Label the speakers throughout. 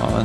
Speaker 1: Ja,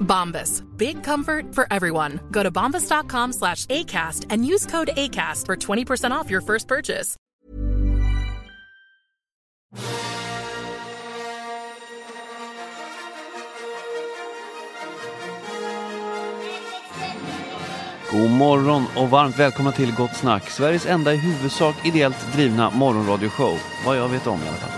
Speaker 2: Bombas. Big comfort for everyone. Go to bombas.com slash ACAST and use code ACAST for 20% off your first purchase.
Speaker 3: God morgon och varmt välkomna till Gott Snack, Sveriges enda i huvudsak ideellt drivna morgonradioshow. Vad jag vet om i alla fall.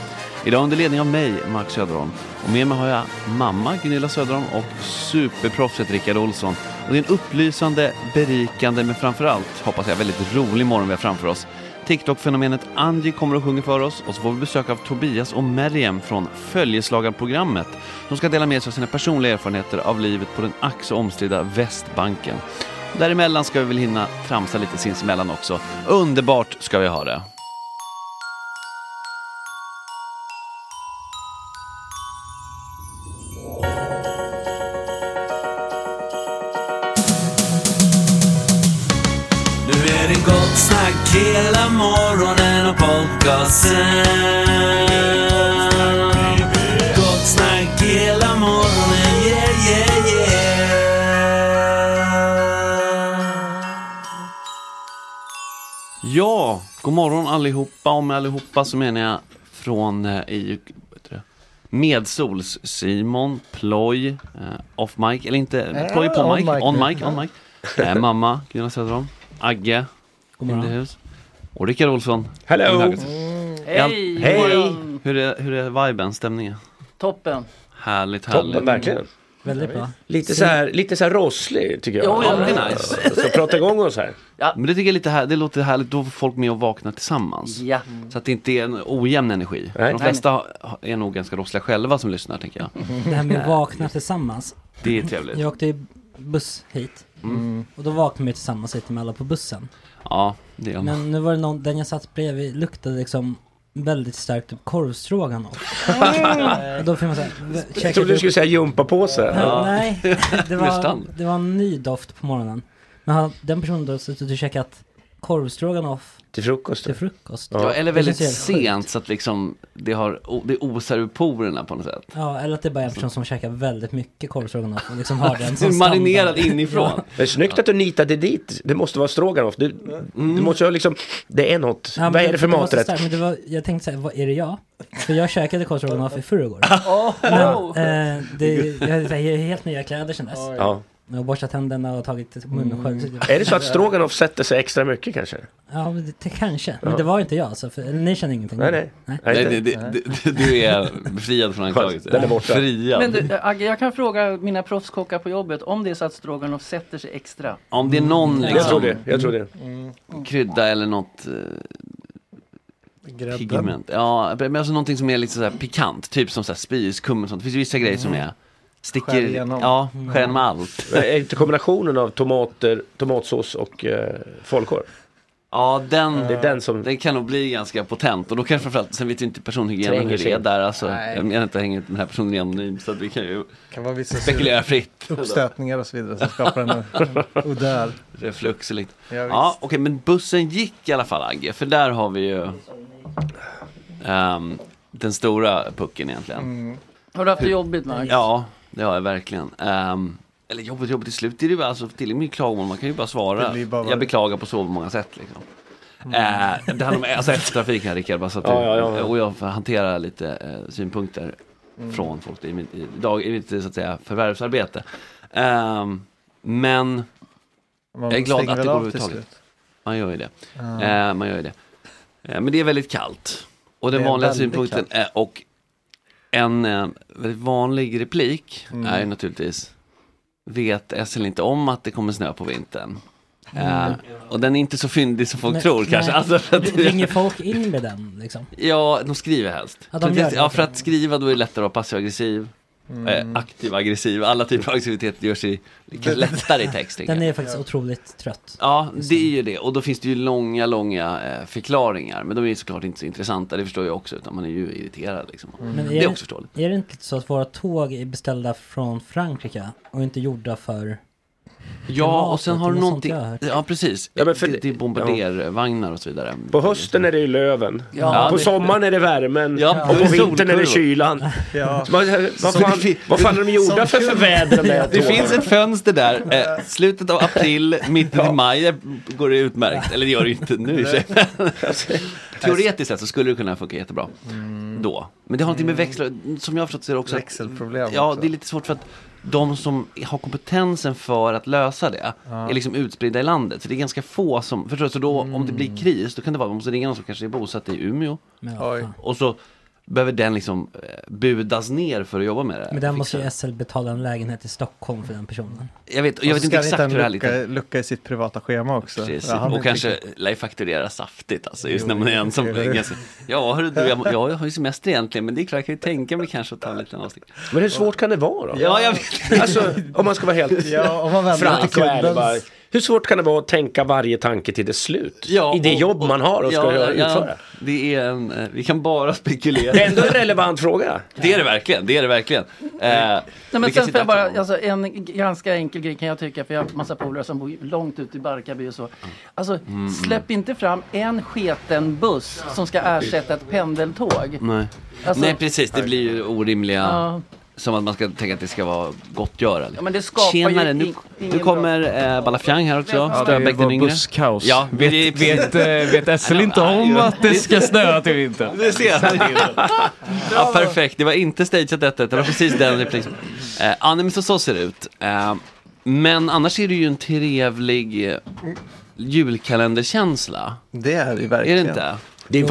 Speaker 3: Idag under ledning av mig, Max Söderholm. Och med mig har jag mamma Gunilla Söderholm och superproffset Rickard Olsson. Och det är en upplysande, berikande men framförallt, hoppas jag, väldigt rolig morgon vi har framför oss. TikTok-fenomenet Angie kommer och sjunger för oss och så får vi besök av Tobias och Meriem från Följeslagarprogrammet. De ska dela med sig av sina personliga erfarenheter av livet på den ack så omstridda Västbanken. Däremellan ska vi väl hinna tramsa lite sinsemellan också. Underbart ska vi ha det.
Speaker 4: Hela morgonen och podcasten. Gott snack hela morgonen, yeah, yeah, yeah.
Speaker 3: Ja, god morgon allihopa. Och med allihopa så menar jag från eh, i, vad heter det? Medsols, Simon, Ploj, eh, off mic, eller inte,
Speaker 5: Eh,
Speaker 3: Ploj på
Speaker 6: on
Speaker 3: mic,
Speaker 6: mic
Speaker 3: on
Speaker 6: nu.
Speaker 3: mic, on mic. Eh, mamma, Gunilla Söderholm, Agge,
Speaker 5: God
Speaker 3: in the
Speaker 5: morgon.
Speaker 3: house. Och Rickard Olsson.
Speaker 1: Hello.
Speaker 3: Hej! Hej! Hur är, hur är viben, stämningen?
Speaker 6: Toppen.
Speaker 3: Härligt, härligt.
Speaker 7: Toppen, verkligen.
Speaker 5: Väldigt bra.
Speaker 7: Lite så här, lite så här rosslig tycker jag.
Speaker 6: Jo, ja,
Speaker 3: Det är nice.
Speaker 7: Så prata igång oss här.
Speaker 3: Men det tycker jag är lite här, det låter härligt, då får folk med och vakna tillsammans.
Speaker 6: Ja.
Speaker 3: Så att det inte är en ojämn energi.
Speaker 7: Nej.
Speaker 3: De flesta har- är nog ganska rossliga själva som lyssnar tänker jag.
Speaker 5: Det här med att vakna tillsammans.
Speaker 3: Det är trevligt.
Speaker 5: Jag åkte i buss hit. Och då vaknade vi tillsammans lite med alla på bussen.
Speaker 3: Ja, det är de.
Speaker 5: Men nu var det någon, den jag satt bredvid luktade liksom väldigt starkt typ korvstroganoff. Mm. Och Eh, då fick man såhär,
Speaker 7: Jag trodde du skulle säga gympapåse.
Speaker 5: Nej, det var,
Speaker 3: Nästan.
Speaker 5: det var en ny doft på morgonen. Men han, den personen då suttit och käkat korvstroganoff
Speaker 7: Till frukost.
Speaker 5: till frukost.
Speaker 3: Ja, eller
Speaker 5: Det
Speaker 3: väldigt
Speaker 5: känns ju helt
Speaker 3: sent så att liksom det, har, o- det osar ur porerna på något sätt.
Speaker 5: sjukt. Ja, eller att det bara är en person som käkar väldigt mycket korvstroganoff och liksom har den
Speaker 3: Det är
Speaker 5: som
Speaker 3: marinerad
Speaker 5: standard.
Speaker 3: inifrån.
Speaker 7: Men snyggt att du nitade dit. Det måste vara stroganoff. Du, du
Speaker 3: Mm.
Speaker 7: måste ha liksom, det är något.
Speaker 5: Ja, men
Speaker 7: Vad är det för
Speaker 5: var så
Speaker 7: maträtt?
Speaker 5: starkt, Men det var, jag tänkte såhär, vad är det jag? För jag käkade korvstroganoff i förrgår.
Speaker 3: Oh.
Speaker 5: Men, eh, det, jag hade så här helt nya kläder sen dess.
Speaker 7: Ja. Mm.
Speaker 5: Jag har borstat tänderna och tagit munskölj.
Speaker 7: Är det så att stroganoff sätter sig extra mycket kanske?
Speaker 5: Ja, men det, det kanske. Men det var inte jag, så för, ni känner ingenting.
Speaker 7: Nej, nej.
Speaker 3: Nej, det,
Speaker 7: inte.
Speaker 3: det, det, du är befriad från anklagelser.
Speaker 7: Den är borta.
Speaker 3: Friad.
Speaker 6: Men du, Agge, jag kan fråga mina proffskockar på jobbet om det är så att stroganoff sätter sig extra.
Speaker 3: Om det är någon
Speaker 7: Jag tror det.
Speaker 3: liksom, Mm.
Speaker 7: Jag tror det.
Speaker 3: krydda eller något eh, Pigment. Ja, men alltså någonting som är lite sådär pikant. Typ som såhär spis, kummin och sånt. Det finns ju vissa grejer
Speaker 7: Mm.
Speaker 3: som är sticker,
Speaker 6: Skär igenom.
Speaker 3: ja, skär igenom allt.
Speaker 7: Men Är inte kombinationen av tomater, tomatsås och eh, falukorv?
Speaker 3: Ja, den,
Speaker 7: Det är den som...
Speaker 3: den kan nog bli ganska potent. Och då kan framförallt, sen vet ju inte personhygienen hur
Speaker 7: Tränger
Speaker 3: det är
Speaker 7: sig.
Speaker 3: där alltså.
Speaker 8: Nej.
Speaker 3: Jag menar inte hänger den här personen är anonym så att vi kan ju
Speaker 8: kan vara vissa
Speaker 3: spekulera fritt.
Speaker 8: uppstötningar och så vidare som skapar en, en odör.
Speaker 3: Reflux och lite.
Speaker 8: Ja, visst.
Speaker 3: Ja, okej, men bussen gick i alla fall Agge, för där har vi ju ehm, den stora pucken egentligen.
Speaker 6: Mm. Har du haft det jobbigt Mark?
Speaker 3: Ja, det har jag verkligen. Ehm, eller jobbet, jobbet, till slut är det ju bara, alltså, till och med klagomål, man kan ju bara
Speaker 8: Det
Speaker 3: svara.
Speaker 8: blir bara- Mm.
Speaker 3: Jag beklagar på så många sätt liksom. Eh, det handlar om alltså, eftertrafik här Rickard, bara så att
Speaker 7: Ja, ja, ja, ja.
Speaker 3: och jag får hantera lite eh, synpunkter
Speaker 8: Mm.
Speaker 3: från folk i, min, i, dag, i mitt så att säga, förvärvsarbete. Ehm, men
Speaker 8: Man
Speaker 3: Jag är glad
Speaker 8: stänger
Speaker 3: att det
Speaker 8: väl
Speaker 3: går
Speaker 8: av till
Speaker 3: överhuvudtaget.
Speaker 8: slut.
Speaker 3: man gör ju det. Eh, man gör ju det. Eh, men det är väldigt kallt. Och den
Speaker 8: Det är
Speaker 3: vanliga
Speaker 8: väldigt
Speaker 3: synpunkten är, och en eh, väldigt vanlig replik
Speaker 5: Mm.
Speaker 3: är ju naturligtvis Vet Essel inte om att det kommer snö på vintern? Eh, och den är inte så fyndig som folk
Speaker 5: Nej,
Speaker 3: tror kanske.
Speaker 5: nej.
Speaker 3: Alltså, för att,
Speaker 5: Ringer folk in med den liksom?
Speaker 3: ja, de skriver helst.
Speaker 5: Ja, de
Speaker 3: För
Speaker 5: gör
Speaker 3: att-
Speaker 5: det. Mm.
Speaker 3: ja, för att skriva då är det lättare att vara passiv-aggressiv. Eh, aktiv-aggressiv, alla typer av aggressivitet görs i, kanske lättare i text. tänker jag.
Speaker 5: Den är faktiskt otroligt trött.
Speaker 3: Ja, det är ju det. Och då finns det ju långa, långa eh, förklaringar. Men de är ju såklart inte så intressanta, det förstår jag också. Utan man är ju irriterad liksom.
Speaker 5: Mm. Men
Speaker 3: Det är också förståeligt.
Speaker 5: Är det inte så att våra tåg är beställda från Frankrike och inte gjorda för...
Speaker 3: Ja, och sen
Speaker 5: det
Speaker 3: har
Speaker 5: är
Speaker 3: du
Speaker 5: något
Speaker 3: någonting.
Speaker 5: sånt jag har hört.
Speaker 3: Ja, precis.
Speaker 7: Ja, men för-
Speaker 3: det, det är bombardervagnar och så vidare.
Speaker 7: På hösten är det ju löven.
Speaker 3: Ja,
Speaker 7: på
Speaker 3: det-
Speaker 7: sommaren är det värmen.
Speaker 3: Ja,
Speaker 7: och
Speaker 3: det är
Speaker 7: på vintern är
Speaker 3: solkurvor.
Speaker 7: det kylan.
Speaker 8: Ja.
Speaker 7: Vad, vad, fan, vad fan är de gjorda för för väder de där
Speaker 3: Det
Speaker 7: tågen?
Speaker 3: finns ett fönster där, eh, slutet av april, mitten i maj eh, går det utmärkt. Eller det gör det ju inte nu i och för sig. Teoretiskt sett så skulle det kunna funka jättebra då. Men det har någonting med
Speaker 6: Mm.
Speaker 3: växlar, som jag har förstått så är det också att-
Speaker 8: Växelproblem
Speaker 3: Ja,
Speaker 8: också.
Speaker 3: det är lite svårt för att de som har kompetensen för att lösa det är liksom utspridda i landet. Så det är ganska få som, förstår du? Så då om det
Speaker 7: Mm.
Speaker 3: blir kris, då kan det vara, man måste ringa någon som kanske är bosatt i Umeå.
Speaker 5: Men, vad
Speaker 8: Oj.
Speaker 5: fan.
Speaker 3: Och så behöver den liksom eh, budas ner för att jobba med det.
Speaker 5: men där
Speaker 3: Fixa
Speaker 5: måste
Speaker 3: det.
Speaker 5: ju SL betala en lägenhet i Stockholm för den personen.
Speaker 3: Jag vet, och jag
Speaker 8: Och
Speaker 3: vet
Speaker 8: så
Speaker 3: inte
Speaker 8: ska han
Speaker 3: exakt hur det här
Speaker 8: hitta en
Speaker 3: lite...
Speaker 8: lucka, lucka i sitt privata schema också.
Speaker 3: Precis.
Speaker 8: Ja, han är
Speaker 3: och
Speaker 8: inte
Speaker 3: kanske
Speaker 8: riktigt-
Speaker 3: lär fakturera saftigt alltså, just
Speaker 8: Jo,
Speaker 3: när man är
Speaker 8: jo,
Speaker 3: ensam.
Speaker 8: jo, jo.
Speaker 3: Ganska, ja, hörru, du, jag, jag har ju semester egentligen, men det är klart, jag kan ju tänka mig kanske att ta en liten avstick.
Speaker 7: Men hur svårt kan det vara då?
Speaker 3: Ja, jag vet.
Speaker 7: Alltså, om man ska vara helt
Speaker 8: Ja, om man vänder
Speaker 7: frank
Speaker 8: till
Speaker 7: och ärlig
Speaker 8: kundens
Speaker 7: bara. hur svårt kan det vara att tänka varje tanke till dess slut? I det jobb man har och ska utföra.
Speaker 9: Det är en, eh, vi kan bara spekulera.
Speaker 7: Det är ändå en relevant fråga.
Speaker 9: Det är det verkligen, det är det verkligen. Eh,
Speaker 6: Nej, men
Speaker 9: vi
Speaker 6: sen
Speaker 9: kan
Speaker 6: får
Speaker 9: sitta
Speaker 6: jag bara, alltså, en ganska enkel grej kan jag tycka, för jag har massa polare som bor långt ute i Barkarby och så. Alltså,
Speaker 9: Mm.
Speaker 6: släpp inte fram en sketen buss som ska ersätta ett pendeltåg.
Speaker 9: Nej.
Speaker 6: Alltså-
Speaker 9: Nej, precis. Det blir ju orimliga...
Speaker 6: Ja.
Speaker 9: Som att man ska tänka att det ska vara gottgöra.
Speaker 6: Ja, men det skapar ju
Speaker 9: Tjenare, nu,
Speaker 6: in- ingen
Speaker 9: nu kommer eh, Balafjang här också.
Speaker 6: Ja, det
Speaker 9: Ströbäck
Speaker 3: var
Speaker 9: den yngre.
Speaker 3: busskaos.
Speaker 9: Ja,
Speaker 3: Vet-
Speaker 9: det är
Speaker 3: vet, eh, vet Essel
Speaker 9: Ja,
Speaker 3: inte
Speaker 9: ja,
Speaker 3: om
Speaker 9: jo.
Speaker 3: att det ska snöa till vintern?
Speaker 9: Det ser han. ja, perfekt. Det var inte stageat detta, det var precis den repliken. Eh, ja, nej, men så, så ser det ut. Eh, men annars är det ju en trevlig eh, liksom-
Speaker 3: liksom,
Speaker 6: Mm.
Speaker 3: Mm.
Speaker 6: eh, eh,
Speaker 3: Mm. eh, Mm.
Speaker 9: Alltså,
Speaker 3: Ehm, eh,
Speaker 9: eh, eh,
Speaker 8: Mm.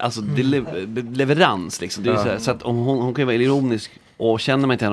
Speaker 9: Eh, eh, typ, eh, typ. Alltså alltså,
Speaker 3: liksom eh, eh.
Speaker 9: Mm.
Speaker 3: alltså liksom.
Speaker 9: eh, liksom. Ehm, eh, alltså,
Speaker 8: Mhm. Ja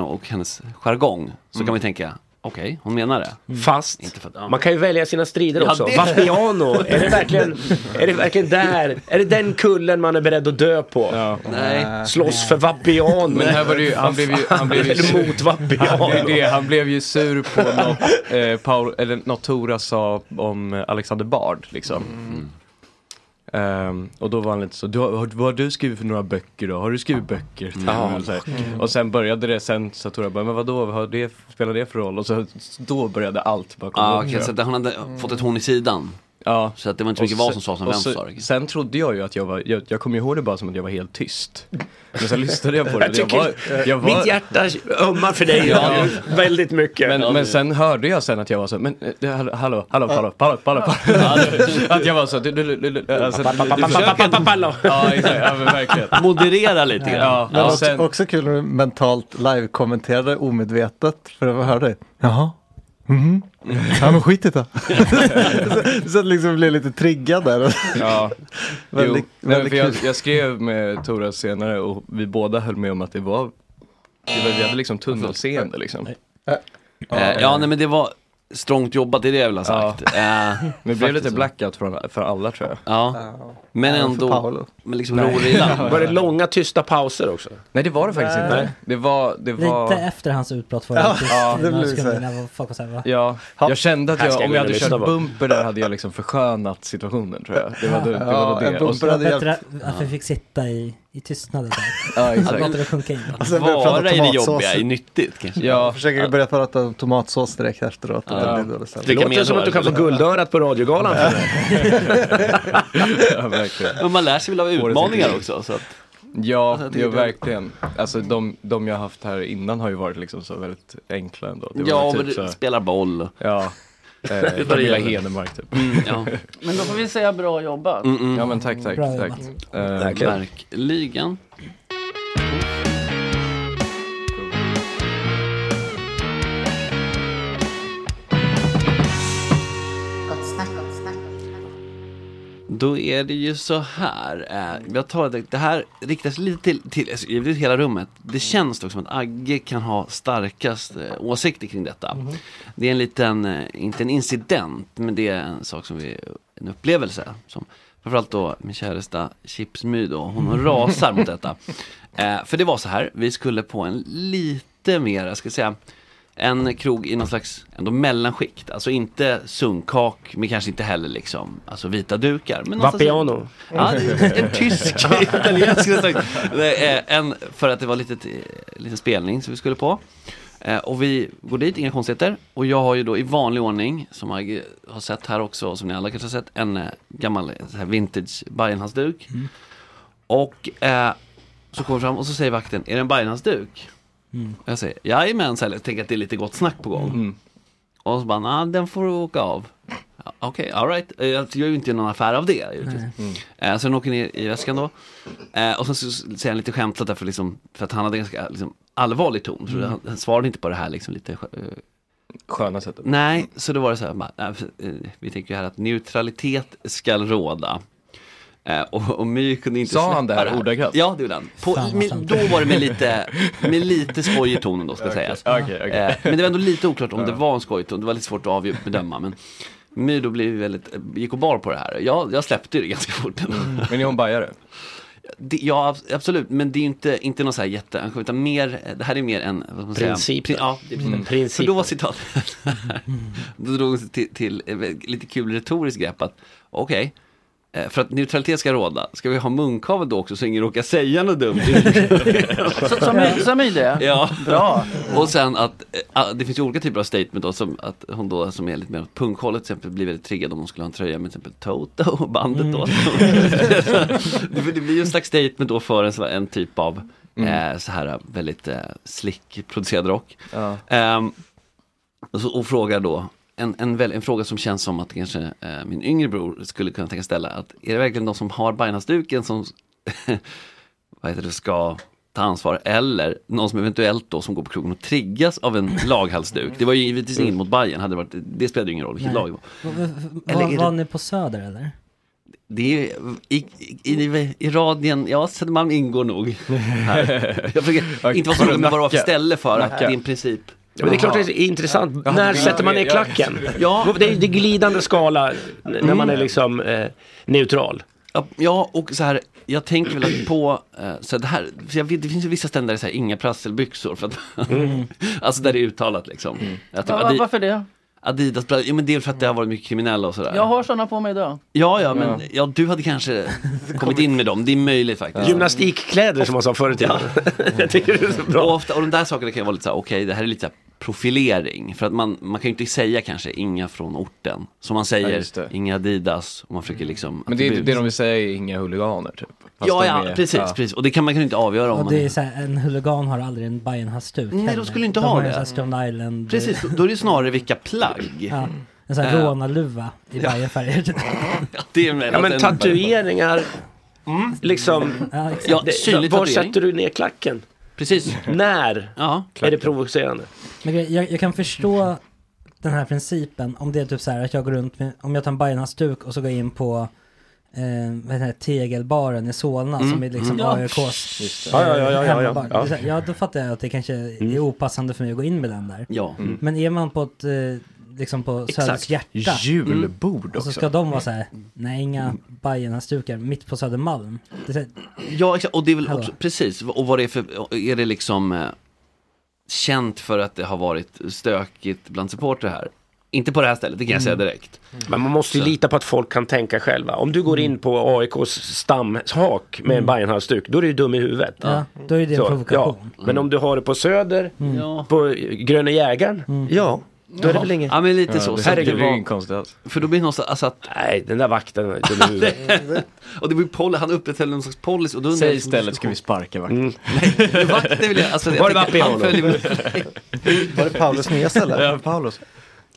Speaker 8: men skit i det. så, så att liksom blev lite triggad där.
Speaker 9: Ja,
Speaker 8: Väldigt-
Speaker 9: jo. Nej,
Speaker 8: väldigt
Speaker 9: för jag,
Speaker 8: kul.
Speaker 9: jag skrev med Tora senare och vi båda höll med om att det var, det var vi hade liksom tunnelseende liksom.
Speaker 3: Eh, ja, nej men det var strångt jobbat, det är det jag vill ha sagt. Eh,
Speaker 9: Men det blev
Speaker 3: faktiskt
Speaker 9: lite
Speaker 3: så.
Speaker 9: blackout för, för alla tror jag.
Speaker 3: Ja, men
Speaker 9: Även för
Speaker 3: ändå.
Speaker 9: Paolo.
Speaker 3: Men liksom
Speaker 9: Nej.
Speaker 3: ror i land.
Speaker 7: Var det långa tysta pauser också?
Speaker 9: Nej det var det faktiskt
Speaker 5: Nej.
Speaker 9: inte. Det var, det var...
Speaker 5: Lite efter hans utbrott förra ja,
Speaker 9: Ja, det
Speaker 5: några
Speaker 9: blir så här.
Speaker 5: sekunder när folk var så här, va?
Speaker 9: Ja, jag kände att
Speaker 5: Här ska
Speaker 9: jag,
Speaker 5: jag
Speaker 9: om jag
Speaker 5: gå in och
Speaker 9: hade
Speaker 5: lyssna
Speaker 9: kört
Speaker 5: på.
Speaker 9: bumper där hade jag liksom förskönat situationen tror jag. Det var då det.
Speaker 8: Ja,
Speaker 9: Var då
Speaker 8: en
Speaker 9: det.
Speaker 8: bumper
Speaker 9: Och så-
Speaker 5: Det var bättre att vi fick sitta i, i tystnaden där.
Speaker 9: Ja, exakt.
Speaker 5: Att låta det sjunka in.
Speaker 3: Alltså,
Speaker 8: Och sen började jag prata tomatsås.
Speaker 3: nyttigt kanske.
Speaker 8: Jag försöker börja prata om tomatsås direkt efteråt.
Speaker 7: Ja.
Speaker 8: Det, blir dåligt sen.
Speaker 7: Det låter som att du kan få guldörat på radiogalan. för det.
Speaker 3: Alltså,
Speaker 9: Ja, verkligen.
Speaker 3: Men man lär sig väl av
Speaker 9: Årets
Speaker 3: utmaningar
Speaker 9: intervju.
Speaker 3: också. Så att,
Speaker 9: Ja,
Speaker 3: jag
Speaker 9: jo,
Speaker 3: tycker det-
Speaker 9: verkligen. Alltså de, de jag har haft här innan har ju varit liksom så väldigt enkla ändå. Det var
Speaker 3: Ja,
Speaker 9: väl
Speaker 3: men du
Speaker 9: så här-
Speaker 3: spelar boll.
Speaker 9: Ja, eh,
Speaker 3: varierar
Speaker 9: Camilla
Speaker 3: väl.
Speaker 9: Henemark typ.
Speaker 3: Mm, ja.
Speaker 6: Men då får vi säga bra jobbat.
Speaker 9: Mm, mm. Ja, men tack, tack,
Speaker 6: Bra
Speaker 9: tack.
Speaker 6: jobbat.
Speaker 9: Eh,
Speaker 3: Verkligen. Ligan. Då är det ju så här. eh, Jag tar det, det här riktas lite till, till alltså, givetvis hela rummet. Det känns dock som att Agge kan ha starkast eh, åsikter kring detta. Det är en liten, eh, inte en incident, men det är en sak som vi, en upplevelse. Som, framförallt då min käresta Chipsmy då, hon rasar mot detta. Eh, för det var så här, vi skulle på en lite mer, jag ska säga, en krog i någon slags ändå mellanskikt. Alltså inte sunkak, men kanske inte heller liksom, alltså vita dukar. Men någonstans-
Speaker 7: Vapiano.
Speaker 3: Ja, en tysk, italiensk restaurang. Nej, eh, En för att det var litet, eh, liten spelning som vi skulle på. Eh, Och vi går dit, inga konstigheter. Och jag har ju då i vanlig ordning, som jag har sett här också, och som ni alla kanske har sett, en eh, gammal eh, så här vintage Bajenhalsduk.
Speaker 10: Mm.
Speaker 3: Och eh, så kommer vi fram och så säger vakten, är det en Bajenhalsduk?
Speaker 10: Mm.
Speaker 3: Och jag säger, jajamän, så här, jag tänker att det är lite gott snack på gång.
Speaker 9: Mm.
Speaker 3: Och så bara, nah, den får du åka av. Ja, Okej, all alright. Jag gör ju inte någon affär av det. givetvis.
Speaker 9: Mm.
Speaker 3: Eh, Så den åker ner i väskan då. Eh, Och sen så säger han lite skämtsamt där för, liksom, för att han hade en ganska liksom, allvarlig ton. Så
Speaker 9: Mm.
Speaker 3: han, han svarade inte på det här liksom lite skö- eh,
Speaker 9: Sköna sättet.
Speaker 3: Nej, så då var det så här, bara, nej, för, eh, vi tänker ju här att neutralitet ska råda. Eh, och, och My kunde inte
Speaker 9: Sa
Speaker 3: släppa
Speaker 9: han det här ordagrant?
Speaker 3: Ja, det gjorde han. På,
Speaker 9: Fan, vad
Speaker 3: med,
Speaker 9: sant.
Speaker 3: då var det med lite, med lite skoj i tonen då, ska
Speaker 9: Okej,
Speaker 3: sägas. Eh,
Speaker 9: okej, okej.
Speaker 3: men det var ändå lite oklart om
Speaker 9: Ja.
Speaker 3: det var en skoj i ton, det var lite svårt att avgö- bedöma. Men My då blev väldigt, eh, gick och bar på det här. Jag, jag släppte ju det ganska fort.
Speaker 9: Mm. Men är hon bajare?
Speaker 3: Det, ja, abs- absolut. Men det är ju inte, inte någon så här jätte, utan mer, eh, det här är mer en, vad ska man säga?
Speaker 7: Principer.
Speaker 3: Pri- Ja, det är precis
Speaker 7: Mm.
Speaker 3: det. För då var citatet, då drog hon sig till, till eh, lite kul retoriskt grepp att, okej, eh, för att neutralitet ska råda, ska vi ha munkavel då också så ingen råkar säga något dumt?
Speaker 6: Så, som, i- som i det.
Speaker 3: Ja.
Speaker 6: Bra.
Speaker 3: Och sen att eh, ah, det finns ju olika typer av statement då, som att hon då som är lite mer åt punkhållet till exempel blir väldigt triggad om hon skulle ha en tröja med till exempel Toto och bandet då.
Speaker 6: Mm.
Speaker 3: det, för det blir ju en slags statement då för en, så- en typ av eh, så här väldigt eh, slick producerad rock.
Speaker 9: Ja.
Speaker 3: Ehm, och, så, och frågar då, en, en, väl, en fråga som känns som att kanske eh, min yngre bror skulle kunna tänka ställa, att är det verkligen de som har Bajenhalsduken som vad heter det, ska ta ansvar eller någon som eventuellt då som går på krogen och triggas av en laghalsduk. Det var ju givetvis inget mot Bayern, hade det, varit, det spelade ju ingen roll vilket lag det var. Eller är
Speaker 5: Var,
Speaker 3: det-
Speaker 5: var ni på Söder eller?
Speaker 3: Det är i, i, i, i radien, ja Södermalm ingår nog. Här. Jag försöker inte vara så rolig, men vad det var för ställe för att det är en princip.
Speaker 7: Ja, men det är klart det är intressant.
Speaker 3: Jaha.
Speaker 7: När
Speaker 3: Ja,
Speaker 7: sätter man ner
Speaker 3: ja,
Speaker 7: klacken?
Speaker 3: Ja. Mm.
Speaker 7: Det är det är glidande skala n- när man är liksom eh, neutral.
Speaker 3: Ja, Ja, och så här, jag tänker väl att på, eh, så det här, för jag vet, det finns ju vissa ställen där det är så här, inga prasselbyxor, för att, alltså där det är uttalat liksom. Att,
Speaker 6: Va- va-
Speaker 3: Adi-
Speaker 6: varför det?
Speaker 3: Adidas, ja, men det är för att det har varit mycket kriminella och sådär.
Speaker 6: Jag har sådana på mig idag.
Speaker 3: Ja, ja, men ja. du hade kanske kommit in med dem. Det är möjligt faktiskt.
Speaker 7: Gymnastikkläder som man sa förr i tiden. Jag tycker det är så bra.
Speaker 3: Och, ofta, och de där sakerna kan ju vara lite så här, okej, det här är lite så här profilering. För att man, man kan ju inte säga kanske inga från orten. Som man
Speaker 9: Ja,
Speaker 3: säger,
Speaker 9: just det.
Speaker 3: inga Adidas. Och man försöker liksom...
Speaker 9: Men det, är-
Speaker 3: attribut.
Speaker 9: det de vill säga är inga huliganer typ. Fast
Speaker 3: Ja,
Speaker 9: de
Speaker 3: ja,
Speaker 9: är-
Speaker 3: precis,
Speaker 9: ja.
Speaker 3: precis. Och det kan man kan ju inte avgöra om
Speaker 5: Och
Speaker 3: man
Speaker 5: det är
Speaker 3: är...
Speaker 5: så här, en huligan har aldrig en Bajenhalsduk
Speaker 3: Nej, de
Speaker 5: heller.
Speaker 3: skulle inte
Speaker 5: de
Speaker 3: ha
Speaker 5: har ju
Speaker 3: det.
Speaker 5: så här Stone Island.
Speaker 3: Precis, då- då är det ju snarare vilka plagg.
Speaker 5: Ja, en sån här
Speaker 3: Eh,
Speaker 5: rånarluva i
Speaker 3: ja.
Speaker 5: Bajenfärger.
Speaker 3: det är väl
Speaker 7: Ja,
Speaker 3: att
Speaker 7: men
Speaker 3: en-
Speaker 7: tatueringar, liksom.
Speaker 5: Ja, exakt.
Speaker 3: Mm. Ja, synlig
Speaker 7: var
Speaker 3: tatuering.
Speaker 7: sätter du ner klacken?
Speaker 3: Precis.
Speaker 7: När
Speaker 3: ja.
Speaker 7: är det provocerande?
Speaker 5: Men grej- jag, jag kan förstå den här principen, om det är typ så här att jag går runt med, om jag tar en Bajenhalsduk och så går jag in på eh, vad heter det, tegelbaren i Solna
Speaker 7: Mm.
Speaker 5: som är
Speaker 7: Mm.
Speaker 5: liksom
Speaker 7: Ja.
Speaker 5: AIKs
Speaker 7: Just det. Ja, ja, ja, ja, ja, ja.
Speaker 5: hemmabar.
Speaker 7: Ja. Mm.
Speaker 5: Det är så här, ja, då fattar jag att det kanske är opassande för mig att gå in med den där.
Speaker 3: Ja. Mm.
Speaker 5: Men är man på ett, eh, liksom på
Speaker 3: Exakt. Mm.
Speaker 5: Söders hjärta.
Speaker 3: Julbord
Speaker 5: Och så
Speaker 3: också.
Speaker 5: ska de vara så här, nej inga
Speaker 7: Mm.
Speaker 5: Bajenhalsdukar mitt på Södermalm. Det är så här,
Speaker 3: Ja, exakt. Och det är väl
Speaker 5: Hallå.
Speaker 3: också, precis. Och vad det är för, är det liksom eh, känt för att det har varit stökigt bland supportrar här? Inte på det här stället, det kan jag säga
Speaker 7: Mm.
Speaker 3: direkt.
Speaker 7: Men man måste ju
Speaker 3: Så. Mm.
Speaker 7: lita på att folk kan tänka själva. Om du går in på AIKs stamhak med en
Speaker 5: Mm.
Speaker 7: Bajenhalsduk, då är du ju dum i huvudet.
Speaker 5: Ja, då är det en
Speaker 7: Så,
Speaker 5: provokation.
Speaker 7: Ja. Men om du har det på Söder,
Speaker 5: Mm.
Speaker 7: på eh, Gröna Jägaren, ja, då är det väl inget.
Speaker 3: Ja, men lite så. Så att var-
Speaker 7: alls.
Speaker 3: För då blir det någonstans, alltså att...
Speaker 7: Nej, den där vakten är dum i huvudet.
Speaker 3: och det blir poly, han upprätthöll någon slags policy. Och då undrar
Speaker 9: Säg
Speaker 3: jag- liksom-
Speaker 9: istället, ska vi sparka vakten?
Speaker 7: Mm.
Speaker 3: Nej, vakten vill jag, alltså, jag
Speaker 9: Var det
Speaker 3: tänker-
Speaker 9: Vapiano?
Speaker 3: han följer-
Speaker 11: Var det Paulus Nyas eller?
Speaker 3: Ja,
Speaker 11: Paulus.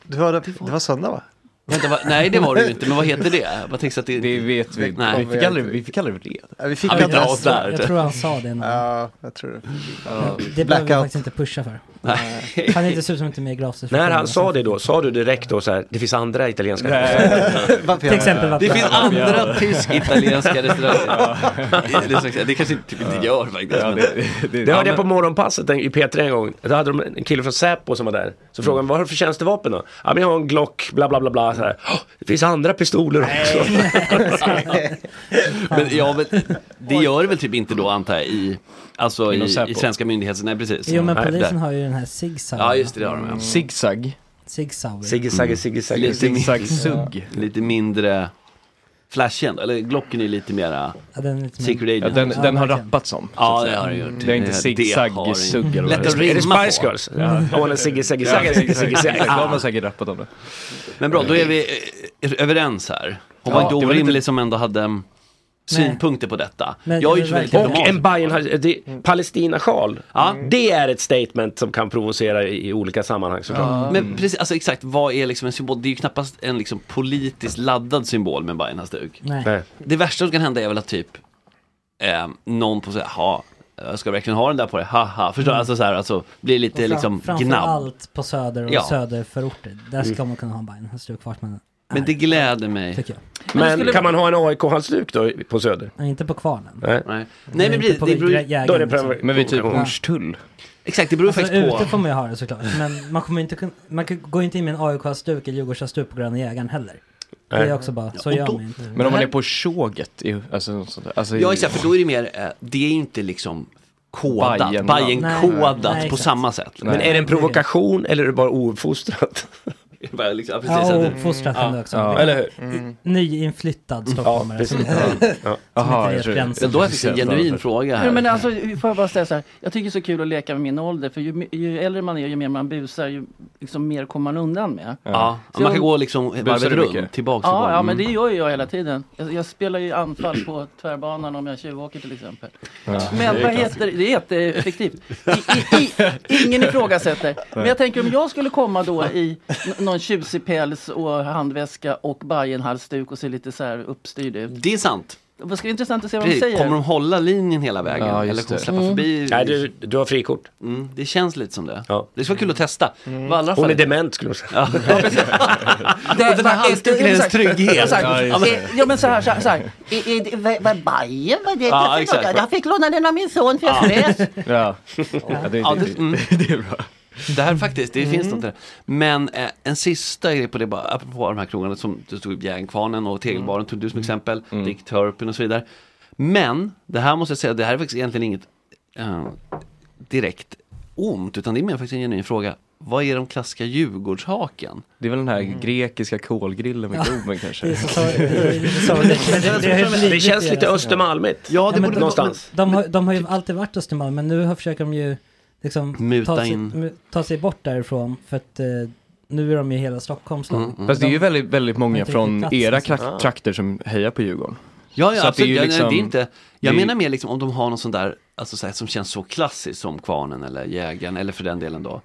Speaker 11: Du hörde, det var söndag va?
Speaker 3: Vänta, va, nej det var det ju inte, men vad heter det? Vad tänkte att det, det vet
Speaker 11: vi inte.
Speaker 3: Nej.
Speaker 11: Vi fick aldrig-
Speaker 3: vi fick aldrig reda.
Speaker 11: Ja, vi fick
Speaker 3: ja, vi
Speaker 11: aldrig-
Speaker 3: drar oss där.
Speaker 5: Jag tror han sa det någon
Speaker 11: Ja, jag tror det.
Speaker 5: Ja, Det behöver vi faktiskt inte pusha för.
Speaker 7: Nej.
Speaker 5: Han är dessutom inte med i Glasses
Speaker 7: När han
Speaker 5: förtroende.
Speaker 7: sa det då, sa du direkt då så här, det finns andra italienska
Speaker 5: Nej. Till exempel
Speaker 3: Det finns andra tysk-italienska
Speaker 7: Ja.
Speaker 3: restauranger. Det är så- Det kanske inte, det gör faktiskt. men-
Speaker 7: Det hörde jag på morgonpasset en- i P3 en gång. Då hade de en kille från Säpo som var där. Så frågade han, vad har du för tjänstevapen då? Ja, men jag har en Glock, bla bla bla bla. Så här, "Åh, det finns andra pistoler också.
Speaker 3: Men, ja, men det gör det väl typ inte då antar jag i, alltså,
Speaker 5: Inom
Speaker 3: i,
Speaker 5: Säpo.
Speaker 3: i svenska myndigheter. Nej precis.
Speaker 5: Jo men
Speaker 3: Nej,
Speaker 5: polisen
Speaker 3: där.
Speaker 5: har ju den här zigzag.
Speaker 3: Ja just det, det har de ja.
Speaker 5: Mm. Zigzag. Zigzag.
Speaker 3: Mm. Lite min-
Speaker 5: Ja.
Speaker 3: sugg. Lite mindre flashig ändå. Eller Glocken är lite mera
Speaker 5: Ja, den är lite mer-
Speaker 3: Secret Agent.
Speaker 5: Ja, den- den har Ja, verkligen.
Speaker 3: rappats om. Ja, det har den gjort.
Speaker 12: Det är inte
Speaker 3: har-
Speaker 12: zigzag
Speaker 3: har den.
Speaker 12: sugg eller vad
Speaker 3: Lätt att
Speaker 12: det
Speaker 3: rimma
Speaker 12: är.
Speaker 3: på.
Speaker 7: Spice Girls? Ja. Åh, en Ziggy Zaggy Zaggy Ziggy Zaggy Zaggy.
Speaker 3: Ja.
Speaker 12: De har säkert rappat om det.
Speaker 3: Men bra, då är vi eh, överens här. Hon
Speaker 7: Ja,
Speaker 3: var inte
Speaker 7: det var
Speaker 3: orimlig
Speaker 7: lite-
Speaker 3: som ändå hade mm, synpunkter på detta.
Speaker 7: Men-
Speaker 3: jag är ju så väldigt
Speaker 7: Och en
Speaker 3: diplomatisk.
Speaker 7: Bayern har,
Speaker 5: Mm.
Speaker 7: det- Palestina-sjal. Det är ett statement som kan provocera i, i olika sammanhang såklart.
Speaker 3: Men precis, alltså exakt, vad är liksom en symbol? Det är ju knappast en liksom politiskt laddad symbol med Bajenhalsduk.
Speaker 7: Nej. Nej.
Speaker 3: Det värsta som kan hända är väl att typ eh, någon på säga, ha, jag ska verkligen ha den där på dig, haha. Förstår du? Alltså så här, alltså blir
Speaker 5: Mm. Och
Speaker 3: lite
Speaker 5: fram-
Speaker 3: liksom gnabb.
Speaker 5: Framförallt på söder och
Speaker 3: Ja.
Speaker 5: söderförorter. Där ska
Speaker 3: Mm.
Speaker 5: man kunna ha en Bajenhalsduk vart man
Speaker 3: Men det gläder mig.
Speaker 5: Tycker jag.
Speaker 7: Men kan man ha en AIK-halsduk då i- på Söder?
Speaker 5: Nej, inte på kvarnen.
Speaker 7: Nej.
Speaker 3: Nej,
Speaker 5: Det är
Speaker 3: men
Speaker 5: inte
Speaker 3: precis,
Speaker 5: på
Speaker 3: det beror
Speaker 5: jägaren, Då är det liksom. prov-
Speaker 12: Men vi är typ
Speaker 5: provokation.
Speaker 12: Hornstull.
Speaker 3: Exakt, det beror
Speaker 5: Alltså,
Speaker 3: faktiskt
Speaker 5: ute
Speaker 3: på.
Speaker 5: får man ju ha det såklart. Men man kommer inte kunna, man kan- går inte in med en AIK-halsduk eller Djurgårdshalsduk på Gröna Jägaren heller. Det är också bara, så
Speaker 3: och
Speaker 5: gör
Speaker 3: då-
Speaker 5: man ju inte.
Speaker 12: Men om man är på tåget, i- alltså, något sånt där. alltså i-
Speaker 3: Ja exakt, för då är det mer, eh, det är ju inte liksom kodat,
Speaker 12: Bajen-
Speaker 7: Nej,
Speaker 3: Bajen-kodat
Speaker 7: nej,
Speaker 3: på
Speaker 7: exakt.
Speaker 3: samma sätt.
Speaker 7: Men är det en provokation eller är det bara ouppfostrat?
Speaker 3: Bara liksom, ja, precis,
Speaker 5: Ja,
Speaker 3: att
Speaker 5: och
Speaker 3: det-
Speaker 5: uppfostrat
Speaker 3: Ja.
Speaker 5: ändå också.
Speaker 7: Ja,
Speaker 5: Det-
Speaker 7: eller hur?
Speaker 3: Mm.
Speaker 5: i- Nyinflyttad stockholmare som
Speaker 7: precis.
Speaker 5: inte,
Speaker 7: Ja.
Speaker 5: som
Speaker 7: Aha,
Speaker 5: inte
Speaker 7: jag
Speaker 5: vet
Speaker 7: tror det.
Speaker 5: gränsen.
Speaker 3: Då har jag faktiskt en genuin fråga här.
Speaker 6: Jo, men alltså, får jag bara säga så här. Jag tycker det är så kul att leka med min ålder. För ju, ju äldre man är, ju mer man busar, ju liksom, mer kommer man undan med.
Speaker 3: Ja,
Speaker 6: Så
Speaker 3: man kan
Speaker 6: jag-
Speaker 3: gå liksom varvet
Speaker 6: Busar du
Speaker 3: runt,
Speaker 6: mycket?
Speaker 3: tillbaks till
Speaker 6: Ja,
Speaker 3: barn.
Speaker 6: ja, men det
Speaker 3: Mm.
Speaker 6: gör ju jag hela tiden. Jag, jag spelar ju anfall på tvärbanan om jag tjuvåker till exempel.
Speaker 3: Ja,
Speaker 6: men
Speaker 3: det är
Speaker 6: vad
Speaker 3: klassiskt.
Speaker 6: heter det? Det är jätteeffektivt. I, i, i, ingen ifrågasätter. Men jag tänker om jag skulle komma då i n- någon tjusig päls och handväska och Bajenhalsduk och se lite så här uppstyrd ut.
Speaker 3: Det är sant.
Speaker 6: Det ska bli intressant att se vad de
Speaker 3: Precis,
Speaker 6: säger.
Speaker 3: Kommer de hålla linjen hela vägen?
Speaker 7: Ja, just
Speaker 3: Eller kommer de
Speaker 7: det.
Speaker 3: släppa
Speaker 7: Mm.
Speaker 3: förbi? liksom-
Speaker 7: Nej, du- har frikort.
Speaker 3: Mm, det känns lite som det.
Speaker 7: Ja.
Speaker 3: Det skulle vara kul att testa.
Speaker 7: Mm.
Speaker 3: Wallraff
Speaker 7: Hon är
Speaker 3: lite-
Speaker 7: dement skulle jag säga.
Speaker 3: Ja.
Speaker 6: Det-
Speaker 3: Och den här
Speaker 6: vad-
Speaker 3: halsduken är ens
Speaker 6: exakt.
Speaker 3: trygghet.
Speaker 6: Exakt.
Speaker 3: Ja, just det.
Speaker 6: Eh, Ja men så här, så här, så här. I- i- vad- Vad Bajen var det?
Speaker 3: Ja,
Speaker 6: Jag fick
Speaker 3: exakt.
Speaker 6: låna- Jag fick låna den av min son för jag frös.
Speaker 12: Ja, ja det,
Speaker 3: Ja,
Speaker 12: det,
Speaker 3: det- mm.
Speaker 12: det är bra.
Speaker 3: Det här faktiskt, det
Speaker 12: Mm.
Speaker 3: finns något där. Men eh, en sista grej på det, bara, apropå de här krogarna som du stod upp, Järnkvarnen och Tegelbaren tog du som exempel,
Speaker 12: Mm.
Speaker 3: Dick Turpin och så vidare. Men det här måste jag säga, det här är faktiskt egentligen inget eh, direkt ont, utan det är mer faktiskt en genuin fråga. Vad är de klassiska Djurgårdshaken?
Speaker 12: Det är väl den här grekiska kolgrillen med
Speaker 3: Mm. Ja,
Speaker 12: Globen kanske?
Speaker 5: det är så sorgligt. Det är lite sorgligt, men det- det har ju blivit Det känns lite deras- Östermalmigt.
Speaker 3: Ja, det
Speaker 5: men
Speaker 3: borde
Speaker 5: de-
Speaker 3: någonstans.
Speaker 5: De, har, de har ju alltid varit Östermalm, men nu har- försöker de ju liksom
Speaker 3: Muta
Speaker 5: ta, sig,
Speaker 3: in.
Speaker 5: mu- ta sig bort därifrån. För att eh, nu är de ju hela Stockholms
Speaker 3: Mm,
Speaker 5: lag.
Speaker 12: Fast det är ju väldigt, väldigt
Speaker 5: Men
Speaker 12: många
Speaker 5: det är
Speaker 12: från
Speaker 5: plats,
Speaker 12: era
Speaker 5: alltså.
Speaker 12: krak- trakter som hejar på Djurgården.
Speaker 3: Ja, ja
Speaker 12: Så att
Speaker 3: absolut.
Speaker 12: ju
Speaker 3: Ja, nej,
Speaker 12: liksom-
Speaker 3: det är inte, jag
Speaker 12: det är ju-
Speaker 3: menar mer liksom om de har någon sån där, alltså så här, som känns så klassisk som Kvarnen eller Jägaren, eller för den delen då.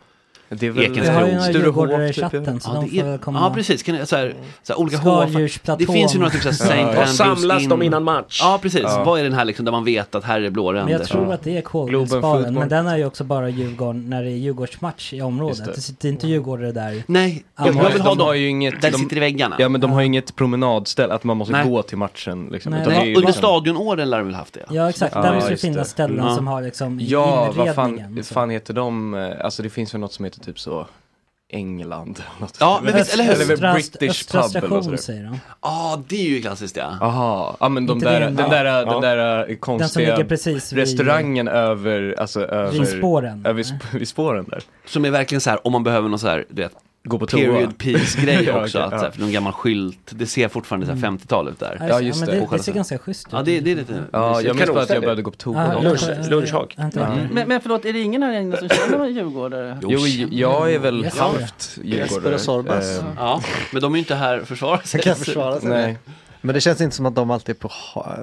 Speaker 9: Det är
Speaker 5: väl- Vi har ju några djurgårdare i chatten, så
Speaker 3: ja,
Speaker 5: de
Speaker 3: det
Speaker 5: får
Speaker 3: är,
Speaker 5: väl komma-
Speaker 3: ja, precis. Kan, ni- så här, så här, olika
Speaker 5: Skaldjursplatån.
Speaker 3: H- Det finns ju några typ så här, St.
Speaker 5: Ja, ja.
Speaker 3: Andrews
Speaker 5: Samlas
Speaker 3: in.
Speaker 5: de innan
Speaker 7: match?
Speaker 3: Ja, precis.
Speaker 5: Ja.
Speaker 3: Vad är den här liksom, där man vet att här är
Speaker 5: Men
Speaker 3: blåränder?
Speaker 5: jag tror att det är Kolbäcksbaren, men den är ju också bara Djurgården när det är Djurgårdsmatch i
Speaker 9: Just det.
Speaker 5: området. Det sitter inte djurgårdare där.
Speaker 3: Nej,
Speaker 5: Annars-
Speaker 9: de har ju inget,
Speaker 3: Där
Speaker 9: de,
Speaker 3: sitter i väggarna.
Speaker 9: Ja men de har ju inget promenadställe, att man måste
Speaker 3: Nej.
Speaker 9: gå till matchen liksom.
Speaker 5: Nej,
Speaker 9: utan
Speaker 5: nej.
Speaker 9: det är ju
Speaker 3: Under
Speaker 9: liksom-
Speaker 3: stadionåren lär de väl haft det?
Speaker 5: Ja exakt, där måste det
Speaker 9: just
Speaker 5: finnas ställen
Speaker 9: Mm.
Speaker 5: som har liksom
Speaker 9: Ja,
Speaker 5: inredningen.
Speaker 9: vad fan, fan heter de? Eh, Alltså det finns väl något som heter typ så England. Något
Speaker 3: Ja, men visst, eller hur?
Speaker 9: Eller väl
Speaker 5: Östra-
Speaker 9: British
Speaker 5: Östra
Speaker 9: Pub eller
Speaker 5: station
Speaker 9: något sådär.
Speaker 5: säger de.
Speaker 3: Ja, det är ju klassiskt ja.
Speaker 9: Jaha, ja men de
Speaker 5: Inte
Speaker 9: där,
Speaker 5: det,
Speaker 9: den,
Speaker 5: ja.
Speaker 9: där,
Speaker 5: Ja.
Speaker 9: den där eh,
Speaker 5: Den som
Speaker 9: konstiga
Speaker 5: ligger precis vid-
Speaker 9: restaurangen över, alltså över
Speaker 5: Vid spåren.
Speaker 9: Över sp- vid spåren där.
Speaker 3: Som är verkligen så här, om man behöver någon så här, du vet,
Speaker 9: Gå på toa.
Speaker 3: period piece-grej
Speaker 9: Ja,
Speaker 3: också.
Speaker 9: okej,
Speaker 3: att,
Speaker 9: ja. Mm.
Speaker 3: så här, för någon gammal skylt, det ser fortfarande så här 50-tal ut där.
Speaker 5: Mm. Ja, Ja, just ja, men det. det- det ser ganska schysst ut.
Speaker 3: Ja, det, det är lite...
Speaker 9: Ja, jag minns bara att jag behövde gå på
Speaker 5: Ah,
Speaker 9: toa.
Speaker 5: lunch- lunch- lunchhak. Vänta, vänta.
Speaker 9: Mm.
Speaker 6: Men, men förlåt, är det ingen här inne som känner någon djurgårdare?
Speaker 9: Jo, jag är väl
Speaker 6: Jesper.
Speaker 9: halvt
Speaker 6: Jesper och Sorbas.
Speaker 9: Eh,
Speaker 3: Ja, men de är ju inte här för att försvara sig.
Speaker 8: Jag kan försvara sig.
Speaker 9: Nej.
Speaker 8: Men det känns inte som att de alltid är, på, ha-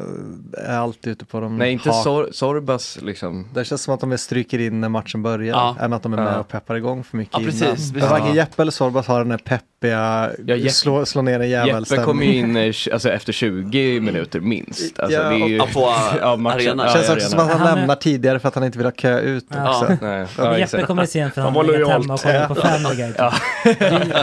Speaker 8: är alltid ute på de
Speaker 9: Nej, inte
Speaker 8: ha-
Speaker 9: sor Sorbas liksom.
Speaker 8: Det känns som att de mer stryker in när matchen börjar
Speaker 9: Ja.
Speaker 8: än att de är med
Speaker 9: Ja.
Speaker 8: och peppar igång för mycket
Speaker 9: Ja, precis,
Speaker 8: innan.
Speaker 9: precis.
Speaker 8: Men Varken
Speaker 9: Ja.
Speaker 8: Jeppe eller Sorbas har den där peppiga,
Speaker 9: Ja, Jeppe-
Speaker 8: slå, slå ner en jävel
Speaker 9: Jeppe kom ju in eh, tj- alltså, efter 20 minuter minst. Alltså,
Speaker 8: Ja,
Speaker 9: det är ju...
Speaker 8: och- på, eh,
Speaker 9: matchen.
Speaker 8: Känns
Speaker 9: Ja,
Speaker 8: också
Speaker 9: arena.
Speaker 8: som att han
Speaker 5: Han är-
Speaker 8: lämnar tidigare för att han inte vill ha kö ut
Speaker 5: Ja.
Speaker 8: också.
Speaker 9: Nej.
Speaker 5: Men Jeppe kommer sent för han har legat hemma och kollat på Family Guy.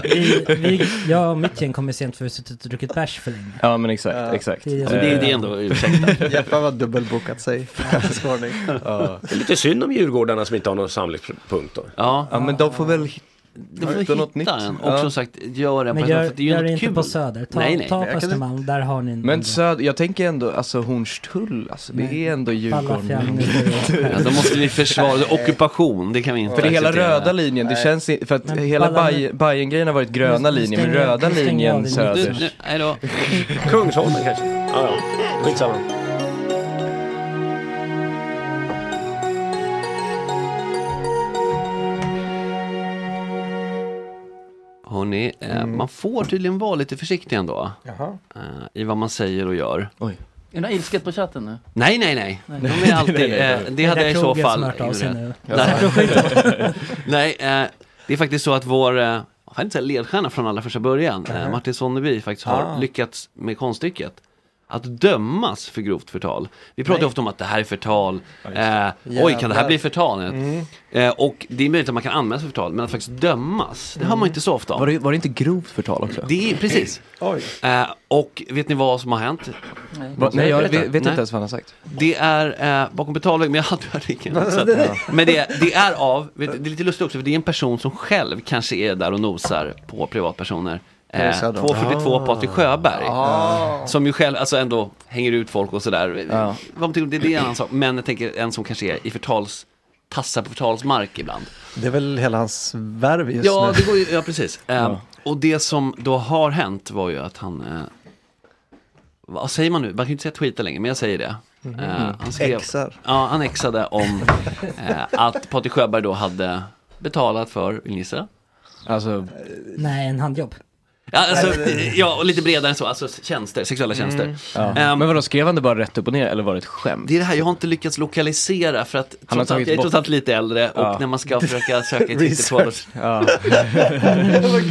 Speaker 5: typ. Vi, vi, jag och mitt gäng kommer sent för vi har suttit och druckit bärs för länge.
Speaker 9: Ja men exakt,
Speaker 5: Ja.
Speaker 9: exakt. Eh.
Speaker 5: Det är- Så det- det är ändå ursäktat.
Speaker 8: Jeppe har dubbelbokat sig. Skåning.
Speaker 7: Ja. Det är lite synd om djurgårdarna som inte har någon samlingspunkt då.
Speaker 3: Ja,
Speaker 9: men de får väl
Speaker 3: De får hitta något nytt. En. Och som sagt, gör det
Speaker 5: Men
Speaker 3: på
Speaker 5: gör,
Speaker 3: för det är ju
Speaker 5: gör
Speaker 3: något
Speaker 5: det Eh, inte
Speaker 3: kul.
Speaker 5: på Söder. Ta,
Speaker 3: Nej, nej.
Speaker 5: ta
Speaker 3: Jag
Speaker 5: på
Speaker 3: kan-
Speaker 5: Östermalm, där har ni en.
Speaker 9: Men söd, jag tänker ändå, alltså Hornstull, alltså, det
Speaker 5: Nej.
Speaker 9: är ändå Djurgården.
Speaker 5: Pallafjärden.
Speaker 3: Ja, då måste vi försvara det. ockupation, det kan vi inte
Speaker 9: För det hela
Speaker 3: acceptera.
Speaker 9: röda linjen, det känns i- för att hela
Speaker 3: Ballan-
Speaker 9: Baj- Bajen-grejen har varit gröna linjen, men
Speaker 3: stänger-
Speaker 9: röda
Speaker 3: nu stänger
Speaker 9: linjen
Speaker 3: jag din-
Speaker 9: söder.
Speaker 3: Du, nu- Nej då.
Speaker 7: Kungsholmen kanske? Ja, ja. Skitsamma.
Speaker 3: Hörrni, eh,
Speaker 9: Mm.
Speaker 3: man får tydligen vara lite försiktig ändå.
Speaker 8: Jaha.
Speaker 3: Eh, I vad man säger och gör.
Speaker 6: Är det ilsket på chatten nu?
Speaker 3: Nej, nej, nej.
Speaker 6: Nej.
Speaker 3: De är alltid,
Speaker 6: Nej, nej, nej.
Speaker 3: eh, det
Speaker 6: Det är
Speaker 3: hade jag i så
Speaker 6: Kroger
Speaker 3: fall.
Speaker 6: som har hört av sig nu.
Speaker 3: Nej, nej eh, det är faktiskt så att vår eh, vad fan, inte säga ledstjärna från allra första början, eh,
Speaker 1: Mhm.
Speaker 3: Martin Sonneby, faktiskt har
Speaker 1: Ah.
Speaker 3: lyckats med konststycket att dömas för grovt förtal. Vi pratar ju
Speaker 1: Nej.
Speaker 3: ofta om att det här är förtal. Eh, oj, kan det här
Speaker 1: Jävlar.
Speaker 3: bli förtal?
Speaker 1: Mm.
Speaker 3: Eh, och det är möjligt att man kan anmälas för förtal, men att faktiskt dömas, det hör man inte så ofta om.
Speaker 9: Var det, var det inte grovt förtal också?
Speaker 3: Det är precis. Eh, och vet ni vad som har hänt?
Speaker 9: Nej. Va- nej, jag vet- vet inte
Speaker 3: Nej.
Speaker 9: ens vad han har sagt.
Speaker 3: Det är eh, bakom betalvägg, men jag hade artikeln. Så att,
Speaker 9: Ja.
Speaker 3: Men det, det är av, vet, du, det är lite lustigt också, för det är en person som själv kanske är där och nosar på privatpersoner.
Speaker 1: Det är
Speaker 3: Eh,
Speaker 1: så här då.
Speaker 3: 242
Speaker 1: Ah.
Speaker 3: Patrik Sjöberg.
Speaker 1: Ah.
Speaker 3: Som ju själv, alltså ändå hänger ut folk och sådär.
Speaker 1: Ja.
Speaker 3: Vad man tycker om det, det är en annan sak. Men jag tänker en som kanske är i förtals, tassar på förtalsmark ibland.
Speaker 8: Det är väl hela hans värv just
Speaker 3: Ja,
Speaker 8: nu.
Speaker 3: det går ju, ja precis. Eh, Och det som då har hänt var ju att han, eh, vad säger man nu? Man kan ju inte säga tweeta längre, men jag säger det.
Speaker 9: Mm-hmm.
Speaker 8: Mhm.
Speaker 3: Eh,
Speaker 8: Exar.
Speaker 3: Ja, han exade om eh, att Patrik Sjöberg då hade betalat för, vill ni gissa?
Speaker 9: Alltså,
Speaker 5: Nej, en handjobb.
Speaker 3: ja, alltså, ja, och lite bredare än så, alltså tjänster, sexuella tjänster.
Speaker 9: Ja. men vadå, skrev han det bara rätt upp och ner eller var det ett skämt?
Speaker 3: Ehm. Det är det här, jag har inte lyckats lokalisera för att
Speaker 9: har
Speaker 3: trots allt,
Speaker 9: tagit
Speaker 3: jag är
Speaker 9: bort-
Speaker 3: trots allt lite äldre och
Speaker 9: Ja.
Speaker 3: när man ska försöka söka i Twitter
Speaker 9: Ja.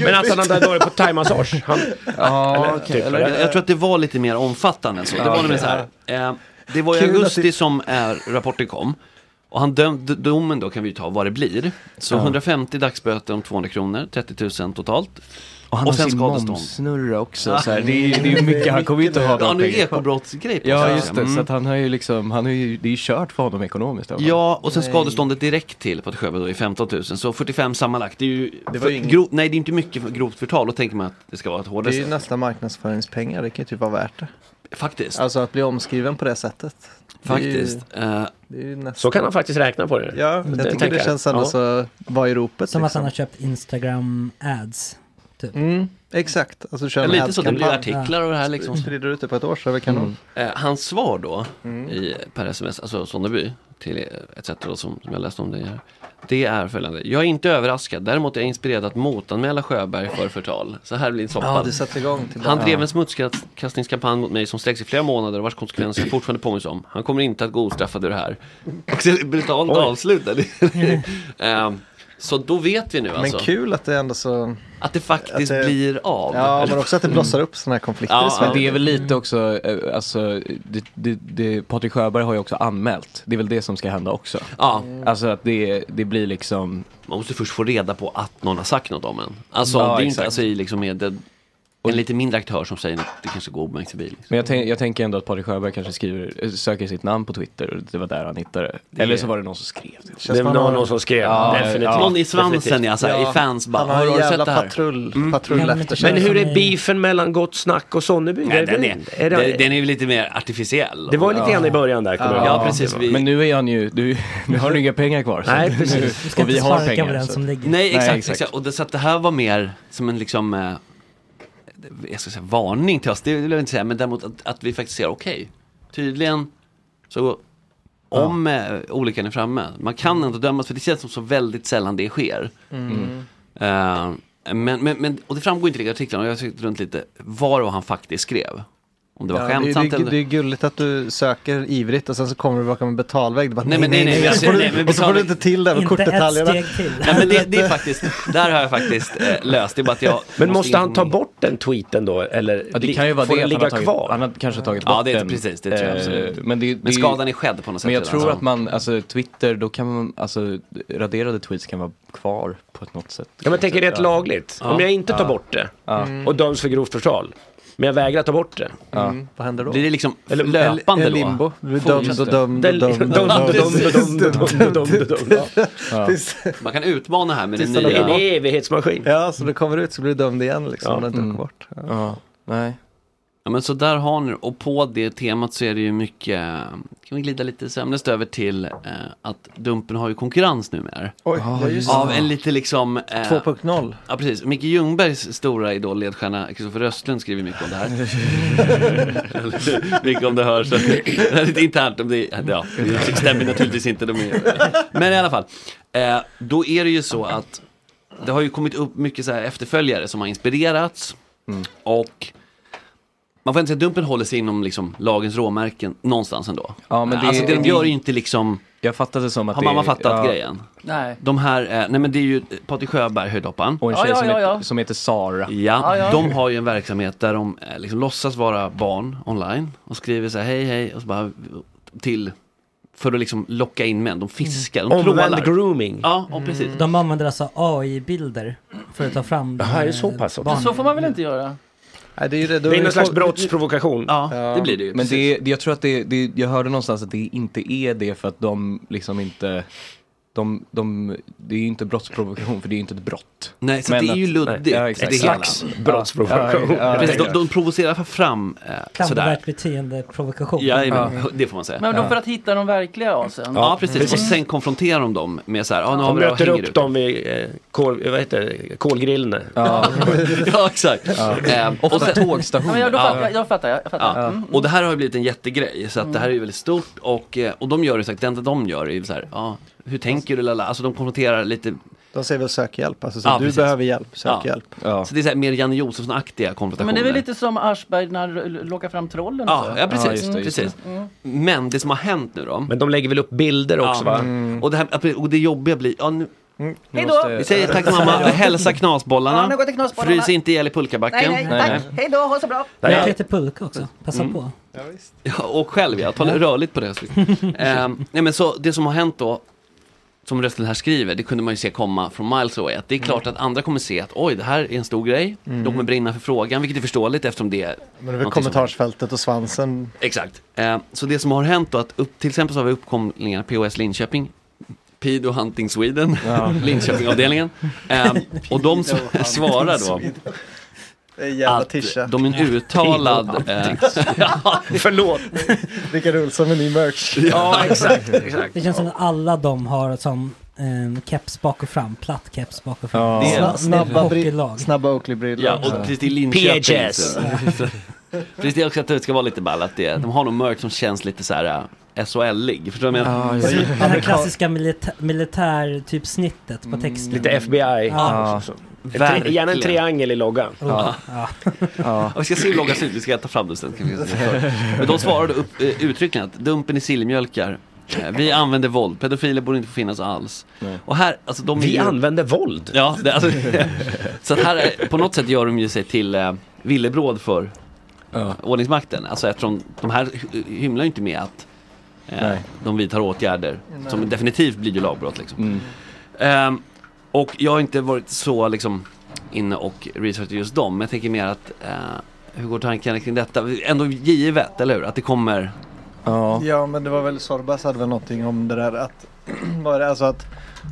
Speaker 7: Men alltså den där dålig på thaimassage. Han...
Speaker 3: Ja,
Speaker 7: Eller- typ,
Speaker 3: eller,
Speaker 7: eller-
Speaker 3: jag tror att det var lite mer omfattande än så. Det
Speaker 7: Ja,
Speaker 3: var nämligen så
Speaker 7: okej.
Speaker 3: här. Eh, det var i
Speaker 7: Kul att
Speaker 3: augusti
Speaker 7: det-
Speaker 3: som eh, rapporten kom. Och han dömde, domen då kan vi ju ta vad det blir. Så
Speaker 9: Ja.
Speaker 3: 150 dagsböter om 200 kronor, 30 000 totalt.
Speaker 9: Och han har sin momssnurra också. Så här. Det är ju det är ju mycket, han kommer ju inte ha
Speaker 3: Ja,
Speaker 9: några
Speaker 3: nu är det
Speaker 9: pengar kvar.
Speaker 3: ekobrottsgrej på
Speaker 9: Ja,
Speaker 3: sig.
Speaker 9: just det.
Speaker 3: Mm.
Speaker 9: Så att han har ju liksom, han har ju, det är ju kört för honom ekonomiskt. alltså. i alla fall.
Speaker 3: Ja, och sen
Speaker 9: Nej.
Speaker 3: skadeståndet direkt till Patrik Sjöberg då är 15 000, så 45 sammanlagt. Det är ju,
Speaker 8: Det var ju
Speaker 3: för-
Speaker 8: inget-
Speaker 3: grovt- nej det är inte mycket för grovt förtal, då tänker man att det ska vara ett
Speaker 8: Det
Speaker 3: hårdare
Speaker 8: är ju
Speaker 3: straff.
Speaker 8: nästan marknadsföringspengar, det kan ju typ vara värt det.
Speaker 3: Faktiskt.
Speaker 8: Alltså att bli omskriven på det sättet. Det är ju-
Speaker 3: Faktiskt. Eh,
Speaker 8: det är ju nästan-
Speaker 7: Så kan han faktiskt räkna på det.
Speaker 8: Ja, jag
Speaker 7: Det
Speaker 8: tycker
Speaker 7: tänker
Speaker 8: det
Speaker 7: jag.
Speaker 8: känns ändå
Speaker 7: Ja.
Speaker 8: så, vad är ropet?
Speaker 5: Som att
Speaker 8: liksom?
Speaker 5: han har köpt Instagram-ads. Typ.
Speaker 8: Mm, exakt, alltså kör
Speaker 3: Ja,
Speaker 8: en
Speaker 3: lite så, det blir
Speaker 8: ads-kampanj.
Speaker 3: artiklar och det här liksom.
Speaker 8: Sprider ut det på ett år så är det kanon.
Speaker 3: Eh, hans svar då i, per sms, alltså Sonneby, till eh, etc. Då, som, som jag läste om det här. Det är följande. Jag är inte överraskad, däremot är jag inspirerad att motanmäla Sjöberg för förtal. Så här blir en soppa.
Speaker 8: Ja, du satte igång till
Speaker 3: Han
Speaker 8: det.
Speaker 3: drev
Speaker 8: Ja.
Speaker 3: en smutskastningskampanj mot mig som sträcks i flera månader och vars konsekvenser jag fortfarande påminns om. Han kommer inte att gå ostraffad ur det här. Och så är det brutalt avslutad. Ehm, Så då vet vi nu
Speaker 8: Men
Speaker 3: alltså.
Speaker 8: kul att det ändå så...
Speaker 3: Att det faktiskt
Speaker 8: att det-
Speaker 3: blir av.
Speaker 8: Ja, men också att det blossar upp sådana här konflikter i Sverige.
Speaker 9: men det är väl lite också, eh, alltså, det, det, det, Patrik Sjöberg har ju också anmält. Det är väl det som ska hända också.
Speaker 3: Ja.
Speaker 9: Alltså att det, det blir liksom...
Speaker 3: Man måste först få reda på att någon har sagt något om en. Alltså, det är ju inte, alltså, i liksom med det, en lite mindre aktör som säger att det kanske går obemärkt förbi. Liksom.
Speaker 9: Men jag, tänk, jag tänker ändå att Patrik Sjöberg kanske skriver, eh, söker sitt namn på Twitter och det var där han hittade det.
Speaker 3: Det-
Speaker 9: Eller så var det någon som skrev det.
Speaker 7: Det var någon- någon som skrev, definitivt.
Speaker 3: Någon i svansen, ja, så här, i fans bara, har du sett det här?
Speaker 7: Mm.
Speaker 3: patrull
Speaker 7: Men-
Speaker 3: eftersök.
Speaker 7: Men hur är beefen mellan Gott Snack och Sonneby?
Speaker 3: Nej, den är,
Speaker 7: är det,
Speaker 3: den är ju lite mer artificiell.
Speaker 7: Det var lite grann i början där, kommer jag ihåg.
Speaker 3: Ja, precis. Vi,
Speaker 9: Men nu är han ju, du, nu har du inga pengar kvar. så-
Speaker 7: Nej,
Speaker 9: Nu, och vi har pengar. så-
Speaker 3: Nej, exakt. exakt. Och det, så att det här var mer som en liksom, eh, jag ska säga varning till oss, det vill jag inte säga, men däremot att, att vi faktiskt ser okej. Tydligen, så om eh, olyckan är framme, man kan ändå dömas för det känns som så väldigt sällan det sker.
Speaker 13: Mm.
Speaker 3: Eh, men, men, men, och det framgår inte i artiklarna, och jag tyckte runt lite, var och han faktiskt skrev. Om det var
Speaker 8: Ja,
Speaker 3: skämtsamt
Speaker 8: det, är-
Speaker 3: eller...
Speaker 8: det är gulligt att du söker ivrigt och sen så kommer du bakom en betalvägg. Du bara,
Speaker 3: Nej, men nej, nej,
Speaker 8: och så
Speaker 3: alltså,
Speaker 8: får du-
Speaker 3: nej, men
Speaker 8: Och så får du
Speaker 3: betalvägg-
Speaker 8: inte till det med
Speaker 3: Inte ett
Speaker 8: kortdetaljerna.
Speaker 3: steg Nej, men det, det är faktiskt, där har jag faktiskt eh, löst, det är bara att jag...
Speaker 7: Men måste han ta
Speaker 3: in-
Speaker 7: bort den tweeten då? Eller
Speaker 9: Ja, det kan ju vara
Speaker 7: får
Speaker 9: det att
Speaker 7: den
Speaker 9: han
Speaker 7: ligga
Speaker 9: har tagit,
Speaker 7: kvar?
Speaker 9: Han har kanske tagit bort
Speaker 3: Ja, det är
Speaker 9: den.
Speaker 3: precis, det tror jag
Speaker 9: Eh,
Speaker 3: absolut.
Speaker 9: Men, det,
Speaker 3: Men
Speaker 9: det,
Speaker 3: skadan är skedd på något
Speaker 9: Men jag
Speaker 3: sätt
Speaker 9: tror
Speaker 3: redan.
Speaker 9: att man, alltså Twitter, då kan man, alltså raderade tweets kan vara kvar på ett något sätt.
Speaker 7: Ja, men tänk rent lagligt. Om jag inte tar bort det
Speaker 3: Mm.
Speaker 7: och döms för grovt förtal, men jag vägrar ta bort det.
Speaker 8: Mm. Vad händer då?
Speaker 3: Blir det liksom
Speaker 7: Eller-
Speaker 3: löpande
Speaker 7: eller
Speaker 3: då?
Speaker 7: limbo.
Speaker 8: Du blir dömd och dömd och
Speaker 7: Den-
Speaker 8: dömd och
Speaker 7: dömd och
Speaker 8: dömd.
Speaker 7: dömd och dömd och dömd och dömd. Ja.
Speaker 3: Ja. Man kan utmana här med det
Speaker 8: Tills den är
Speaker 3: nya.
Speaker 8: en
Speaker 7: evighetsmaskin.
Speaker 8: Ja, så du kommer ut så blir du dömd igen liksom. Om du inte åker bort.
Speaker 9: Ja, nej.
Speaker 3: Ja, men så där har ni Och på det temat så är det ju mycket, kan vi glida lite sömnlöst över till eh, att Dumpen har ju konkurrens numera.
Speaker 8: Oj, ja, just det.
Speaker 3: Av en lite liksom... eh,
Speaker 8: 2.0.
Speaker 3: Ja, precis. Micke Ljungbergs stora idol, ledstjärna Kristoffer Östlund skriver mycket om det här. mycket om det hörs. Det är lite internt. Om det, ja, det stämmer naturligtvis inte. De är, men i alla fall, eh, då är det ju så att det har ju kommit upp mycket så här efterföljare som har inspirerats.
Speaker 9: Mm.
Speaker 3: Och man får inte säga att Dumpen håller sig inom liksom, lagens råmärken någonstans ändå.
Speaker 9: Ja, men det-
Speaker 3: alltså den
Speaker 9: det-
Speaker 3: gör ju inte liksom...
Speaker 9: Jag fattade det som att
Speaker 3: Har
Speaker 9: det-
Speaker 3: mamma fattat
Speaker 9: ja.
Speaker 3: grejen?
Speaker 6: Nej.
Speaker 3: De här, eh, nej men det är ju Patrik Sjöberg, höjdhopparen.
Speaker 9: Och en tjej Ja, ja, som ja, heter- ja. som
Speaker 3: heter Sara. Ja,
Speaker 9: Ja, ja.
Speaker 3: de har ju en verksamhet där de eh, liksom låtsas vara barn online och skriver så här hej hej och så bara till för att liksom locka in män, de fiskar, de
Speaker 5: Omvänd
Speaker 3: trålar.
Speaker 7: grooming.
Speaker 3: Ja,
Speaker 8: Mm.
Speaker 3: och precis.
Speaker 5: De använder alltså AI-bilder för att ta fram eh, de här barnen.
Speaker 6: Så får man väl inte göra?
Speaker 8: Nej, det är ju det.
Speaker 7: Det är någon slags brottsprovokation.
Speaker 3: Ja,
Speaker 9: Men det, det- jag tror att det, det, jag hörde någonstans att det inte är det för att de liksom inte, de, de, det är ju inte brottsprovokation för det är ju inte ett brott.
Speaker 3: Nej, så det är ju luddigt.
Speaker 9: Ja,
Speaker 3: det
Speaker 9: exakt.
Speaker 3: hela.
Speaker 9: Ja, ja, ja.
Speaker 3: Precis, de, de provocerar fram eh, sådär.
Speaker 5: Klandervärt beteende, provokation.
Speaker 3: Ja,
Speaker 8: Mm.
Speaker 3: jajamän, det får man säga.
Speaker 6: Men då för att hitta de verkliga asen?
Speaker 3: Ja, precis. Och sen konfronterar de dem med så här, ja nu har
Speaker 7: De
Speaker 3: vi det och
Speaker 7: möter
Speaker 3: hänger
Speaker 7: upp
Speaker 3: ut.
Speaker 7: dem vid eh, kol, vad heter det, kolgrillen. där.
Speaker 3: ja, exakt. Ehm,
Speaker 7: Ofta
Speaker 3: sen-
Speaker 7: tågstationer.
Speaker 6: Ja, men då fattar jag,
Speaker 3: Ja.
Speaker 6: jag fattar, jag fattar.
Speaker 3: Ja.
Speaker 6: Mm.
Speaker 3: Och det här har ju blivit en jättegrej, så att det här är ju väldigt stort och, eh, och de gör exakt det enda de gör är ju så här, ja, hur tänker du lala? Alltså de konfronterar lite,
Speaker 8: De säger väl sök hjälp. Alltså, så
Speaker 3: Ja,
Speaker 8: du
Speaker 3: precis.
Speaker 8: behöver hjälp, sök
Speaker 3: Ja.
Speaker 8: hjälp.
Speaker 3: så det är så här mer Janne Josefsson-aktiga konfrontationer.
Speaker 6: Men det är väl lite som Aschberg när han lockar fram trollen? och
Speaker 3: Ja,
Speaker 6: så.
Speaker 3: ja precis.
Speaker 6: Mm.
Speaker 3: precis.
Speaker 6: Mm.
Speaker 3: Men det som har hänt nu då.
Speaker 7: Men de lägger väl upp bilder
Speaker 3: Ja. Mm.
Speaker 7: också va?
Speaker 3: Och, det här, och det jobbiga blir, ja, nu,
Speaker 6: Hej då!
Speaker 3: vi säger tack till mamma, hälsa knasbollarna,
Speaker 6: Ja, nu går till knasbollarna.
Speaker 3: frys inte ihjäl i pulkabacken. Eh,
Speaker 6: Nej, nej, tack. Hej då, ha så bra.
Speaker 3: Nej.
Speaker 5: Jag heter Pulka också, passa
Speaker 3: Mm.
Speaker 5: på.
Speaker 3: Ja, och själv ja,
Speaker 6: Mm.
Speaker 3: tala rörligt på det. Ehm, nej, men så, det som har hänt då, som rösten här skriver, det kunde man ju se komma från miles away. Att det är klart
Speaker 6: Mm.
Speaker 3: att andra kommer se att oj, det här är en stor grej.
Speaker 8: Mm.
Speaker 3: De kommer brinna för frågan, vilket är förståeligt eftersom det är
Speaker 8: Men det är väl
Speaker 3: någonting som-
Speaker 8: kommentarsfältet och svansen.
Speaker 3: Exakt. Eh, så det som har hänt då, att upp, till exempel så har vi uppkomlingarna POS Linköping, Pido Hunting Sweden,
Speaker 8: Ja.
Speaker 3: Linköpingavdelningen. Eh, och de s- svarar då
Speaker 8: Det är jävla
Speaker 3: att
Speaker 8: tisha.
Speaker 3: de är en uttalad...
Speaker 8: Pido
Speaker 3: eh,
Speaker 8: Hunting
Speaker 7: Förlåt.
Speaker 8: Rickard Olsson med ny merch.
Speaker 7: Ja, exakt, exakt.
Speaker 5: Det känns som att alla de har som eh, keps bak och fram, platt keps bak och fram.
Speaker 8: Ja. Snabba
Speaker 5: Sna- Snabba
Speaker 8: bri-
Speaker 5: hockeylag.
Speaker 8: Snabba Oakley-brillor.
Speaker 3: Ja, och precis det är Linköping.
Speaker 8: PHS.
Speaker 3: så- Precis, det är också att det ska vara lite ball, att det, de har någon merch som känns lite så här eh, SHL-lig. Förstår du vad jag menar?
Speaker 5: Den här klassiska milita- militär typ snittet på
Speaker 8: Mm.
Speaker 5: texten.
Speaker 7: Lite FBI.
Speaker 5: Ja.
Speaker 7: Så- En tri- Gärna en
Speaker 3: Verkligen.
Speaker 7: triangel i loggan.
Speaker 5: Ja.
Speaker 3: Ja. Vi ska se hur långa sidor, vi ska ta fram det sen. kan vi se. Men de svarade upp, eh, uttryckligen att Dumpen i sillmjölkar Eh, Vi använder våld, pedofiler borde inte få finnas alls. Och här, alltså, de är
Speaker 7: Vi
Speaker 3: ju-
Speaker 7: använder våld.
Speaker 3: Ja, det, alltså, så att här, är- på något sätt gör de ju sig till eh, villebråd för ordningsmakten. Alltså eftersom de här hy- hymlar ju inte med att eh,
Speaker 9: Nej.
Speaker 3: de vidtar åtgärder
Speaker 9: Nej.
Speaker 3: som definitivt blir ju lagbrott. Liksom. Ehm, och jag har inte varit så liksom inne och researchat just dem, men jag tänker mer att eh, hur går tankarna kring detta? Ändå givet, eller hur? Att det kommer...
Speaker 8: Ja. men det var väl Sorbas hade väl någonting om det där att, var det, alltså att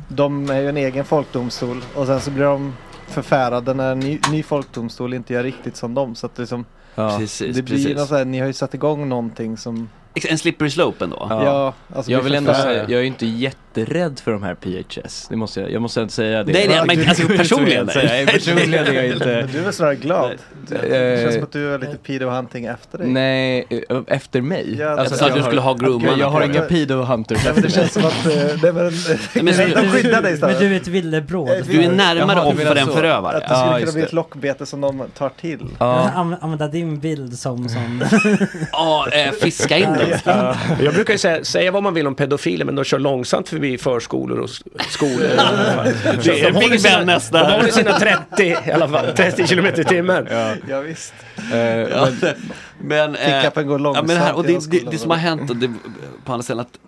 Speaker 8: de är ju en egen folkdomstol och sen så blir de förfärade när en ny, ny folkdomstol inte gör riktigt som dem. Så att liksom,
Speaker 3: Ja. Precis,
Speaker 8: det blir ju
Speaker 3: precis.
Speaker 8: något så här, ni har ju satt igång någonting som
Speaker 3: Ex- En slippery slope ändå.
Speaker 8: Ja. Ja, alltså,
Speaker 9: jag
Speaker 8: bli
Speaker 9: vill ändå
Speaker 8: förfärad.
Speaker 9: säga, jag är ju inte jätterädd för de här PHS. Det måste jag, jag måste ändå säga det.
Speaker 3: Nej, nej, men alltså, personligen, nej.
Speaker 9: nej. Personligen är jag inte...
Speaker 8: Men Du är väl snarare glad? Det, det känns
Speaker 9: Eh,
Speaker 8: som att du är lite pedo hunting efter dig.
Speaker 9: Nej, eh, efter mig?
Speaker 8: Ja, alltså, Jag trodde du skulle ha groomarna
Speaker 9: Jag, jag har
Speaker 8: på
Speaker 9: inga
Speaker 8: dig.
Speaker 9: pedo hunters
Speaker 8: Ja, men det känns som att eh, det är väl en, de skyddar dig
Speaker 5: Men
Speaker 8: snarare.
Speaker 5: du är ett villebråd.
Speaker 3: Du är närmare
Speaker 9: Jaha, du
Speaker 3: offer
Speaker 9: menar
Speaker 3: än
Speaker 9: så.
Speaker 3: förövare.
Speaker 8: Att det skulle
Speaker 9: Ja,
Speaker 8: kunna
Speaker 9: just
Speaker 8: bli
Speaker 9: det.
Speaker 8: ett lockbete som de tar till.
Speaker 5: Ja. Anv- Använda din bild som... som...
Speaker 3: Ja, eh, fiska in dem.
Speaker 7: Jag brukar ju säga, säga vad man vill om pedofiler men de kör långsamt förbi förskolor och s- skolor.
Speaker 3: Det är Big Ben nästa.
Speaker 7: De håller sina 30 i alla fall, 30 kilometer i timmen.
Speaker 8: Ja, visst.
Speaker 3: Ja, men, eh,
Speaker 8: Pickupen Eh, går
Speaker 3: ja,
Speaker 8: långsamt.
Speaker 3: men det här, och
Speaker 8: genom
Speaker 3: det, det,
Speaker 8: skolan.
Speaker 3: det som har hänt och det, på andra ställen att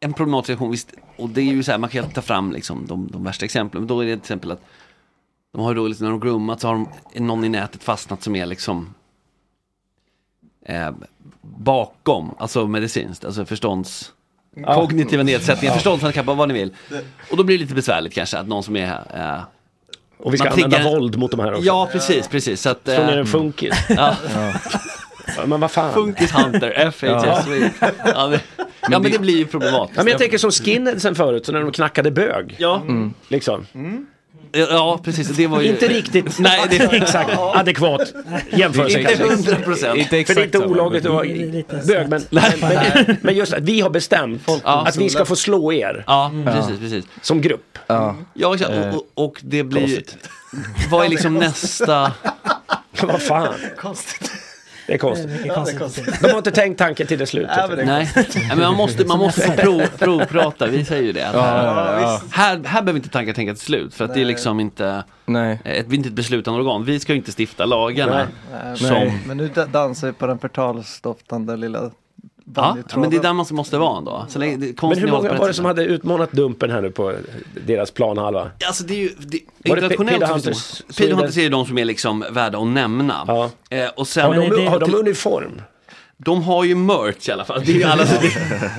Speaker 3: en problematisk situation, visst, och det är ju så här, man kan ju alltid ta fram liksom, de, de värsta exemplen, men då är det till exempel att de har ju då, liksom, när de grummat så har de, någon i nätet fastnat som är liksom eh, bakom, alltså medicinskt, alltså förstånds...
Speaker 7: Ja.
Speaker 3: Kognitiva nedsättningar,
Speaker 7: Ja.
Speaker 3: förståndshandikapp, vad ni vill. Och då blir det lite besvärligt kanske att någon som är här. Eh,
Speaker 7: Och vi ska
Speaker 3: man
Speaker 7: använda
Speaker 3: triggar-
Speaker 7: våld mot de här också.
Speaker 3: Ja, precis, precis. Så att,
Speaker 7: Slå ner en
Speaker 3: eh,
Speaker 7: funkis.
Speaker 3: Ja.
Speaker 7: Ja, Men vad fan.
Speaker 3: Funkis Hunter, FHS. Ja. Ja, men, ja, men det blir ju problematiskt.
Speaker 7: Ja, men jag tänker som skinheadsen förut, så när de knackade bög.
Speaker 3: Ja,
Speaker 7: Liksom.
Speaker 3: Mm. ja precis. Det var ju...
Speaker 7: Inte riktigt
Speaker 3: Nej, det
Speaker 7: exakt adekvat jämförelse.
Speaker 3: Inte
Speaker 7: kanske.
Speaker 3: 100%. Inte
Speaker 7: För
Speaker 3: exakt Mm.
Speaker 7: det är inte
Speaker 3: samma,
Speaker 7: olagligt att vara
Speaker 3: men-
Speaker 7: bög. Men, men, men, men just att vi har bestämt att vi ska få slå er.
Speaker 3: Ja, precis, precis.
Speaker 7: Som grupp.
Speaker 3: Ja, exakt. Och, och, och det blir ju... Vad är liksom nästa...
Speaker 7: Vad fan.
Speaker 8: Konstigt.
Speaker 7: Det är konstigt.
Speaker 5: Det är konstigt.
Speaker 7: De har inte tänkt tanken till det slutet.
Speaker 8: Ja, men det är
Speaker 3: Nej, Nej, men man måste, man måste få prov, provprata. Vi säger ju det. Att här, här, här behöver inte tankar tänka till slut. För att det är liksom inte...
Speaker 9: Nej.
Speaker 3: Ett, vi är inte ett beslutande organ. Vi ska ju inte stifta lagarna.
Speaker 8: Nej,
Speaker 3: Som...
Speaker 8: men- Men nu da- dansar vi på den förtalsdoftande lilla
Speaker 3: Ja,
Speaker 8: bandytråden.
Speaker 3: men det är där man måste vara ändå. Så länge, det,
Speaker 7: Men
Speaker 3: konsten
Speaker 7: hur
Speaker 3: är hållt på
Speaker 7: många
Speaker 3: rätt
Speaker 7: var det
Speaker 3: sätt.
Speaker 7: som hade utmanat Dumpen här nu på deras planhalva?
Speaker 3: Alltså det är ju, det,
Speaker 7: Var det
Speaker 3: internationellt
Speaker 7: Pedo
Speaker 3: så finns
Speaker 7: Hunters
Speaker 3: det-
Speaker 7: Sweden?
Speaker 3: Pedo Hunters är ju de som är liksom värda att nämna. Eh, och sen,
Speaker 7: Har
Speaker 5: men är
Speaker 7: de,
Speaker 5: det-
Speaker 7: har de uniform?
Speaker 3: de har ju merch i alla fall. Det är ju alla som,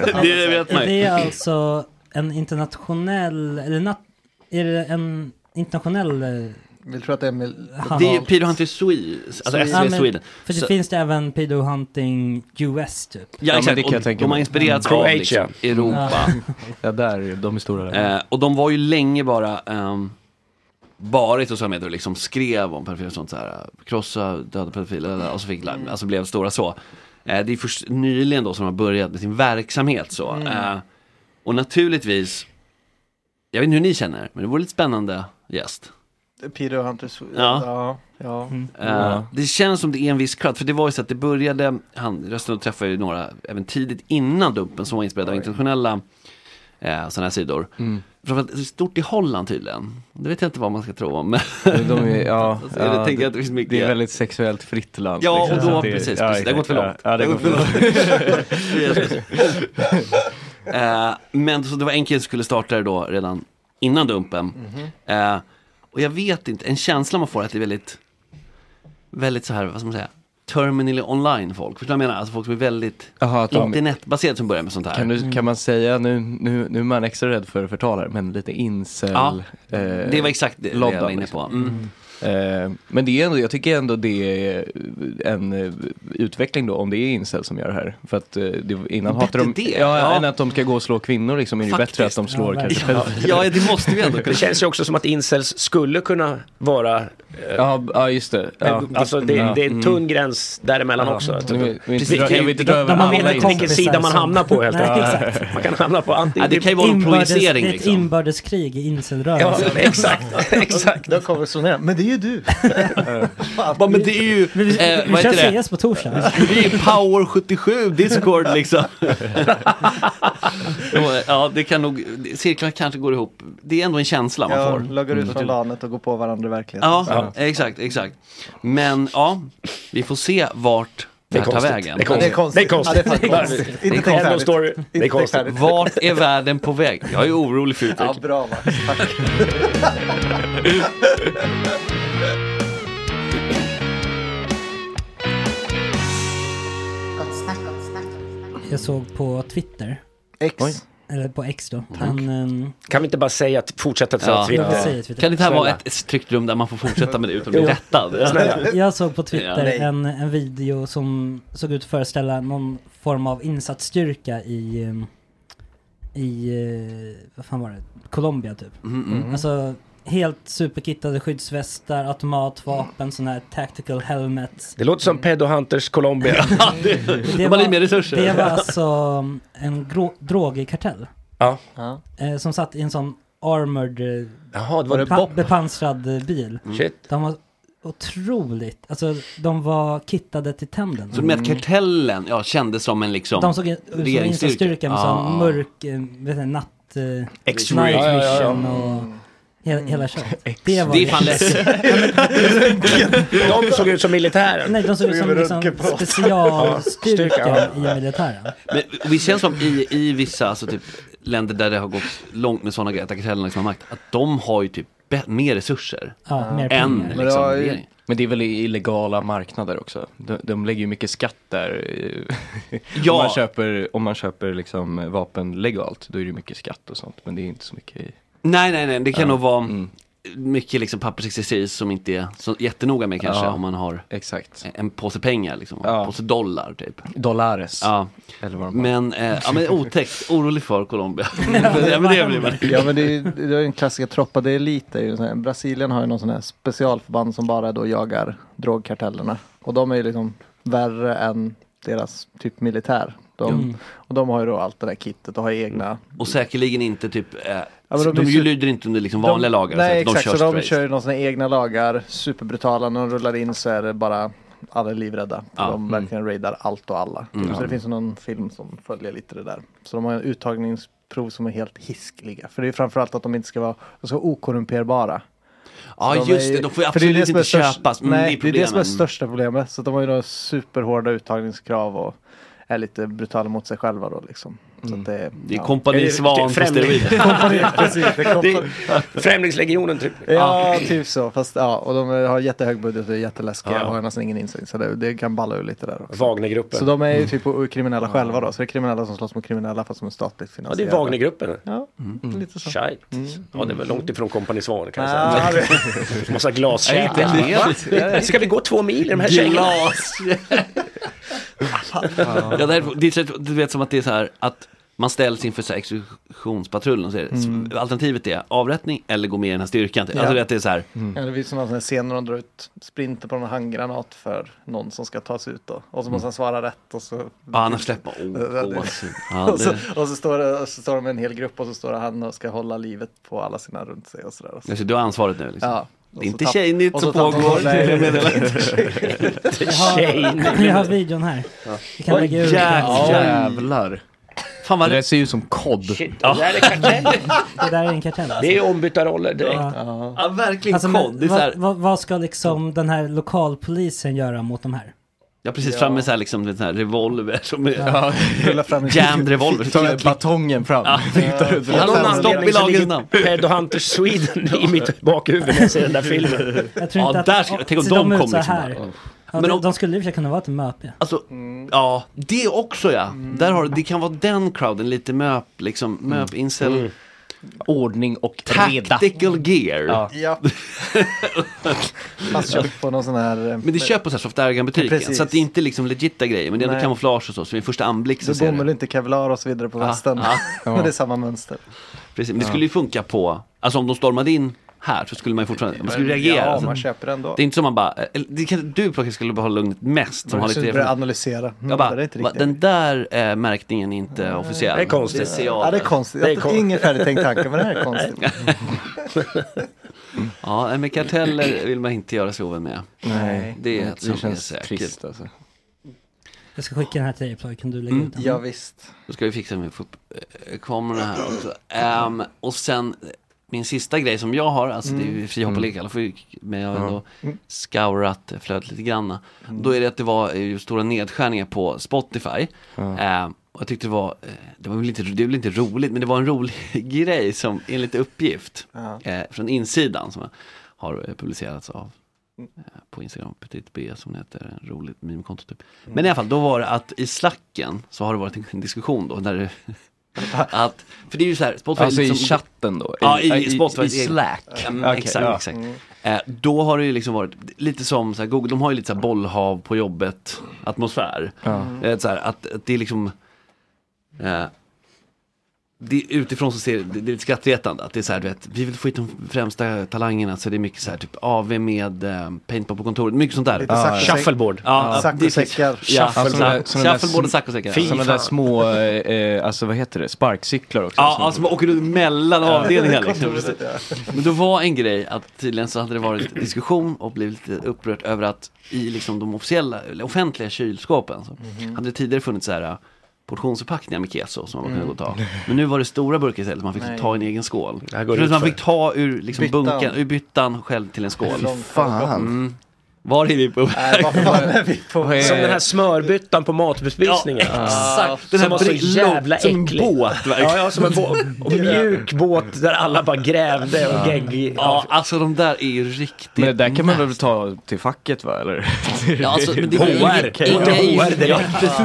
Speaker 3: det, det vet man
Speaker 5: Är
Speaker 3: ju.
Speaker 5: det alltså en internationell... Eller nat- är det en internationell... eh,
Speaker 8: Vill tro att det är med...
Speaker 5: hand-
Speaker 3: Det är ju Pedo Hunters Sweden, alltså SV
Speaker 5: Ja, men-
Speaker 3: Sweden.
Speaker 5: För det
Speaker 3: Så-
Speaker 5: finns det även pedo hunting US typ.
Speaker 3: Ja,
Speaker 9: men det
Speaker 3: exakt.
Speaker 9: kan jag
Speaker 3: Och
Speaker 9: tänka
Speaker 3: de har
Speaker 9: mig. Mm.
Speaker 3: inspirerats av
Speaker 7: Mm. Croatia.
Speaker 3: liksom, Europa.
Speaker 9: Ja, där, de är stora där.
Speaker 3: Eh, och de var ju länge bara, ehm, bara i sociala medier och liksom skrev om pedofiler och sånt så här. eh, Krossa döda pedofiler eller- och så fick larm, alltså blev stora så. Eh, det är först nyligen då som de har börjat med sin verksamhet så. Eh, och naturligtvis, jag vet inte hur ni känner, men det vore lite spännande gäst.
Speaker 8: Peter Hunters...
Speaker 3: Ja.
Speaker 8: Ja. ja.
Speaker 3: Eh, Det känns som det är en viss crowd, för det var ju så att det började, han, rösten träffade ju några även tidigt innan Dumpen som var inspelad av internationella eh, sådana här sidor.
Speaker 9: Mm.
Speaker 3: Framförallt det är stort i Holland tydligen. Det vet jag inte vad man ska tro om. men-
Speaker 9: De är, ja,
Speaker 3: Alltså, jag
Speaker 9: ja,
Speaker 3: tänker att det finns mycket-
Speaker 9: det är väldigt sexuellt fritt land.
Speaker 3: Ja, och
Speaker 9: så
Speaker 3: då,
Speaker 9: att
Speaker 3: precis, precis.
Speaker 9: ja,
Speaker 3: Det har gått för
Speaker 9: exakt.
Speaker 3: långt.
Speaker 9: Ja, ja, det har gått för långt.
Speaker 3: Eh, men så det var en kille som skulle starta det då redan innan Dumpen.
Speaker 9: Mhm.
Speaker 3: Eh, och jag vet inte, en känsla man får är att det är väldigt, väldigt så här, vad ska man säga, terminally online folk. Förstår du vad jag menar? Alltså folk som är väldigt
Speaker 9: Jaha, att de-
Speaker 3: internetbaserade som börjar med sånt här.
Speaker 9: Kan, du, kan man säga, nu, nu, nu är man extra rädd för förtal här, men lite incel.
Speaker 3: Ja,
Speaker 9: eh,
Speaker 3: det var exakt det, det jag
Speaker 9: loddan,
Speaker 3: var inne på.
Speaker 9: liksom.
Speaker 3: Mm.
Speaker 9: Eh, men det är ändå, jag tycker ändå det är en eh, utveckling då om det är incel som gör det här. För att eh, det, innan hatar de,
Speaker 3: det,
Speaker 9: Ja,
Speaker 3: ja.
Speaker 9: än att de ska gå och slå kvinnor liksom, är det ju bättre att de slår
Speaker 5: Ja,
Speaker 9: kanske
Speaker 3: Ja, ja, det måste vi ändå
Speaker 7: Det
Speaker 3: kunna.
Speaker 7: känns ju också som att incels skulle kunna vara... eh,
Speaker 9: Ja, ja just det. Ja. Mm.
Speaker 7: Alltså det,
Speaker 9: Ja.
Speaker 7: det är en tunn gräns däremellan också.
Speaker 9: Nu vill- vill inte
Speaker 7: Precis,
Speaker 9: dra- Jag vill inte dra över
Speaker 5: de har
Speaker 7: Man vet
Speaker 9: alla
Speaker 5: väl
Speaker 7: inte
Speaker 9: incel.
Speaker 7: vilken sida man
Speaker 5: som-
Speaker 7: hamnar på helt
Speaker 5: Nej,
Speaker 7: enkelt. Man kan hamna på
Speaker 3: Ja, det
Speaker 7: antingen...
Speaker 3: kan ju vara en
Speaker 5: Inbördes-
Speaker 3: projicering
Speaker 5: det är ett
Speaker 3: liksom.
Speaker 5: inbördeskrig i
Speaker 7: Ja,
Speaker 5: incelrörelsen.
Speaker 7: exakt, exakt.
Speaker 8: De kommer slå ner. Men det är ju du.
Speaker 3: Ja, men det är ju,
Speaker 5: Men vi,
Speaker 3: eh,
Speaker 5: vi
Speaker 3: vad
Speaker 5: kör
Speaker 3: heter det?
Speaker 5: CS på torsdag.
Speaker 3: Det är ju Power77 Discord liksom. ja, det kan nog, cirklarna kanske går ihop. Det är ändå en känsla man
Speaker 8: Ja,
Speaker 3: får.
Speaker 8: loggar ut från LANet och går på varandra i verkligheten.
Speaker 3: Ja,
Speaker 8: Så-
Speaker 3: exakt, exakt. Men ja, vi får se vart det här tar vägen.
Speaker 8: Ja, Det är konstigt. Ja, det är fan konstigt. Inte tänkt färdigt. Inte tänkt färdigt.
Speaker 3: Vart är världen på väg? Jag är orolig för
Speaker 8: Ja,
Speaker 3: utvecklingen.
Speaker 8: bra Max. Tack.
Speaker 5: Jag såg på Twitter.
Speaker 8: X.
Speaker 5: Eller på X då. Han, ehm,
Speaker 7: Kan vi inte bara säga att fortsätta säga
Speaker 3: Ja.
Speaker 7: Twitter?
Speaker 5: Ja, säg Twitter.
Speaker 3: Kan inte det här vara
Speaker 7: Snälla.
Speaker 3: ett ett tryggt rum där man får fortsätta med det utan att bli rättad?
Speaker 5: jag såg på
Speaker 3: Ja.
Speaker 5: Twitter
Speaker 3: Nej.
Speaker 5: en, en video som såg ut att föreställa någon form av insatsstyrka i, ehm, i, eh, vad fan var det, Colombia typ.
Speaker 3: Mm, mm.
Speaker 5: Alltså helt superkittade skyddsvästar, automatvapen, sådana här tactical helmets.
Speaker 7: Det låter som Pedo Hunters Colombia.
Speaker 5: Det var- Det var alltså en grå, drogig kartell.
Speaker 7: Ja.
Speaker 5: Eh, som satt i en sån armored, eh,
Speaker 7: Jaha, det var det
Speaker 5: bepa-
Speaker 7: Bob.
Speaker 5: bepansrad eh, bil.
Speaker 7: Mm. Shit.
Speaker 5: De var otroligt, alltså de var kittade till tänderna.
Speaker 3: Så med att kartellen ja, kändes som en liksom
Speaker 5: De såg ut som insatsstyrkan med
Speaker 3: Ja.
Speaker 5: sån mörk, eh, vet du, natt, eh,
Speaker 3: X-ray.
Speaker 5: night
Speaker 3: Ja, ja, ja, ja.
Speaker 5: vision och hela, hela köret. var
Speaker 3: Mm. Det är fan läskigt.
Speaker 7: De såg ut som militären.
Speaker 5: Nej, de såg ut som liksom specialstyrkan i
Speaker 7: Ja.
Speaker 5: militären.
Speaker 3: Men vi känns som i, i vissa alltså, typ, länder där det har gått långt med sådana grejer, att kartellen liksom har makt, att de har ju typ be- mer resurser
Speaker 5: Ja, mer
Speaker 3: än
Speaker 5: pengar.
Speaker 3: liksom,
Speaker 5: Men det har ju-
Speaker 3: regeringen.
Speaker 9: Ah. Men det är väl i- illegala marknader också? De, de lägger ju mycket skatt där. eh,
Speaker 3: Ja.
Speaker 9: om, man köper, om man köper liksom vapen legalt, då är det ju mycket skatt och sånt. Men det är inte så mycket i...
Speaker 3: Nej, nej, nej, det kan
Speaker 9: Ja.
Speaker 3: nog vara
Speaker 8: Mm.
Speaker 3: mycket liksom pappersexercis som inte är så jättenoga med kanske
Speaker 9: Ja,
Speaker 3: om man har en påse pengar, liksom, en påse dollar typ.
Speaker 9: Dollares.
Speaker 3: Ja.
Speaker 9: Eller vad de har.
Speaker 3: Men, eh, ja, men otäckt, orolig för Colombia. ja, men det blir man.
Speaker 8: Ja men det är ju det är ju en klassiker, Tropa de Elite. Är ju en sån här, Brasilien har ju någon sån här specialförband som bara då jagar drogkartellerna. Och de är ju liksom värre än deras typ militär. De,
Speaker 3: Mm.
Speaker 8: Och de har ju då allt det där kittet och har egna
Speaker 3: Och säkerligen inte typ, eh,
Speaker 8: Ja, men
Speaker 3: de,
Speaker 8: de är
Speaker 3: ju
Speaker 8: ju-
Speaker 3: lyder inte under liksom vanliga lagar.
Speaker 8: Nej
Speaker 3: så att
Speaker 8: exakt,
Speaker 3: de kör
Speaker 8: så de
Speaker 3: straight.
Speaker 8: kör ju några sina egna lagar, superbrutala, när de rullar in så är det bara alla är livrädda.
Speaker 3: Ja.
Speaker 8: Ja. De verkligen raidar allt och alla.
Speaker 3: Mm.
Speaker 8: Så det finns någon film som följer lite det där. Så de har en uttagningsprov som är helt hiskliga. För det är framförallt att de inte ska vara de ska vara okorrumperbara.
Speaker 3: Ja,
Speaker 8: Så
Speaker 3: just
Speaker 8: är-
Speaker 3: det. De får ju
Speaker 8: för det är
Speaker 3: absolut
Speaker 8: det som är
Speaker 3: inte
Speaker 8: störst-
Speaker 3: köpas. Mm, det är
Speaker 8: Nej, det är det som är
Speaker 3: problemen.
Speaker 8: största problemet. Så de har ju då superhårda uttagningskrav och är lite brutala mot sig själva då liksom. Så
Speaker 3: Mm.
Speaker 8: att det,
Speaker 3: Det är Kompani Svan på steroider.
Speaker 8: Kompani, precis. Det är kompani.
Speaker 7: Det är Främlingslegionen typ.
Speaker 8: Ja, typ så. Fast, ja, och de har jättehög budget och är jätteläskiga och har nästan ingen insyn. Så det, det kan balla ur lite där också.
Speaker 7: Wagnergruppen.
Speaker 8: Så de är ju typ o- kriminella själva då. Så det är kriminella som slåss mot kriminella fast som är statligt
Speaker 7: Ja, det är
Speaker 8: finansierade.
Speaker 7: Wagnergruppen. Mm.
Speaker 8: Ja, lite så.
Speaker 7: Shite. Ja, det var långt ifrån Kompani Svan kan
Speaker 8: Ah,
Speaker 7: jag säga. Massa
Speaker 8: Nej,
Speaker 7: glaskäk.
Speaker 8: inte en del.
Speaker 7: Va? Ska vi gå två mil i de här kängorna?
Speaker 3: Glas. ja, det, här, det är, så- du vet som att det är så här att man ställs inför så här exekutionspatrullen och säger
Speaker 8: Mm.
Speaker 3: alternativet är avrättning eller gå med i den här styrkan. Typ.
Speaker 8: Ja.
Speaker 3: Alltså det, att det är så här,
Speaker 8: Ja, det finns sådana scener där de drar ut sprinter på en handgranat för någon som ska tas ut då. Och så måste han svara rätt och så...
Speaker 3: Mm. Ja, annars släpper man. Åh,
Speaker 8: Ja, det-
Speaker 3: gåshud. Ja,
Speaker 8: och, så,
Speaker 3: det-
Speaker 8: och så står det, och så står de en hel grupp och så står han och ska hålla livet på alla sina runt sig och sådär. Och så.
Speaker 3: alltså, du har ansvaret nu. Liksom.
Speaker 8: Ja.
Speaker 3: Det
Speaker 8: Och
Speaker 3: är
Speaker 8: så
Speaker 3: inte
Speaker 8: tapp-
Speaker 3: tjejnytt
Speaker 8: och så
Speaker 3: som
Speaker 8: tappar-
Speaker 3: pågår.
Speaker 8: Nej,
Speaker 3: jag meddelar.
Speaker 8: inte Tjejnytt.
Speaker 5: Jag har, jag har videon här. Vi kan
Speaker 9: Oj,
Speaker 5: lägga ur
Speaker 9: jäklar.
Speaker 5: den.
Speaker 9: Jävlar.
Speaker 3: Fan vad
Speaker 9: det där ser ut som kod.
Speaker 7: Det där är kartellen.
Speaker 5: Det där är en kartell. alltså.
Speaker 7: Det är ombytta roller direkt.
Speaker 5: Ja.
Speaker 3: Ja, verkligen
Speaker 5: Alltså,
Speaker 3: kod. Det är
Speaker 5: men,
Speaker 3: så här,
Speaker 5: vad, vad, vad ska liksom den här lokalpolisen göra mot de här?
Speaker 3: jag har precis fram med så här, liksom, en sån här revolver som är
Speaker 5: Ja.
Speaker 8: Rulla fram en-
Speaker 3: jammed revolver.
Speaker 9: Ta med batongen fram.
Speaker 3: Ja.
Speaker 7: Av någon anledning så ligger
Speaker 3: namn.
Speaker 7: Pedo Hunters Sweden i mitt bakhuvud när jag ser den där filmen.
Speaker 5: Jag tror inte att,
Speaker 3: tänk om
Speaker 5: ser
Speaker 3: de
Speaker 5: ut
Speaker 3: kom
Speaker 5: så
Speaker 3: liksom
Speaker 5: här.
Speaker 3: bara, ja.
Speaker 5: Ja,
Speaker 3: Men
Speaker 5: de,
Speaker 3: om-
Speaker 5: de skulle i och för sig kunna vara ett möte.
Speaker 3: Alltså, ja, det också ja. Där har, du- det kan vara den crowden, lite möp, liksom, möp, incel.
Speaker 9: Ordning och reda.
Speaker 3: Tactical gear.
Speaker 9: Ja.
Speaker 8: Ja. Fast köpt på någon sån här... eh,
Speaker 3: Men det köper så här soft argan-butiken,
Speaker 8: Precis.
Speaker 3: så att det är inte liksom legita grejer, men det är ändå
Speaker 8: Nej.
Speaker 3: kamouflage och så, så vid första anblick så
Speaker 8: Du
Speaker 3: ser
Speaker 8: bomull,
Speaker 3: det.
Speaker 8: inte kevlar och så vidare på
Speaker 3: Ja,
Speaker 8: västen.
Speaker 3: ja.
Speaker 8: Men det är samma mönster.
Speaker 3: Precis. Men det skulle ju funka på, alltså om de stormade in här så skulle man ju fortfarande, man skulle reagera.
Speaker 8: Ja,
Speaker 3: Alltså,
Speaker 8: man köper det ändå.
Speaker 3: det är inte som man bara, eller, det kan, du kanske skulle behålla lugnet mest. Som har lite
Speaker 8: börjar analysera. Mm,
Speaker 3: jag bara,
Speaker 8: det är inte
Speaker 3: va,
Speaker 8: riktigt.
Speaker 3: den där eh, märkningen är inte officiell.
Speaker 7: Det är konstigt.
Speaker 3: Det ser jag.
Speaker 8: Ja, det är konstigt. Jag har ingen färdigtänkt tanke, men det här är konstigt.
Speaker 3: Ja, nej, men karteller vill man inte göra sig ovän med.
Speaker 9: Nej,
Speaker 3: det, är
Speaker 9: det
Speaker 3: ett som är
Speaker 9: känns
Speaker 3: säkert.
Speaker 9: trist, alltså.
Speaker 5: Jag ska skicka den här till dig Ploy, kan du
Speaker 7: Mm.
Speaker 5: lägga ut den?
Speaker 8: Mm, Ja, visst.
Speaker 3: Då ska vi fixa med få upp eh, kamerorna här också. Ehm, och sen eh, min sista grej som jag har, alltså det är ju
Speaker 9: Mm.
Speaker 3: frihopparlek, alla får ju, men jag har ändå
Speaker 8: Mm.
Speaker 3: scourat flödet lite grann. Då är det att det var eh, ju stora nedskärningar på Spotify. Ehm, och jag tyckte det var, eh, det var väl inte, det är väl inte roligt, men det var en rolig grej som enligt uppgift
Speaker 8: Ja.
Speaker 3: eh, från insidan som har eh, publicerats av eh, på Instagram, Petit B som det heter, en roligt meme-konto typ. Men i alla fall, då var det att i slacken så har det varit en diskussion då, där det, att, för det är ju så här, Spotify är
Speaker 9: Alltså i
Speaker 3: lite som-
Speaker 9: chatten då?
Speaker 3: Ja, i,
Speaker 9: I-
Speaker 3: i Spotify.
Speaker 9: i Slack?
Speaker 3: Ja, men
Speaker 9: Okej,
Speaker 3: exakt,
Speaker 9: ja.
Speaker 3: exakt. Eh, då har det ju liksom varit lite som så här, Google, de har ju lite så här bollhav på jobbet atmosfär.
Speaker 9: Ja.
Speaker 3: Eh, så här, att, att det är liksom eh, det, utifrån så ser det, det är lite skrattretande att det är så här, du vet, vi vill få hit de främsta talangerna så det är mycket så här typ AV med eh, paintball på kontoret, mycket sånt där.
Speaker 8: Lite
Speaker 9: Ah.
Speaker 8: sack och säck.
Speaker 7: Shuffleboard.
Speaker 3: Ja,
Speaker 8: Sack och
Speaker 3: det är-
Speaker 8: säckar.
Speaker 3: Ja,
Speaker 9: Alltså,
Speaker 8: Shuffleboard.
Speaker 3: shuffleboard, shuffleboard och sack och säckar. ja.
Speaker 9: Sådana där små, eh, eh, alltså vad heter det, sparkcyklar också?
Speaker 3: Ja,
Speaker 9: som-
Speaker 3: alltså man åker runt mellan
Speaker 9: Ja.
Speaker 3: avdelningar
Speaker 9: Det
Speaker 3: liksom.
Speaker 9: kommer ut,
Speaker 3: Men då var en grej att tydligen så hade det varit diskussion och blivit lite upprört över att i liksom de officiella, eller offentliga kylskåpen så
Speaker 9: Mhm.
Speaker 3: hade det tidigare funnits så här äh, portionsförpackningar med keso som man bara kunde
Speaker 9: Mm.
Speaker 3: gå och ta. Men nu var det stora burkar istället, man fick
Speaker 9: Nej.
Speaker 3: ta en egen skål.
Speaker 9: Det här går
Speaker 3: För att man
Speaker 9: utför.
Speaker 3: fick ta ur liksom
Speaker 9: Byttan.
Speaker 3: bunken, ur byttan själv till en skål.
Speaker 9: Fy fan.
Speaker 3: Mm. Var är vi på väg?
Speaker 7: Som den här smörbyttan på matbespisningen.
Speaker 3: Ja, exakt. Den här
Speaker 7: som var så
Speaker 3: bri-
Speaker 7: jävla
Speaker 3: som en
Speaker 7: äcklig.
Speaker 3: båt, verkligen.
Speaker 7: ja, ja, som en båt. Och mjuk båt där alla bara grävde och gegg.
Speaker 3: Ja, alltså de där är ju riktigt
Speaker 9: Men det där kan
Speaker 3: Äh,
Speaker 9: man väl ta till facket va, eller?
Speaker 3: Ja, alltså, men det är
Speaker 9: HR.
Speaker 3: ingen,
Speaker 9: Ja.
Speaker 3: ingen, ingen, ja, precis.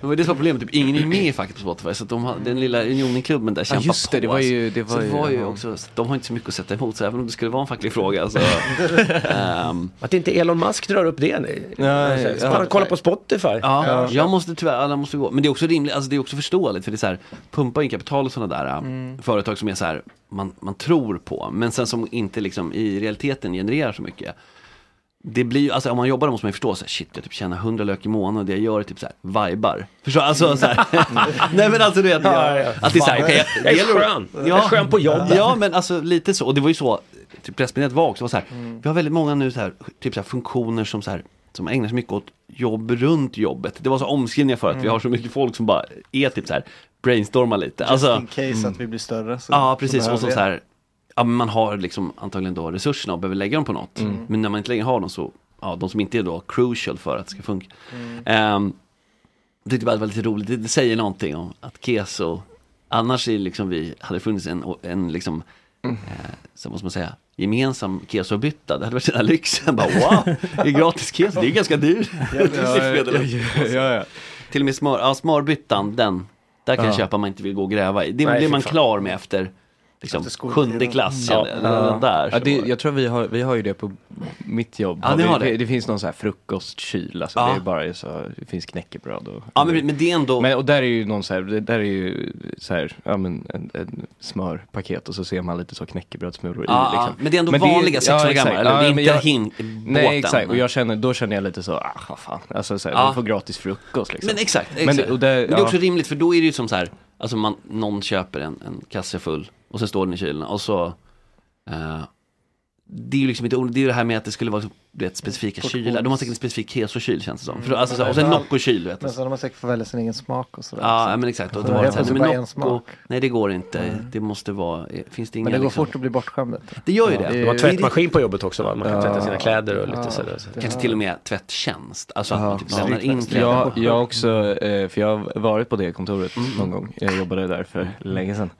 Speaker 3: Det var det som var problemet, typ, ingen är ju med i facket på Spotify, så att de har, den lilla unionklubben där kämpar
Speaker 9: just det,
Speaker 3: på.
Speaker 9: det var ju-
Speaker 3: alltså.
Speaker 9: det var
Speaker 3: så det
Speaker 9: ju-
Speaker 3: var ju
Speaker 9: ja.
Speaker 3: också, så de har inte så mycket att sätta emot, så även om det skulle vara en facklig fråga så... ehm,
Speaker 7: Att inte Elon Musk drar upp det nu. Alltså,
Speaker 3: ja.
Speaker 7: bara Kolla på Spotify.
Speaker 3: ja, jag måste tyvärr, alla måste gå. Men det är också rimligt, alltså det är också förståeligt, för det är så här, pumpar in kapital och sådana där äh,
Speaker 9: Mm.
Speaker 3: företag som är så här, man, man tror på, men sen som inte liksom i realiteten genererar så mycket. Det blir ju, alltså om man jobbar då måste man ju förstå så här, shit jag typ tjänar 100 lök i månaden och det jag gör är typ så här, vibar. Förstår du? Alltså så här, nej men alltså du vet,
Speaker 7: Ja, ja.
Speaker 3: att det är så här, okej,
Speaker 7: Jag är skön. Jag är skön på jobbet.
Speaker 3: Ja men alltså lite så, och det var ju så, typ pressmeddelandet var också var så här,
Speaker 7: Mm.
Speaker 3: vi har väldigt många nu så här, typ så här funktioner som så här, som ägnar sig mycket åt jobb runt jobbet. Det var så omskrivningar för att vi
Speaker 8: Mm.
Speaker 3: har så mycket folk som bara är typ så här, brainstorma lite.
Speaker 8: Just
Speaker 3: Alltså,
Speaker 8: in case att vi blir större. Så
Speaker 3: Ja, precis. och
Speaker 8: behöver
Speaker 3: så,
Speaker 8: vi-
Speaker 3: så här, ja, men man har liksom antagligen då resurserna och behöver lägga dem på något.
Speaker 8: Mm.
Speaker 3: Men när man inte längre har dem så, ja, de som inte är då crucial för att det ska funka.
Speaker 8: Mm.
Speaker 3: Ehm, jag tyckte bara det var lite roligt, det, det säger någonting om att keso, annars är liksom vi, hade det funnits en, en liksom,
Speaker 9: Mm.
Speaker 3: eh, så måste man säga, gemensam kesobytta, det hade varit den här lyxen, bara wow, det är gratis keso, det är ju ganska dyrt.
Speaker 9: Ja, ja, ja, ja.
Speaker 3: Till och med smör, ja, smörbyttan, den, där kan jag
Speaker 9: Ja.
Speaker 3: köpa om man inte vill gå och gräva i. Det
Speaker 9: Nej,
Speaker 3: blir
Speaker 9: fy
Speaker 3: man
Speaker 9: fan.
Speaker 3: klar med efter liksom, sjunde klass. kände jag. Det var den Där,
Speaker 9: ja,
Speaker 3: som
Speaker 9: det,
Speaker 3: var-
Speaker 9: jag tror vi har, vi har ju det på mitt jobb.
Speaker 3: Ja, ni har
Speaker 9: vi,
Speaker 3: det.
Speaker 9: det finns någon så här frukostkyl, alltså
Speaker 3: Ja.
Speaker 9: det är bara så, det finns knäckebröd och...
Speaker 3: Ja, men- men det är ändå...
Speaker 9: Men, och där är ju någon så här, det där är ju så här, ja men en, en smörpaket och så ser man lite så knäckebrödssmulor
Speaker 3: Ja,
Speaker 9: i liksom.
Speaker 3: ja, men det är ändå vanliga, sex år
Speaker 9: exakt.
Speaker 3: gamla, eller? Det är
Speaker 9: men
Speaker 3: inte
Speaker 9: jag-
Speaker 3: hin- båten.
Speaker 9: Nej, exakt, och jag känner, då känner jag lite så, ah vad fan, alltså så här,
Speaker 3: Ja.
Speaker 9: de får gratis frukost liksom.
Speaker 3: Men exakt, exakt.
Speaker 9: Men,
Speaker 3: Men,
Speaker 9: det- och
Speaker 3: det,
Speaker 9: där,
Speaker 3: är också
Speaker 9: ja.
Speaker 3: rimligt för då är det ju som så här, alltså man, någon köper en, en kasse full och sen står den i kylen och så eh, det är ju liksom inte, det är ju det här med att det skulle vara så, du vet, specifika
Speaker 8: Portions.
Speaker 3: kylar. De har säkert en specifik keso-kyl känns det som. För, då- alltså, så, här,
Speaker 8: Men
Speaker 3: och sen
Speaker 8: all-
Speaker 3: Nocco-kyl vet
Speaker 8: Men
Speaker 3: jag.
Speaker 8: sen har man säkert fått välja sin egen smak och sådär.
Speaker 3: Ja, ja, men exakt. Och då
Speaker 8: Så
Speaker 3: var det
Speaker 8: helt
Speaker 3: så här,
Speaker 8: plötsligt
Speaker 3: nej,
Speaker 8: bara
Speaker 3: men
Speaker 8: en
Speaker 3: Nocco,
Speaker 8: smak.
Speaker 3: nej det går inte. Det måste vara, eh, finns det inga
Speaker 8: Men det går
Speaker 3: liksom-
Speaker 8: fort att bli bortskämd. vet du.
Speaker 3: Det gör ju det.
Speaker 7: De har tvättmaskin på jobbet också va? Man kan
Speaker 3: Ja.
Speaker 7: tvätta sina kläder och lite
Speaker 3: Ja.
Speaker 7: sådär.
Speaker 3: Kanske till och med tvättjänst. Alltså att
Speaker 9: Ja,
Speaker 3: man typ lämnar in
Speaker 9: jag,
Speaker 3: kläderna. Mm.
Speaker 9: jag också, eh, för jag har varit på det kontoret någon gång. Jag jobbade där för länge sedan.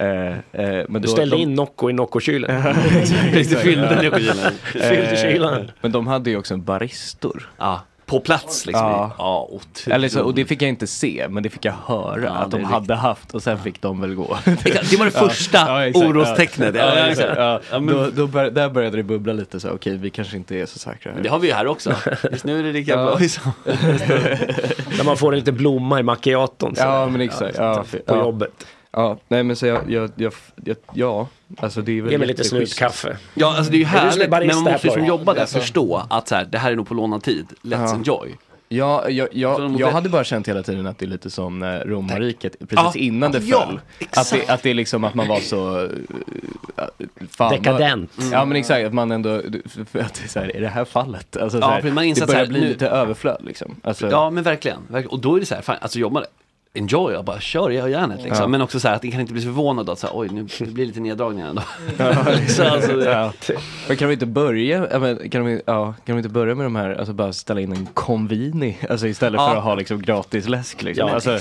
Speaker 9: Eh, eh, men
Speaker 7: Du
Speaker 9: då-
Speaker 7: ställde
Speaker 9: de-
Speaker 7: in Nocco i Nocco-kylen.
Speaker 9: Exakt, ja.
Speaker 7: Fyllde kylen.
Speaker 9: Eh, Men de hade ju också en baristor.
Speaker 3: på plats liksom.
Speaker 9: Ja.
Speaker 3: Ja, otroligt.
Speaker 9: Eller så, och det fick jag inte se, men det fick jag höra
Speaker 3: Ja,
Speaker 9: att
Speaker 3: det
Speaker 9: de
Speaker 3: är
Speaker 9: hade haft och sen fick de väl gå.
Speaker 3: Exakt, det var det första
Speaker 9: exakt,
Speaker 3: orostecknet.
Speaker 9: Ja,
Speaker 3: Ja,
Speaker 9: ja,
Speaker 3: exakt.
Speaker 9: exakt. Ja,
Speaker 3: Ja, men-
Speaker 9: Då, då bör, där började det bubbla lite så, okej vi kanske inte är så säkra.
Speaker 3: Men det har vi ju här också. Just nu är det lika
Speaker 9: Ja.
Speaker 3: bra. Liksom.
Speaker 7: När man får en liten blomma i macchiaton. så-
Speaker 9: Ja men exakt. Ja,
Speaker 7: På
Speaker 9: ja.
Speaker 7: jobbet.
Speaker 9: Ja, nej men så jag, jag, jag, jag ja, alltså det är väl
Speaker 7: Ge mig lite
Speaker 9: jätteschysst.
Speaker 7: snutkaffe.
Speaker 3: Ja, alltså det är ju
Speaker 7: Är du som är
Speaker 3: härligt,
Speaker 7: barista
Speaker 3: men man måste ju
Speaker 7: här,
Speaker 3: som
Speaker 7: Florian?
Speaker 3: jobbar där
Speaker 7: Alltså.
Speaker 3: förstå att så här, det här är nog på lånad tid, let's
Speaker 9: Ja.
Speaker 3: enjoy.
Speaker 9: Ja, jag,
Speaker 3: Så de
Speaker 9: jag,
Speaker 3: måste-
Speaker 9: jag hade bara känt hela tiden att det är lite som när romarriket, precis
Speaker 3: Ja,
Speaker 9: innan det
Speaker 3: ja,
Speaker 9: föll. att,
Speaker 3: exakt.
Speaker 9: det, att det är liksom att man var så... eh, fan,
Speaker 3: Dekadent.
Speaker 9: vad- Mm. Ja men exakt, att man ändå... för Att det är, så här, är det här fallet? Alltså,
Speaker 3: Ja,
Speaker 9: så här,
Speaker 3: för man inser
Speaker 9: det börjar
Speaker 3: så här,
Speaker 9: bli
Speaker 3: nu-
Speaker 9: lite överflöd liksom. Alltså,
Speaker 3: Ja men verkligen, verkligen. Och då är det så här, fan, alltså jobbar Enjoy, jag bara kör, jag gör järnet liksom.
Speaker 9: Ja.
Speaker 3: Men också så här att ni kan inte bli så förvånad att så här, oj nu det blir lite neddragningar ändå.
Speaker 9: så
Speaker 3: så, alltså, det-
Speaker 9: Men kan vi inte börja, ja, men kan vi, ja, kan vi inte börja med de här, alltså bara ställa in en konvini, alltså istället
Speaker 3: Ja.
Speaker 9: för att ha liksom gratis läsk liksom.
Speaker 3: Ja.
Speaker 9: Alltså,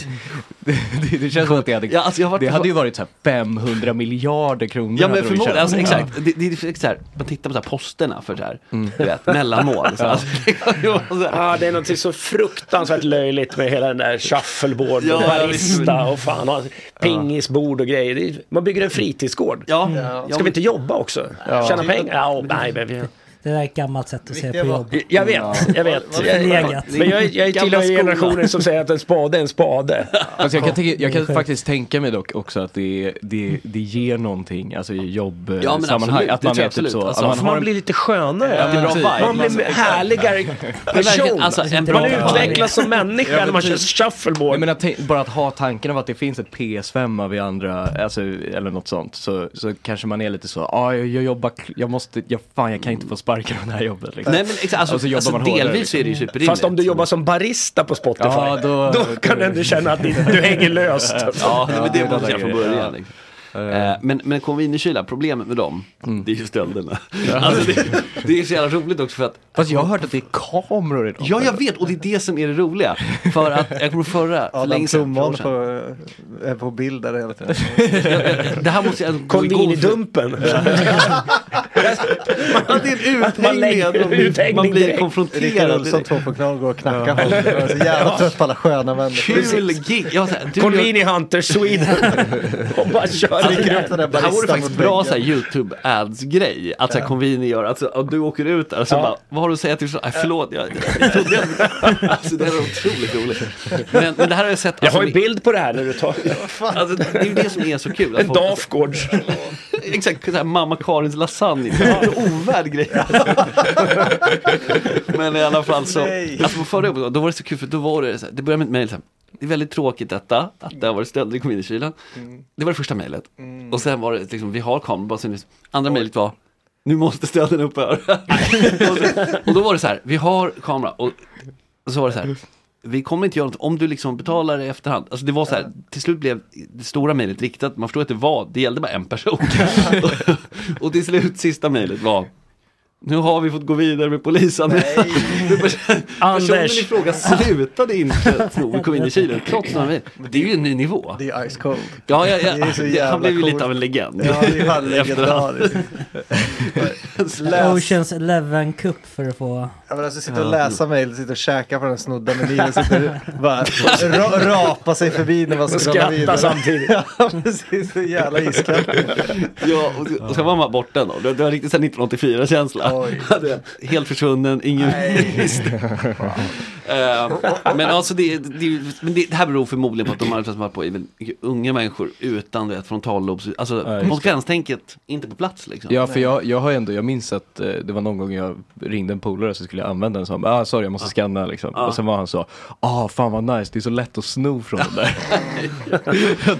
Speaker 9: det, det- det känns som att det hade,
Speaker 3: Ja, alltså, jag har varit-
Speaker 9: det hade ju varit så här 500 miljarder kronor.
Speaker 3: Ja
Speaker 9: hade
Speaker 3: men
Speaker 9: de
Speaker 3: förmodligen,
Speaker 9: tjänat.
Speaker 3: alltså,
Speaker 9: Ja.
Speaker 3: exakt. Det, det är exakt så här, man tittar på så här posterna för så här,
Speaker 9: Mm.
Speaker 3: du vet, mellanmål. Så,
Speaker 7: Ja.
Speaker 3: alltså,
Speaker 7: Ja, det är något så fruktansvärt löjligt med hela den där shuffleboard
Speaker 3: Ja,
Speaker 7: och
Speaker 3: ja,
Speaker 7: barista
Speaker 3: visst.
Speaker 7: och fan, och pingisbord och grejer. Det är- Man bygger en fritidsgård. Mm.
Speaker 3: Ja.
Speaker 7: Ska vi inte jobba också?
Speaker 5: Ja.
Speaker 7: Tjäna pengar? Ja, nej, men vi...
Speaker 5: Det där är ett gammalt sätt att se på
Speaker 7: Jag
Speaker 5: jobb.
Speaker 7: vet, jag vet. Jag vet.
Speaker 5: Förlegat.
Speaker 7: Men jag, jag tillhör ju generationen som säger att en spade är en spade.
Speaker 9: Alltså jag kan, tänka, jag kan faktiskt tänka mig dock också att det, det, det ger någonting, alltså i jobbsammanhang.
Speaker 7: Ja, men absolut,
Speaker 9: att
Speaker 7: det
Speaker 9: man är
Speaker 7: tror jag
Speaker 9: typ
Speaker 7: absolut.
Speaker 9: så,
Speaker 7: Alltså,
Speaker 9: att man
Speaker 7: för man blir lite skönare. Ja,
Speaker 9: men
Speaker 7: man
Speaker 9: typ.
Speaker 7: blir en härligare person.
Speaker 9: verkligen, alltså, en bra
Speaker 7: man utvecklas
Speaker 9: tanke.
Speaker 7: som människa
Speaker 9: Ja, men
Speaker 7: när man kör
Speaker 9: typ.
Speaker 7: shuffleboard.
Speaker 9: Jag menar, tänk- bara att ha tanken av att det finns ett PS5 av i andra, alltså, eller något sånt, så, så kanske man är lite så, ah, jag, jag jobbar, k- jag måste, jag, fan jag kan inte få sparken av det här jobbet. Liksom.
Speaker 7: Nej, men exakt, alltså-
Speaker 9: Och så jobbar
Speaker 7: alltså,
Speaker 9: man hårdare, liksom.
Speaker 7: delvis är det ju superrimligt. Fast om du jobbar som barista på Spotify,
Speaker 9: Ja, då-
Speaker 7: då kan du ändå känna att du- du hänger löst.
Speaker 3: Ja, men det måste jag
Speaker 7: från
Speaker 3: från början. Liksom. Eh, Men, men konvinikyla, problemet med dem,
Speaker 9: Mm.
Speaker 3: det är ju stölderna. Alltså det, det är så jävla roligt också för att
Speaker 9: Fast jag har hört att det är kameror idag.
Speaker 3: Ja, jag vet och det är det som är det roliga. För att, jag kommer ihåg förra, för
Speaker 8: Adam
Speaker 3: länge sedan,
Speaker 8: Plommon
Speaker 3: för år sedan.
Speaker 8: på, är på bild där hela tiden.
Speaker 3: Det här måste jag gå igång för.
Speaker 7: Konvinidumpen.
Speaker 3: Ja, det är en uthängning.
Speaker 8: Man lägger-
Speaker 3: Man blir- Man
Speaker 8: uthängning
Speaker 3: blir
Speaker 8: direkt. Rickard
Speaker 3: konfronterad.
Speaker 8: Olsson
Speaker 3: direkt.
Speaker 8: 2.0 går och knackar honom.
Speaker 3: Ja.
Speaker 8: Jag är så jävla
Speaker 3: Ja.
Speaker 8: trött på alla sköna människor.
Speaker 3: Kul gig! Jag var så här, du,
Speaker 7: Convini Hunter Sweden. Och bara kör
Speaker 3: Alltså,
Speaker 7: det
Speaker 3: det,
Speaker 7: där.
Speaker 3: här, det här vore faktiskt bra så här, YouTube ads grej, att så här, Convini gör, alltså, och du åker ut där och så bara, vad har du att säga till så? Nej, förlåt, jag, jag trodde jag, alltså det här är otroligt roligt. Men, men det här har jag sett,
Speaker 7: Jag
Speaker 3: alltså,
Speaker 7: har ju bild på det här när du tar...
Speaker 3: alltså, det är ju det som är så kul. att
Speaker 7: En
Speaker 3: folk-
Speaker 7: Dafgård.
Speaker 3: Exakt, så här, mamma Karins lasagne, det är en ovärd grej. Men i alla fall så,
Speaker 13: Nej.
Speaker 3: alltså på förra jobbet, då var det så kul för då var det så här, det började med ett mejl så här, det är väldigt tråkigt detta, att det har varit stölder i kommunkylen. Det var det första mejlet. Och sen var det liksom, vi har kameror, bara så nu- andra mejlet var, nu måste stölden upphöra. och, så, och då var det så här, vi har kamera och, och så var det så här, vi kommer inte göra något om du liksom betalar i efterhand. Alltså det var så här, till slut blev det stora mejlet riktat, man förstår att det var, det gällde bara en person. och, och till slut, sista mejlet var, nu har vi fått gå vidare med polisanmälan. Personen i
Speaker 7: Anders.
Speaker 3: fråga slutade inte tro vi kom in i Chile, trots några mejl. Det är ju en ny nivå.
Speaker 8: Det är ice cold.
Speaker 3: Ja, ja, ja.
Speaker 8: Det är så
Speaker 3: Det-
Speaker 8: jävla
Speaker 3: han blev ju
Speaker 8: coolt.
Speaker 3: lite av en legend.
Speaker 8: Ja, det är fan
Speaker 3: I efterhand.
Speaker 8: legendariskt.
Speaker 5: Oceans Eleven Cup för att få...
Speaker 8: Ja, men alltså sitta och läsa mejl, sitta och käka på den snodda menyn, sitta och bara ra- rapa sig förbi när man
Speaker 7: Och
Speaker 8: scrollar
Speaker 7: skratta
Speaker 8: vidare.
Speaker 7: samtidigt.
Speaker 8: Ja, precis. Så jävla iskallt.
Speaker 3: Ja, och, och sen var man borta då. Det, det var riktigt såhär 1984-känsla. Helt försvunnen, ingen visste. Eh, men alltså det, det, men det, det här beror förmodligen på att de arbetsplatser man varit på är väl mycket unga människor utan du vet, frontallobs, alltså
Speaker 9: just det.
Speaker 3: konsekvenstänket är inte på plats liksom.
Speaker 9: Ja, för jag, jag har ändå, jag minns att eh, det var någon gång jag ringde en polare så skulle jag använda den som, ah sorry jag måste scanna liksom.
Speaker 3: Ja.
Speaker 9: Och sen var han så, ah fan vad nice, det är så lätt att sno från den där.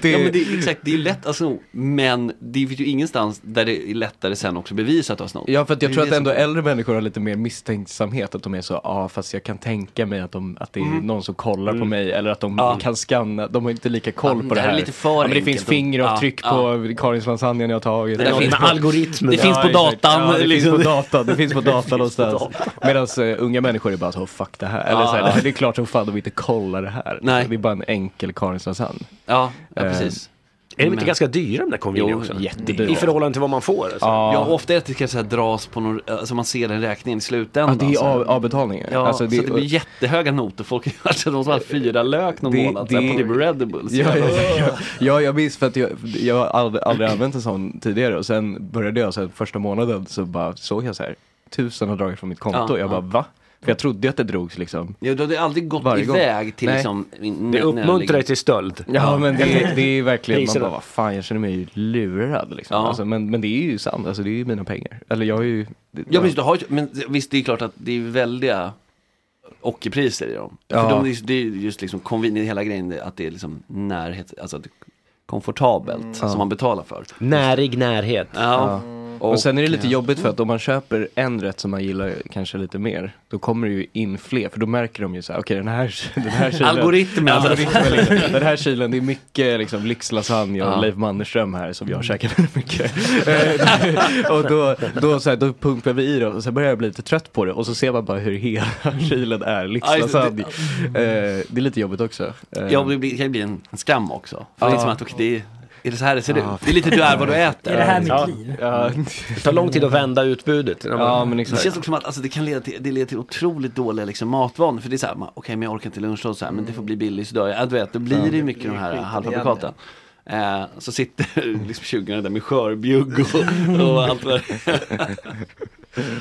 Speaker 9: det-
Speaker 3: Ja men det är exakt, det är lätt att sno, men det finns ju ingenstans där det är lättare sen också bevisa att du har snott.
Speaker 9: Ja för att jag
Speaker 3: Det är
Speaker 9: tror
Speaker 3: det
Speaker 9: att ändå
Speaker 3: som-
Speaker 9: äldre människor har lite mer misstänksamhet, att de är så, ja ah, fast jag kan tänka mig att, de, att det är
Speaker 3: Mm.
Speaker 9: någon som kollar på
Speaker 3: Mm.
Speaker 9: mig eller att de
Speaker 3: Ja.
Speaker 9: kan scanna, de har inte lika koll
Speaker 3: Ja,
Speaker 9: på
Speaker 3: det
Speaker 9: det
Speaker 3: här
Speaker 9: här.
Speaker 3: är lite för
Speaker 9: ja, men det
Speaker 3: enkelt.
Speaker 9: finns fingeravtryck
Speaker 3: Ja,
Speaker 9: på Karins lasagne jag har tagit.
Speaker 3: Det finns
Speaker 9: någon-
Speaker 3: på algoritmen. Det finns på
Speaker 9: exakt.
Speaker 3: datan,
Speaker 9: Ja, det
Speaker 3: liksom.
Speaker 9: finns på datan, det finns på
Speaker 3: Det finns på
Speaker 9: datan någonstans. Medan eh, unga människor är bara så, "Oh, fuck det här. Eller
Speaker 3: Ja,
Speaker 9: så här,
Speaker 3: ja.
Speaker 9: det är klart som fan de inte kollar det här. Det är bara en enkel Karins lasagne.
Speaker 3: Ja, ja
Speaker 9: Eh,
Speaker 3: precis.
Speaker 7: Är de
Speaker 3: Men-
Speaker 7: inte ganska dyra de där konvinierna
Speaker 3: Jo,
Speaker 7: också?
Speaker 9: jättedyra.
Speaker 7: I förhållande till vad man får. Alltså.
Speaker 3: Ja, och ofta är det att det kanske så här dras på någon, alltså man ser den räkningen i
Speaker 9: Ja,
Speaker 3: slutändan.
Speaker 9: det är
Speaker 3: så här.
Speaker 9: av, avbetalningar.
Speaker 3: Ja,
Speaker 9: Alltså,
Speaker 3: så det blir jättehöga noter. Folk alltså, de som har fyra lök någon
Speaker 9: Det-
Speaker 3: månad
Speaker 9: det-
Speaker 3: så här, på typ Red Bull. Så
Speaker 9: Ja,
Speaker 3: jävla-
Speaker 9: ja, ja. ja, jag minns för att jag, jag har aldrig, aldrig använt en sån tidigare och sen började jag så här, första månaden så bara såg jag så här, tusen har dragit från mitt konto.
Speaker 3: Ja,
Speaker 9: jag
Speaker 3: ja.
Speaker 9: bara va? För jag trodde ju att det drogs liksom.
Speaker 3: Ja, du hade aldrig gått
Speaker 9: Varje gång.
Speaker 3: iväg till
Speaker 9: Nej.
Speaker 3: liksom... in-
Speaker 9: Det uppmuntrar
Speaker 3: nödläge.
Speaker 9: till stöld. Ja, men det, det är verkligen, man
Speaker 3: Priserna.
Speaker 9: bara vad fan jag känner mig ju lurad liksom.
Speaker 3: Ja.
Speaker 9: Alltså, men, men det är ju sant, alltså, det är ju mina pengar. Eller jag har ju... det-
Speaker 3: Ja, men, just, du har, ju- men visst, det är klart att det är väldiga ockerpriser i dem.
Speaker 9: Ja.
Speaker 3: För de, det är just- det är just liksom convenient, hela grejen är att det är liksom närhet, alltså att det är komfortabelt
Speaker 9: Mm.
Speaker 3: som man betalar för.
Speaker 9: Närig närhet.
Speaker 3: Ja.
Speaker 9: Och, sen är det lite jobbigt för att om man köper en rätt som man gillar kanske lite mer, då kommer det ju in fler, för då märker de ju så här, okej den här, den här kylen.
Speaker 3: Algoritmen.
Speaker 9: Algoritmen, liksom. Den här kylen, det är mycket liksom lyxlasagne och
Speaker 3: Ja.
Speaker 9: Leif Mannerström här som jag käkar väldigt mycket. Eh, och då, då, så här, då pumpar vi i dem och sen börjar jag bli lite trött på det och så ser man bara hur hela kylen är lyxlasagne. Eh, det är lite jobbigt också. Eh,
Speaker 3: Ja, det blir- det kan ju bli en en skam också. För det
Speaker 9: Ja.
Speaker 3: är som att, okej, det är, är det så här det ser
Speaker 9: Ja,
Speaker 3: ut? Det är lite du är vad du äter.
Speaker 9: Är det här mitt
Speaker 3: Ja.
Speaker 9: liv?
Speaker 3: Ja.
Speaker 7: Det tar lång tid att vända utbudet.
Speaker 3: Ja, men exakt. Det känns också som att alltså, det kan leda till, det leder till otroligt dåliga liksom, matvanor. För det är så här, man- okej men jag orkar inte lunch och så här, men det får bli billigt idag. Ja, du vet, då blir
Speaker 9: Ja,
Speaker 3: det
Speaker 9: det
Speaker 3: ju mycket
Speaker 9: blir
Speaker 3: de här
Speaker 9: skiten
Speaker 3: halvfabrikaten. Eh, så sitter liksom tjugarna där med skörbjugg och, och allt vad det är.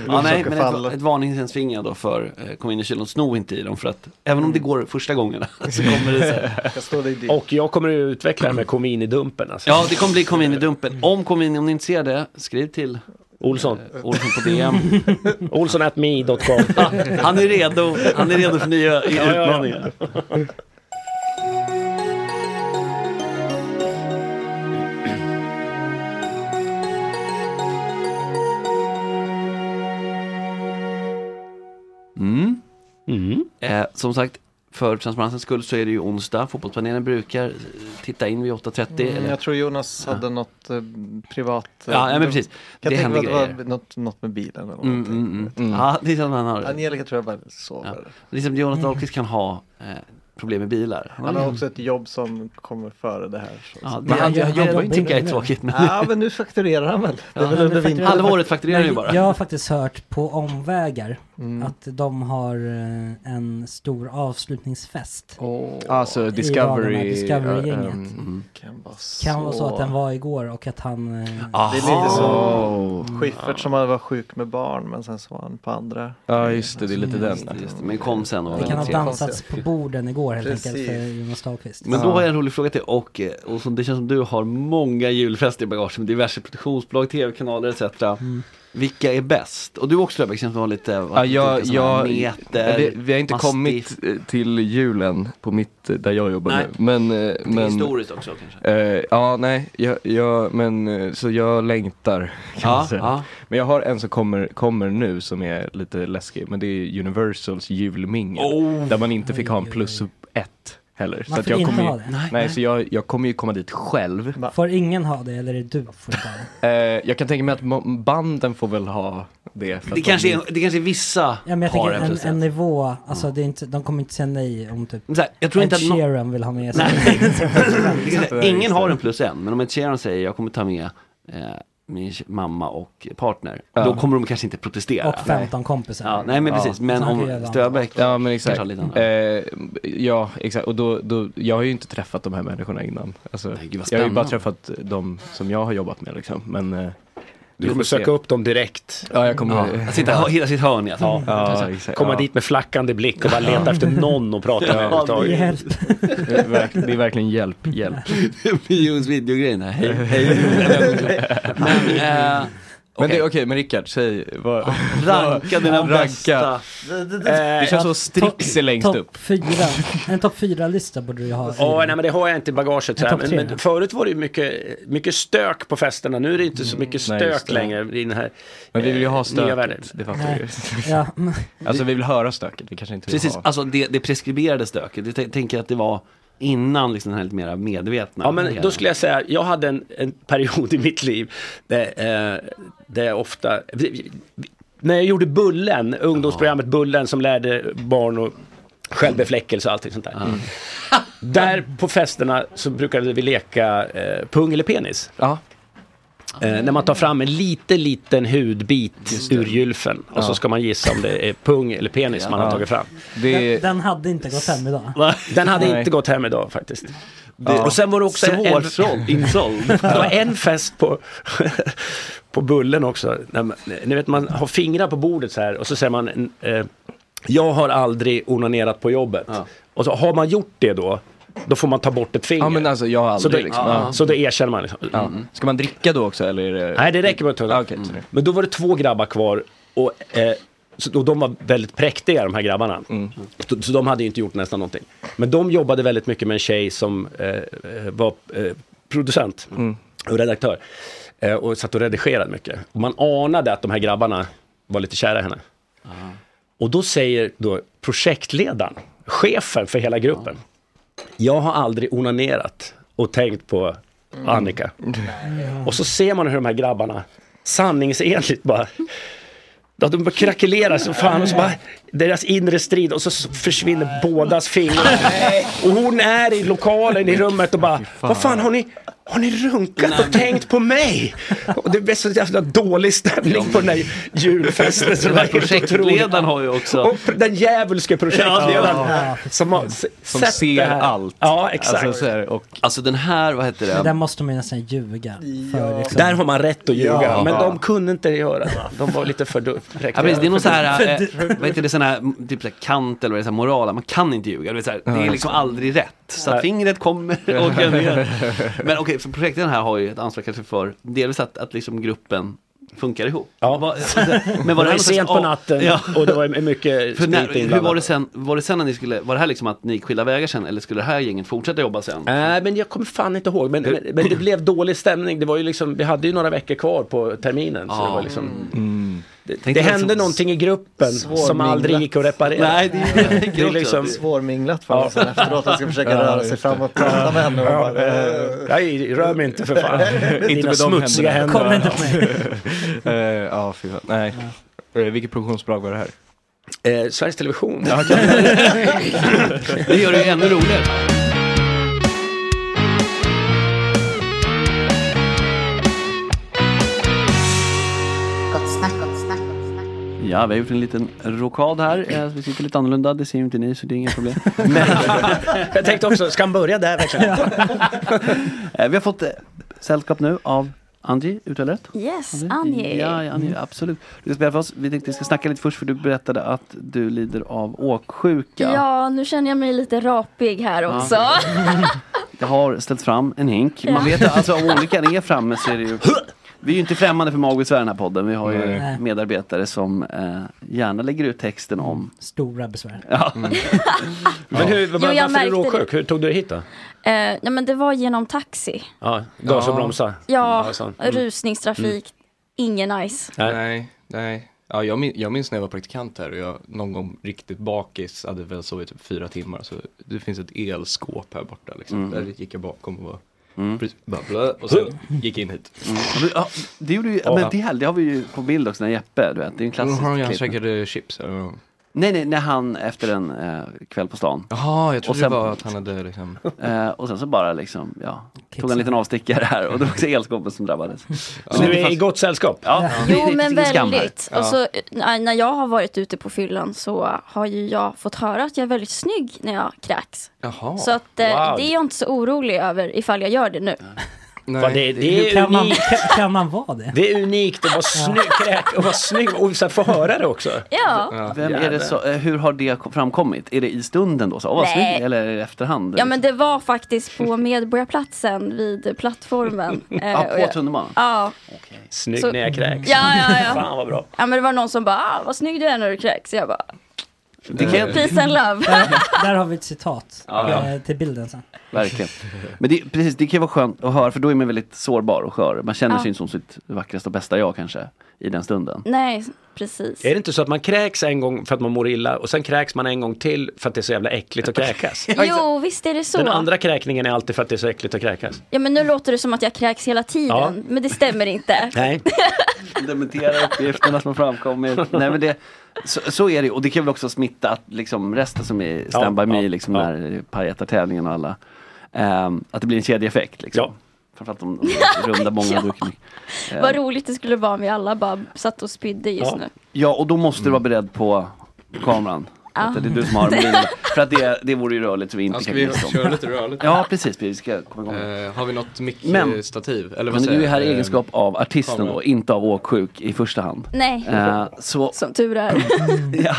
Speaker 3: Ja, nej, men ett, ett varningens finger då för eh, kom in i kylen och sno inte i dem för att även om det går första gångerna så kommer det så här.
Speaker 7: Och jag kommer att utveckla det här med Comini-dumpen. Alltså.
Speaker 3: Ja, det kommer bli kom in i dumpen. Om kom in, om ni inte ser det, skriv till eh,
Speaker 7: Olsson.
Speaker 3: Olsson på DM.
Speaker 7: Olsson at me.com.
Speaker 3: Han är redo, han är redo för nya
Speaker 7: Ja, ja, ja.
Speaker 3: utmaningar. Mm. Eh, som sagt, för transparensens skull så är det ju onsdag. Fotbollspanelen brukar eh, titta in vid 8.30.
Speaker 8: Mm,
Speaker 3: eller?
Speaker 8: jag tror Jonas hade något eh, privat. eh,
Speaker 3: Ja, ja, men precis.
Speaker 8: Kan
Speaker 3: Det
Speaker 8: jag tänka
Speaker 3: händer
Speaker 8: mig att det var
Speaker 3: grejer.
Speaker 8: något, något med bilen eller något.
Speaker 3: Mm, mm, mm. Ja, det är som han har det.
Speaker 8: Angelica tror jag bara sover.
Speaker 3: Ja. Liksom Jonas Dahlqvist kan ha eh, problem med bilar.
Speaker 8: Han har
Speaker 3: ju-
Speaker 8: också ett jobb som kommer före det här. så-
Speaker 3: Ja, det- Men han- det- jag- det jag- tycker jag är tråkigt, men-
Speaker 8: Ja, men nu fakturerar han väl? Det är väl under vintern.
Speaker 5: Nej, Jag har faktiskt hört på omvägar
Speaker 8: Mm.
Speaker 5: att de har eh, en stor avslutningsfest.
Speaker 9: Alltså
Speaker 5: I
Speaker 9: Discovery,
Speaker 5: raderna, Discovery-gänget.
Speaker 9: ja, ehm,
Speaker 8: Kan vara Mm. så.
Speaker 5: Kan vara så att den var igår och att han... eh,
Speaker 8: Det är lite som Schyffert som hade varit sjuk med barn men sen så var han på andra.
Speaker 9: Ja just det, det är lite den.
Speaker 3: Just det, men kom sen och var
Speaker 5: Det kan ha
Speaker 3: lite trevligt.
Speaker 5: dansats på borden igår helt
Speaker 8: Precis.
Speaker 5: enkelt för Jonas Dahlqvist.
Speaker 3: Men då har jag en rolig fråga till och, eh, och som det känns som du har många julfester i bagaget med diverse produktionsbolag, tv-kanaler etc. Vilka är bäst? Och du också Löfberg, känns som du har lite,
Speaker 9: Mm. Ja, jag,
Speaker 3: lite sådana här
Speaker 9: jag,
Speaker 3: meter,
Speaker 9: vi, vi har inte
Speaker 3: mastiff.
Speaker 9: kommit eh, till julen på mitt, eh, där jag jobbar
Speaker 3: Nej.
Speaker 9: nu. Men, eh, men,
Speaker 3: historiskt också,
Speaker 9: Eh, ja, nej, jag, jag, men, eh, så jag längtar kan
Speaker 3: Ja,
Speaker 9: man säga.
Speaker 3: ja.
Speaker 9: Men jag har en som kommer, kommer nu som är lite läskig, men det är Universals julmingel.
Speaker 3: Oh.
Speaker 9: Där man inte fick ha en plus ett heller.
Speaker 5: Man får
Speaker 9: jag
Speaker 5: inte
Speaker 9: kommer ju,
Speaker 5: ha det? Nej,
Speaker 9: Nej,
Speaker 5: nej.
Speaker 9: så jag, jag kommer ju komma dit själv.
Speaker 5: Får ingen ha det eller är det du som får ta det?
Speaker 9: Eh, jag kan tänka mig att mo- banden får väl ha det. för att
Speaker 3: Det
Speaker 9: de-
Speaker 3: kanske, är, det kanske är vissa
Speaker 5: Ja, men jag
Speaker 3: har
Speaker 5: tänker
Speaker 3: en
Speaker 5: en,
Speaker 3: plus ett.
Speaker 5: en nivå, alltså det är inte, de kommer inte säga nej om typ
Speaker 3: Men så här, jag tror
Speaker 5: Ed
Speaker 3: inte att nå-
Speaker 5: Sheeran vill ha med sig.
Speaker 3: Det kan säga, Ingen har en plus en, men om ett Sheeran säger jag kommer ta med eh, min tje- mamma och partner,
Speaker 9: Ja.
Speaker 3: då kommer de kanske inte protestera.
Speaker 5: Och 15 kompisar.
Speaker 3: Ja, nej men
Speaker 9: Ja.
Speaker 3: precis, men om Ströbeck
Speaker 9: Ja men exakt.
Speaker 3: kanske har lite annorlunda.
Speaker 9: Eh, ja exakt, och då, då, jag har ju inte träffat de här människorna innan. Alltså,
Speaker 3: vad
Speaker 9: jag har ju bara
Speaker 3: spännande.
Speaker 9: träffat de som jag har jobbat med liksom. Men, eh,
Speaker 7: Du
Speaker 9: vi får
Speaker 7: kommer
Speaker 9: se.
Speaker 7: söka upp dem direkt.
Speaker 9: Ja jag kommer.
Speaker 7: Ja.
Speaker 9: Ja.
Speaker 7: Att sitta- ha- hela
Speaker 3: sitt hörn ja.
Speaker 7: Ja,
Speaker 9: ja exakt.
Speaker 7: Komma
Speaker 9: ja.
Speaker 7: dit med flackande blick och bara leta efter någon att prata med överhuvudtaget.
Speaker 9: Det är verk- Det är verkligen hjälp, hjälp.
Speaker 3: Bios videogrejen här, hej, hej. men, eh,
Speaker 9: Men det, okej, men Rickard, säg vad...
Speaker 3: Ranka dina bästa.
Speaker 7: Eh,
Speaker 9: Det känns som Strix är längst
Speaker 5: Topp
Speaker 9: upp.
Speaker 5: fyra. En topp fyra lista borde du ju ha.
Speaker 7: Ja, nej men det har jag inte i bagaget. Så här.
Speaker 5: En topp
Speaker 7: Men,
Speaker 5: tre.
Speaker 7: men förut var det ju mycket, mycket stök på festerna. Nu är det inte så mycket
Speaker 9: Mm. Nej,
Speaker 7: stök
Speaker 9: just det.
Speaker 7: längre i den här
Speaker 9: Men vi vill ju
Speaker 7: eh,
Speaker 9: ha
Speaker 7: nya världen.
Speaker 9: stöket, det fattar vi ju.
Speaker 5: Ja, men-
Speaker 9: Alltså vi vill höra stöket, vi kanske inte vill
Speaker 3: Precis,
Speaker 9: ha.
Speaker 3: alltså det, det preskriberade stöket. Jag tän- tänker att det var innan liksom den här lite mera medvetna.
Speaker 7: Ja, men då skulle jag säga, jag hade en, en period i mitt liv där, eh, där jag ofta... När jag gjorde Bullen, ungdomsprogrammet Bullen som lärde barn och självbefläckelse och allting sånt där. Där på festerna så brukade vi leka eh, pung eller penis. Eh, när man tar fram en liten, liten hudbit ur gylfen och så
Speaker 9: Ja.
Speaker 7: ska man gissa om det är pung eller penis man har
Speaker 9: Ja.
Speaker 7: tagit fram.
Speaker 5: den, den hade inte gått hem idag.
Speaker 7: Den hade
Speaker 5: Nej.
Speaker 7: inte gått hem idag faktiskt.
Speaker 5: Det-
Speaker 7: Och sen var det också
Speaker 3: Svårsåld, insåld.
Speaker 7: Det var en fest på, på Bullen också. När man- Ni vet man har fingrar på bordet så här och så säger man eh, Jag har aldrig onanerat på jobbet. Och så har man gjort det då då får man ta bort ett finger.
Speaker 9: Ja, men alltså, jag har
Speaker 7: så, då,
Speaker 9: aldrig, liksom. Ja.
Speaker 7: så då erkänner man. Liksom.
Speaker 9: Ja. Ska man dricka då också eller? Är det...
Speaker 3: Mm.
Speaker 7: Nej, det räcker med tunna. Men då var det två grabbar kvar och eh, Så, och de var väldigt präktiga de här grabbarna. Så, så de hade ju inte gjort nästan någonting. Men de jobbade väldigt mycket med en tjej som eh, var eh, producent och redaktör. Eh, och satt och redigerade mycket. Och man anade att de här grabbarna var lite kära i henne. Och då säger då projektledaren, chefen för hela gruppen. Jag har aldrig onanerat och tänkt på Annika. Och så ser man hur de här grabbarna sanningsenligt bara Ja, de bara krackelerar så fan och så bara deras inre strid och så s- försvinner bådas fingrar. Och hon är i lokalen i rummet och bara, vad fan har ni, har ni runkat och tänkt på mig? Och det är så jävla dålig stämning på den här julfesten. så
Speaker 3: Den
Speaker 7: det
Speaker 3: här
Speaker 7: var helt otroligt.
Speaker 3: projektledaren har ju också...
Speaker 7: Och pr- den djävulske projektledaren.
Speaker 3: Ja.
Speaker 7: Som, har s- sett det här. Ja, exakt.
Speaker 3: Alltså, alltså den här, vad heter
Speaker 5: Det där
Speaker 3: det?
Speaker 5: måste man ju nästan ljuga. För, liksom.
Speaker 7: Där har man rätt att ljuga,
Speaker 3: Ja.
Speaker 7: men de kunde inte göra det. De var lite för du-
Speaker 3: Ja, precis, det är någon sån här, eh,
Speaker 7: För du-
Speaker 3: vad heter det, sån här, m, typ så här kant eller vad det är, så här moral, att man kan inte ljuga. Du vet, så här, det är
Speaker 7: Ja.
Speaker 3: liksom aldrig rätt. Så
Speaker 7: Nej.
Speaker 3: att fingret kommer och kan ner. Men okej, för projekten här har ju ett ansvar kanske för delvis att, att liksom gruppen funkar ihop.
Speaker 7: Ja.
Speaker 3: Vad- alltså,
Speaker 7: det
Speaker 3: någon
Speaker 7: var ju
Speaker 3: sorts
Speaker 7: sent på
Speaker 3: av-
Speaker 7: natten
Speaker 3: Ja.
Speaker 7: och det var mycket
Speaker 3: För
Speaker 7: sprit
Speaker 3: när, hur
Speaker 7: inblandat.
Speaker 3: var det sen, var det sen när ni skulle, var det här liksom att ni gick skilda vägar sen eller skulle det här gänget fortsätta jobba sen?
Speaker 7: Nej, Eh, men jag kommer fan inte ihåg. Men, men, men det blev dålig stämning. Det var ju liksom, vi hade ju några veckor kvar på terminen. Så det,
Speaker 3: Ah.
Speaker 7: var liksom, det,
Speaker 8: Tänkte
Speaker 7: hände
Speaker 8: liksom
Speaker 7: någonting i gruppen som
Speaker 8: svårminglat.
Speaker 7: aldrig gick att reparera.
Speaker 8: Nej, det är det jag tänker
Speaker 7: det är
Speaker 8: också.
Speaker 7: liksom...
Speaker 8: Svårminglat för honom sen efteråt. Han ska försöka röra sig fram och prata med henne. och bara,
Speaker 7: Nej, rör mig inte för fan.
Speaker 8: Inte
Speaker 7: Dina
Speaker 8: med de
Speaker 7: smutsiga
Speaker 8: händerna.
Speaker 7: händer.
Speaker 8: Kom inte
Speaker 7: mig.
Speaker 12: Ja, fy fan. Nej. Eh, Vilket produktionsbolag var det här?
Speaker 7: Eh, Sveriges Television.
Speaker 3: Det gör det ju ännu roligare.
Speaker 14: Gott snack, gott snack.
Speaker 3: Ja, vi har gjort en liten rokad här. Eh, Vi sitter lite annorlunda, det ser ju inte ni så det är inga problem. Men...
Speaker 7: Jag tänkte också, ska han börja där verkligen?
Speaker 3: Eh, Vi har fått eh, sällskap nu av Angie, uttalar jag rätt?
Speaker 15: Yes, Mm.
Speaker 3: Angie.
Speaker 15: Angie.
Speaker 3: Ja, ja, Angie, absolut. Du ska spela för oss. Vi tänkte vi ska snacka lite först för du berättade att du lider av åksjuka.
Speaker 15: Ja, nu känner jag mig lite rapig här
Speaker 3: Ja.
Speaker 15: också.
Speaker 3: Jag har ställt fram en hink. Man
Speaker 15: Ja.
Speaker 3: vet att alltså, om olyckan är framme så är det ju... Vi är ju inte främmande för magbesvär i den här podden. Vi har ju
Speaker 5: Nej.
Speaker 3: medarbetare som eh, gärna lägger ut texten om...
Speaker 5: Stora besvär.
Speaker 3: Ja.
Speaker 7: Men hur, var,
Speaker 15: Jo,
Speaker 7: varför
Speaker 15: jag
Speaker 7: är du
Speaker 15: märkte
Speaker 7: råsjuk? Hur tog du dig hit då?
Speaker 15: Eh, ja, men det var genom taxi.
Speaker 7: Ja, gas och bromsa.
Speaker 15: Ja,
Speaker 12: sånt. Mm.
Speaker 15: rusningstrafik.
Speaker 3: Mm.
Speaker 15: Ingen nice.
Speaker 12: Nej, nej. Ja, jag, min, jag minns när jag var praktikant här och jag någon gång riktigt bakis hade väl sovit typ fyra timmar. Så det finns ett elskåp här borta liksom.
Speaker 3: Mm.
Speaker 12: Där gick jag bakom och var
Speaker 3: Mm.
Speaker 12: bara blö, och sen gick jag in hit.
Speaker 3: Mm. Ja, men, ja, Det gjorde ju, ja, men det, här- det har vi ju på bild också när Jeppe, du vet, det är en klassisk
Speaker 12: Har han
Speaker 3: klipp.
Speaker 12: käkade chips? eller?
Speaker 3: Nej, nej, när han efter en eh, kväll på stan.
Speaker 12: Jaha, jag
Speaker 3: Och
Speaker 12: trodde
Speaker 3: sen-
Speaker 12: det var att han hade liksom...
Speaker 3: Eh, och sen så bara liksom, ja, tog
Speaker 12: Kepsen.
Speaker 3: en liten avstickare här och det var också elskåpet som drabbades.
Speaker 7: Så du är i gott sällskap?
Speaker 3: Ja, det- det
Speaker 15: Jo
Speaker 3: finns
Speaker 15: men
Speaker 3: ingen skam här.
Speaker 15: väldigt. Och så, eh, när när jag har varit ute på fyllan så har ju jag fått höra att jag är väldigt snygg när jag kräks.
Speaker 12: Jaha.
Speaker 15: Så att, eh,
Speaker 12: Wow.
Speaker 15: det är jag inte så orolig över ifall jag gör det nu.
Speaker 7: Fan, det, det,
Speaker 5: Hur
Speaker 7: är
Speaker 5: kan, man,
Speaker 7: unikt.
Speaker 5: kan- kan man vara det?
Speaker 7: det är unikt att vara snygg, kräk, och vara snygg och så här, få höra det också.
Speaker 15: Ja.
Speaker 3: Vem är det så, eh, hur har det kom- framkommit? Är det i stunden då? Så, oh, vad
Speaker 15: Nej.
Speaker 3: snygg, eller är det i efterhand?
Speaker 15: Ja men det var faktiskt på Medborgarplatsen vid plattformen. Eh,
Speaker 3: Ja,
Speaker 15: och
Speaker 3: på
Speaker 15: jag-
Speaker 3: tunnelbanan?
Speaker 15: Ja.
Speaker 7: Snygg
Speaker 15: Så-
Speaker 7: när jag kräks.
Speaker 15: Ja, ja, ja.
Speaker 7: Fan vad bra.
Speaker 15: ja men det var någon som bara, ah, vad snygg du är när du kräks. Jag bara,
Speaker 3: Det kan-
Speaker 15: peace and love.
Speaker 5: Eh, Där, där har vi ett citat
Speaker 3: Ja, ja.
Speaker 5: eh, till bilden sen.
Speaker 3: Verkligen. Men det, precis, det kan ju vara skönt att höra för då är man väldigt sårbar och skör. Man känner
Speaker 15: Ja.
Speaker 3: sig inte som sitt vackraste och bästa jag kanske i den stunden.
Speaker 15: Nej, precis.
Speaker 7: Är det inte så att man kräks en gång för att man mår illa och sen kräks man en gång till för att det är så jävla äckligt att kräkas?
Speaker 15: Jo, visst är det så.
Speaker 7: Den andra kräkningen är alltid för att det är så äckligt att kräkas.
Speaker 15: Ja men nu låter det som att jag kräks hela tiden,
Speaker 7: Ja.
Speaker 15: men det stämmer inte.
Speaker 7: Nej.
Speaker 3: Dementera uppgifterna som framkommit. Nej, men det, så, så är det ju. och det kan väl också smitta att liksom resten som är stand by me, liksom ja. när pajetartävlingen och alla. ehm, att det blir en kedjeeffekt liksom. Framförallt om, om det runda många
Speaker 15: Ja.
Speaker 3: har druckit mycket. Ehm,
Speaker 15: Vad roligt det skulle vara om vi alla bara satt och spydde just nu. Mm.
Speaker 3: Ja, och då måste du vara beredd på kameran.
Speaker 15: Ja.
Speaker 3: Att det är du som har mobilen. För att det, det vore ju rörligt så vi inte
Speaker 12: Ja, ska
Speaker 3: kan
Speaker 12: vi
Speaker 3: missa om.
Speaker 12: köra lite rörligt?
Speaker 3: Ja, precis. Vi ska komma igång.
Speaker 12: Eh, har vi något
Speaker 3: Men-
Speaker 12: mick-stativ? Eller vad
Speaker 3: Men
Speaker 12: säger
Speaker 3: du är här i
Speaker 12: jag? Eh,
Speaker 3: egenskap av artisten
Speaker 12: kamera.
Speaker 3: och inte av åksjuk i första hand.
Speaker 15: Nej.
Speaker 3: Eh, så,
Speaker 15: Som tur är.
Speaker 3: ja.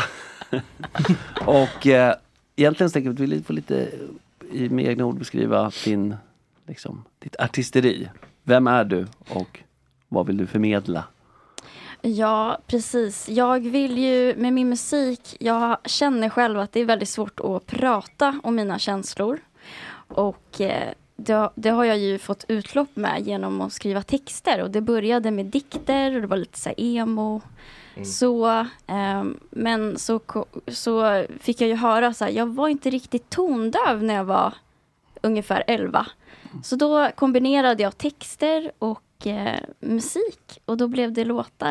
Speaker 3: och eh, egentligen så tänker jag att vi vill få lite eh, i med egna ord beskriva din, liksom, ditt artisteri. Vem är du och vad vill du förmedla?
Speaker 15: Ja, precis. Jag vill ju med min musik, jag känner själv att det är väldigt svårt att prata om mina känslor. Och eh, det, har- det har jag ju fått utlopp med genom att skriva texter. Och det började med dikter och det var lite så här emo.
Speaker 16: Mm.
Speaker 15: Så, ehm, men så, ko- så fick jag ju höra så här, jag var inte riktigt tondöv när jag var ungefär 11. Så då kombinerade jag texter och eh, musik och då blev det låtar.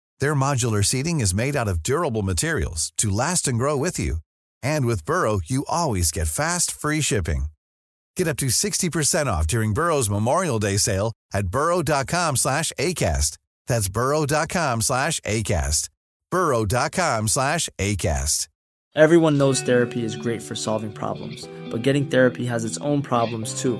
Speaker 17: Their modular seating is made out of durable materials to last and grow with you. And with Burrow, you always get fast, free shipping. Get up to 60% off during Burrow's Memorial Day sale at burrow.com slash ACAST. That's burrow.com slash ACAST. burrow.com slash ACAST.
Speaker 18: Everyone knows therapy is great for solving problems, but getting therapy has its own problems too,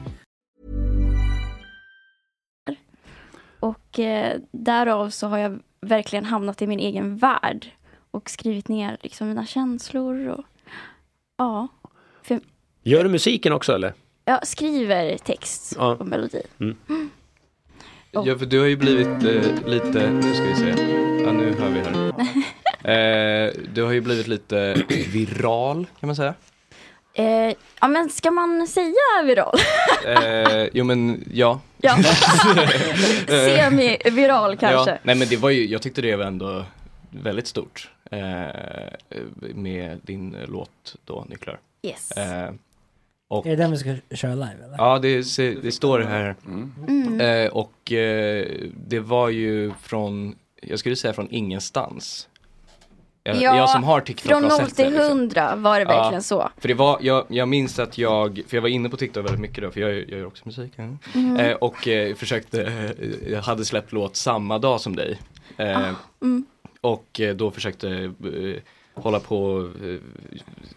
Speaker 15: Och eh, därav så har jag verkligen hamnat i min egen värld och skrivit ner liksom mina känslor och ja, för,
Speaker 7: Gör du musiken också eller?
Speaker 15: jag skriver text
Speaker 7: Ja.
Speaker 15: och melodi.
Speaker 7: Mm.
Speaker 9: Ja, för du har ju blivit eh, lite, nu ska vi se, ja, nu hör vi här. Eh, du har ju blivit lite viral kan man säga.
Speaker 15: Eh, ja men ska man säga viral?
Speaker 9: Eh, jo men ja.
Speaker 15: Ja.
Speaker 9: Eh,
Speaker 15: Semi-viral kanske.
Speaker 9: Ja, nej men det var ju, jag tyckte det var ändå väldigt stort eh, med din eh, låt då, Nycklar.
Speaker 15: Yes.
Speaker 9: Eh, och,
Speaker 5: Är det den vi ska köra live eller?
Speaker 9: Ja, det, se- det står här.
Speaker 5: Mm.
Speaker 9: Eh, och eh, det var ju från, jag skulle säga från ingenstans. Jag, jag som har TikTok
Speaker 15: Från
Speaker 9: har
Speaker 15: 0
Speaker 9: sett det. liksom.
Speaker 15: till 100 var det verkligen
Speaker 9: Ja,
Speaker 15: så.
Speaker 9: För det var, jag, jag minns att jag, för jag var inne på TikTok väldigt mycket då, för jag, jag gör också musik. ja.
Speaker 15: Mm.
Speaker 9: Eh, och eh, försökte, eh, jag hade släppt låt samma dag som dig. Eh,
Speaker 15: Mm.
Speaker 9: Och eh, då försökte eh, hålla på och eh,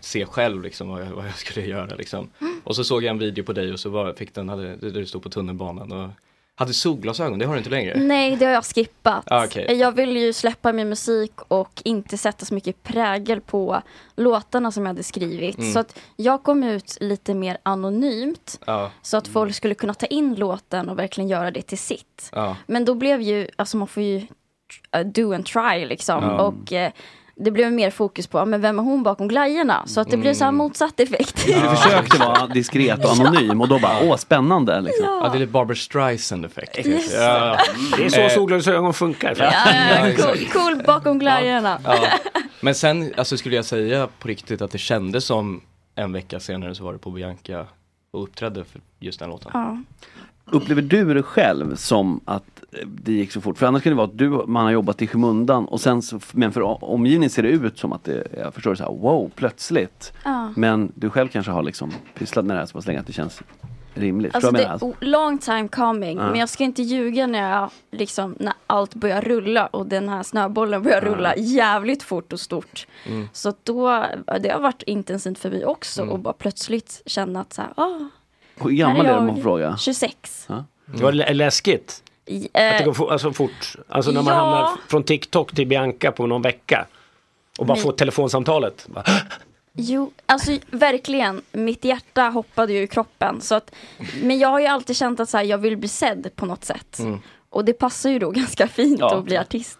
Speaker 9: se själv liksom vad jag, vad jag skulle göra liksom.
Speaker 15: Mm.
Speaker 9: Och så såg jag en video på dig och så var, fick den, hade, där du stod på tunnelbanan och hade solglasögon, det har du inte längre.
Speaker 15: Nej, det har jag skippat.
Speaker 9: Ah, okej.
Speaker 15: Jag vill ju släppa min musik och inte sätta så mycket prägel på låtarna som jag hade skrivit.
Speaker 9: Mm.
Speaker 15: Så att jag kom ut lite mer anonymt.
Speaker 9: Ja.
Speaker 15: Så att folk skulle kunna ta in låten och verkligen göra det till sitt.
Speaker 9: Ja.
Speaker 15: Men då blev ju, alltså man får ju tr- uh, do and try liksom.
Speaker 9: Ja.
Speaker 15: Och eh, det blev mer fokus på, ja, men vem är hon bakom glajjorna? Så att det blev
Speaker 9: Mm.
Speaker 15: så här motsatt effekt.
Speaker 3: Du försökte vara diskret och anonym och då bara, åh spännande liksom.
Speaker 9: Ja, det är lite Barbra Streisand-effekt.
Speaker 15: Yes.
Speaker 9: Ja.
Speaker 7: Det är så
Speaker 9: Eh,
Speaker 7: solglasögon funkar. Ja,
Speaker 15: Ja,
Speaker 9: exakt.
Speaker 15: cool, cool bakom glajjorna.
Speaker 9: Ja. Men sen alltså, skulle jag säga på riktigt att det kändes som en vecka senare så var det på Bianca och uppträdde för just den låten.
Speaker 15: Ja.
Speaker 3: Upplever du det själv som att eh, det gick så fort? För annars kan det vara att du, man har jobbat i skymundan och sen så, men för o- omgivningen ser det ut som att det, jag förstår det så här, wow, plötsligt.
Speaker 15: Ja.
Speaker 3: Men du själv kanske har liksom pysslat med det här så pass länge att det känns rimligt.
Speaker 15: Alltså
Speaker 3: Förstår du vad
Speaker 15: det
Speaker 3: jag menar?
Speaker 15: är o- long time coming,
Speaker 3: Ja.
Speaker 15: men jag ska inte ljuga när, jag, liksom, när allt börjar rulla och den här snöbollen börjar
Speaker 3: Ja.
Speaker 15: rulla jävligt fort och stort.
Speaker 3: Mm.
Speaker 15: Så att då, det har varit intensivt för mig också och bara plötsligt känna att så här, ah,
Speaker 3: Hur gammal
Speaker 15: här
Speaker 3: är du om
Speaker 15: jag
Speaker 3: man får fråga?
Speaker 15: 26.
Speaker 7: Det var lä- läskigt.
Speaker 15: I-
Speaker 7: Att det
Speaker 15: eh,
Speaker 7: går for, alltså fort. Alltså när man
Speaker 15: Ja.
Speaker 7: hamnar f- från TikTok till Bianca på någon vecka. Och bara
Speaker 15: Men-
Speaker 7: får telefonsamtalet. Bara,
Speaker 15: Jo, alltså verkligen. Mitt hjärta hoppade ju i kroppen. Så att, men jag har ju alltid känt att så här, jag vill bli sedd på något sätt.
Speaker 7: Mm.
Speaker 15: Och det passar ju då ganska fint
Speaker 7: Ja.
Speaker 15: att bli artist.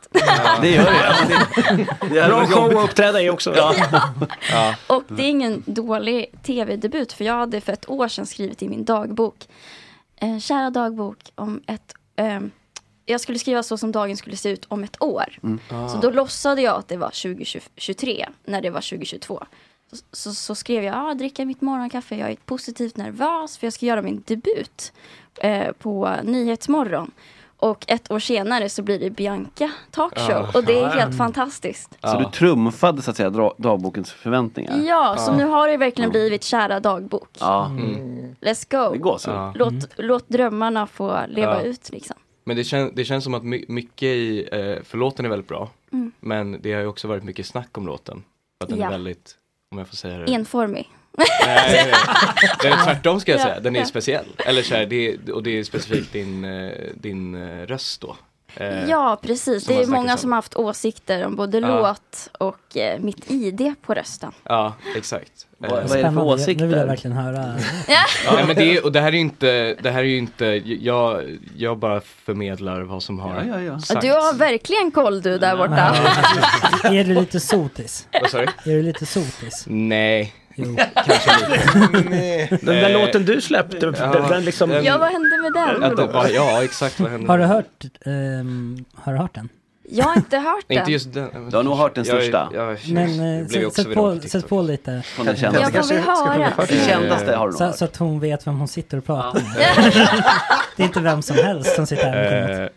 Speaker 3: Det gör det.
Speaker 7: Bra show att uppträda i också. Ja.
Speaker 15: Och det är ingen dålig tv-debut för jag hade för ett år sedan skrivit i min dagbok. Eh, kära dagbok, om ett, ehm, jag skulle skriva så som dagen skulle se ut om ett år.
Speaker 16: Mm.
Speaker 3: Ah.
Speaker 9: Ah.
Speaker 15: Så då låtsade jag att det var 2023 när det var 2022. så, så skrev jag, ah, dricka mitt morgonkaffe, jag är positivt nervös för jag ska göra min debut eh, på Nyhetsmorgon. Och ett år senare så blir det Bianca talkshow
Speaker 3: Ah.
Speaker 15: och det är helt fantastiskt.
Speaker 3: Så du trumfade så att säga dra- dagbokens förväntningar?
Speaker 15: Ja, så nu har det verkligen blivit kära dagbok.
Speaker 3: Ja. Mm.
Speaker 15: Let's go.
Speaker 3: Det går så.
Speaker 9: Ja. Mm.
Speaker 15: Låt, låt drömmarna få leva
Speaker 9: Ja.
Speaker 15: ut liksom.
Speaker 9: Men det, kän, det känns som att my, mycket i, eh, för låten är väldigt bra,
Speaker 15: Mm.
Speaker 9: men det har ju också varit mycket snack om låten. För att den
Speaker 15: Ja.
Speaker 9: är väldigt, om jag får säga det.
Speaker 15: Enformig.
Speaker 9: Nej, nej. Den är tvärtom ska jag
Speaker 15: Ja,
Speaker 9: säga, den är
Speaker 15: ja.
Speaker 9: speciell. Eller så här, det, är- och det är specifikt din, eh, din eh, röst då. Eh,
Speaker 15: Ja, precis.
Speaker 9: som
Speaker 15: Det
Speaker 9: har
Speaker 15: är många
Speaker 9: snackats om.
Speaker 15: som har haft åsikter om både
Speaker 9: Ja.
Speaker 15: låt och eh, mitt ID på rösten.
Speaker 9: Ja, exakt.
Speaker 5: Vad-
Speaker 9: Eh,
Speaker 5: vad är det för Spännande. åsikter? Nu vill jag verkligen höra.
Speaker 9: Ja. Nej, men det, är- och det här är ju inte, det här är ju inte jag, jag bara förmedlar vad som har
Speaker 15: Ja,
Speaker 9: sagts.
Speaker 15: Du har verkligen koll du där borta.
Speaker 5: Är du lite sotis?
Speaker 9: Vad sa du?
Speaker 5: Är du lite sotis?
Speaker 9: Nej, kanske lite.
Speaker 7: Den där
Speaker 9: Eh,
Speaker 7: låten du släppte, den- den liksom-
Speaker 15: Ja, vad hände med
Speaker 9: Att det
Speaker 15: den?
Speaker 9: var- ja, exakt vad hände?
Speaker 5: Har du hört, ehm, har du hört den?
Speaker 15: Jag har inte hört
Speaker 9: Nej, inte
Speaker 15: den.
Speaker 9: just den.
Speaker 3: Du har nog hört den
Speaker 9: Jag är-
Speaker 3: största.
Speaker 9: jag är-
Speaker 5: Men
Speaker 9: det blev
Speaker 5: eh,
Speaker 9: ju
Speaker 5: sätt,
Speaker 9: också
Speaker 5: sätt,
Speaker 9: viralt
Speaker 5: på,
Speaker 9: på
Speaker 5: sätt på lite.
Speaker 3: Från den kändaste.
Speaker 15: Jag får väl höra.
Speaker 9: Eh,
Speaker 3: Den kändaste har du nog
Speaker 5: Så,
Speaker 3: hört.
Speaker 5: så att hon vet vem hon sitter och pratar med. Det är inte vem som helst som sitter här med skinnet.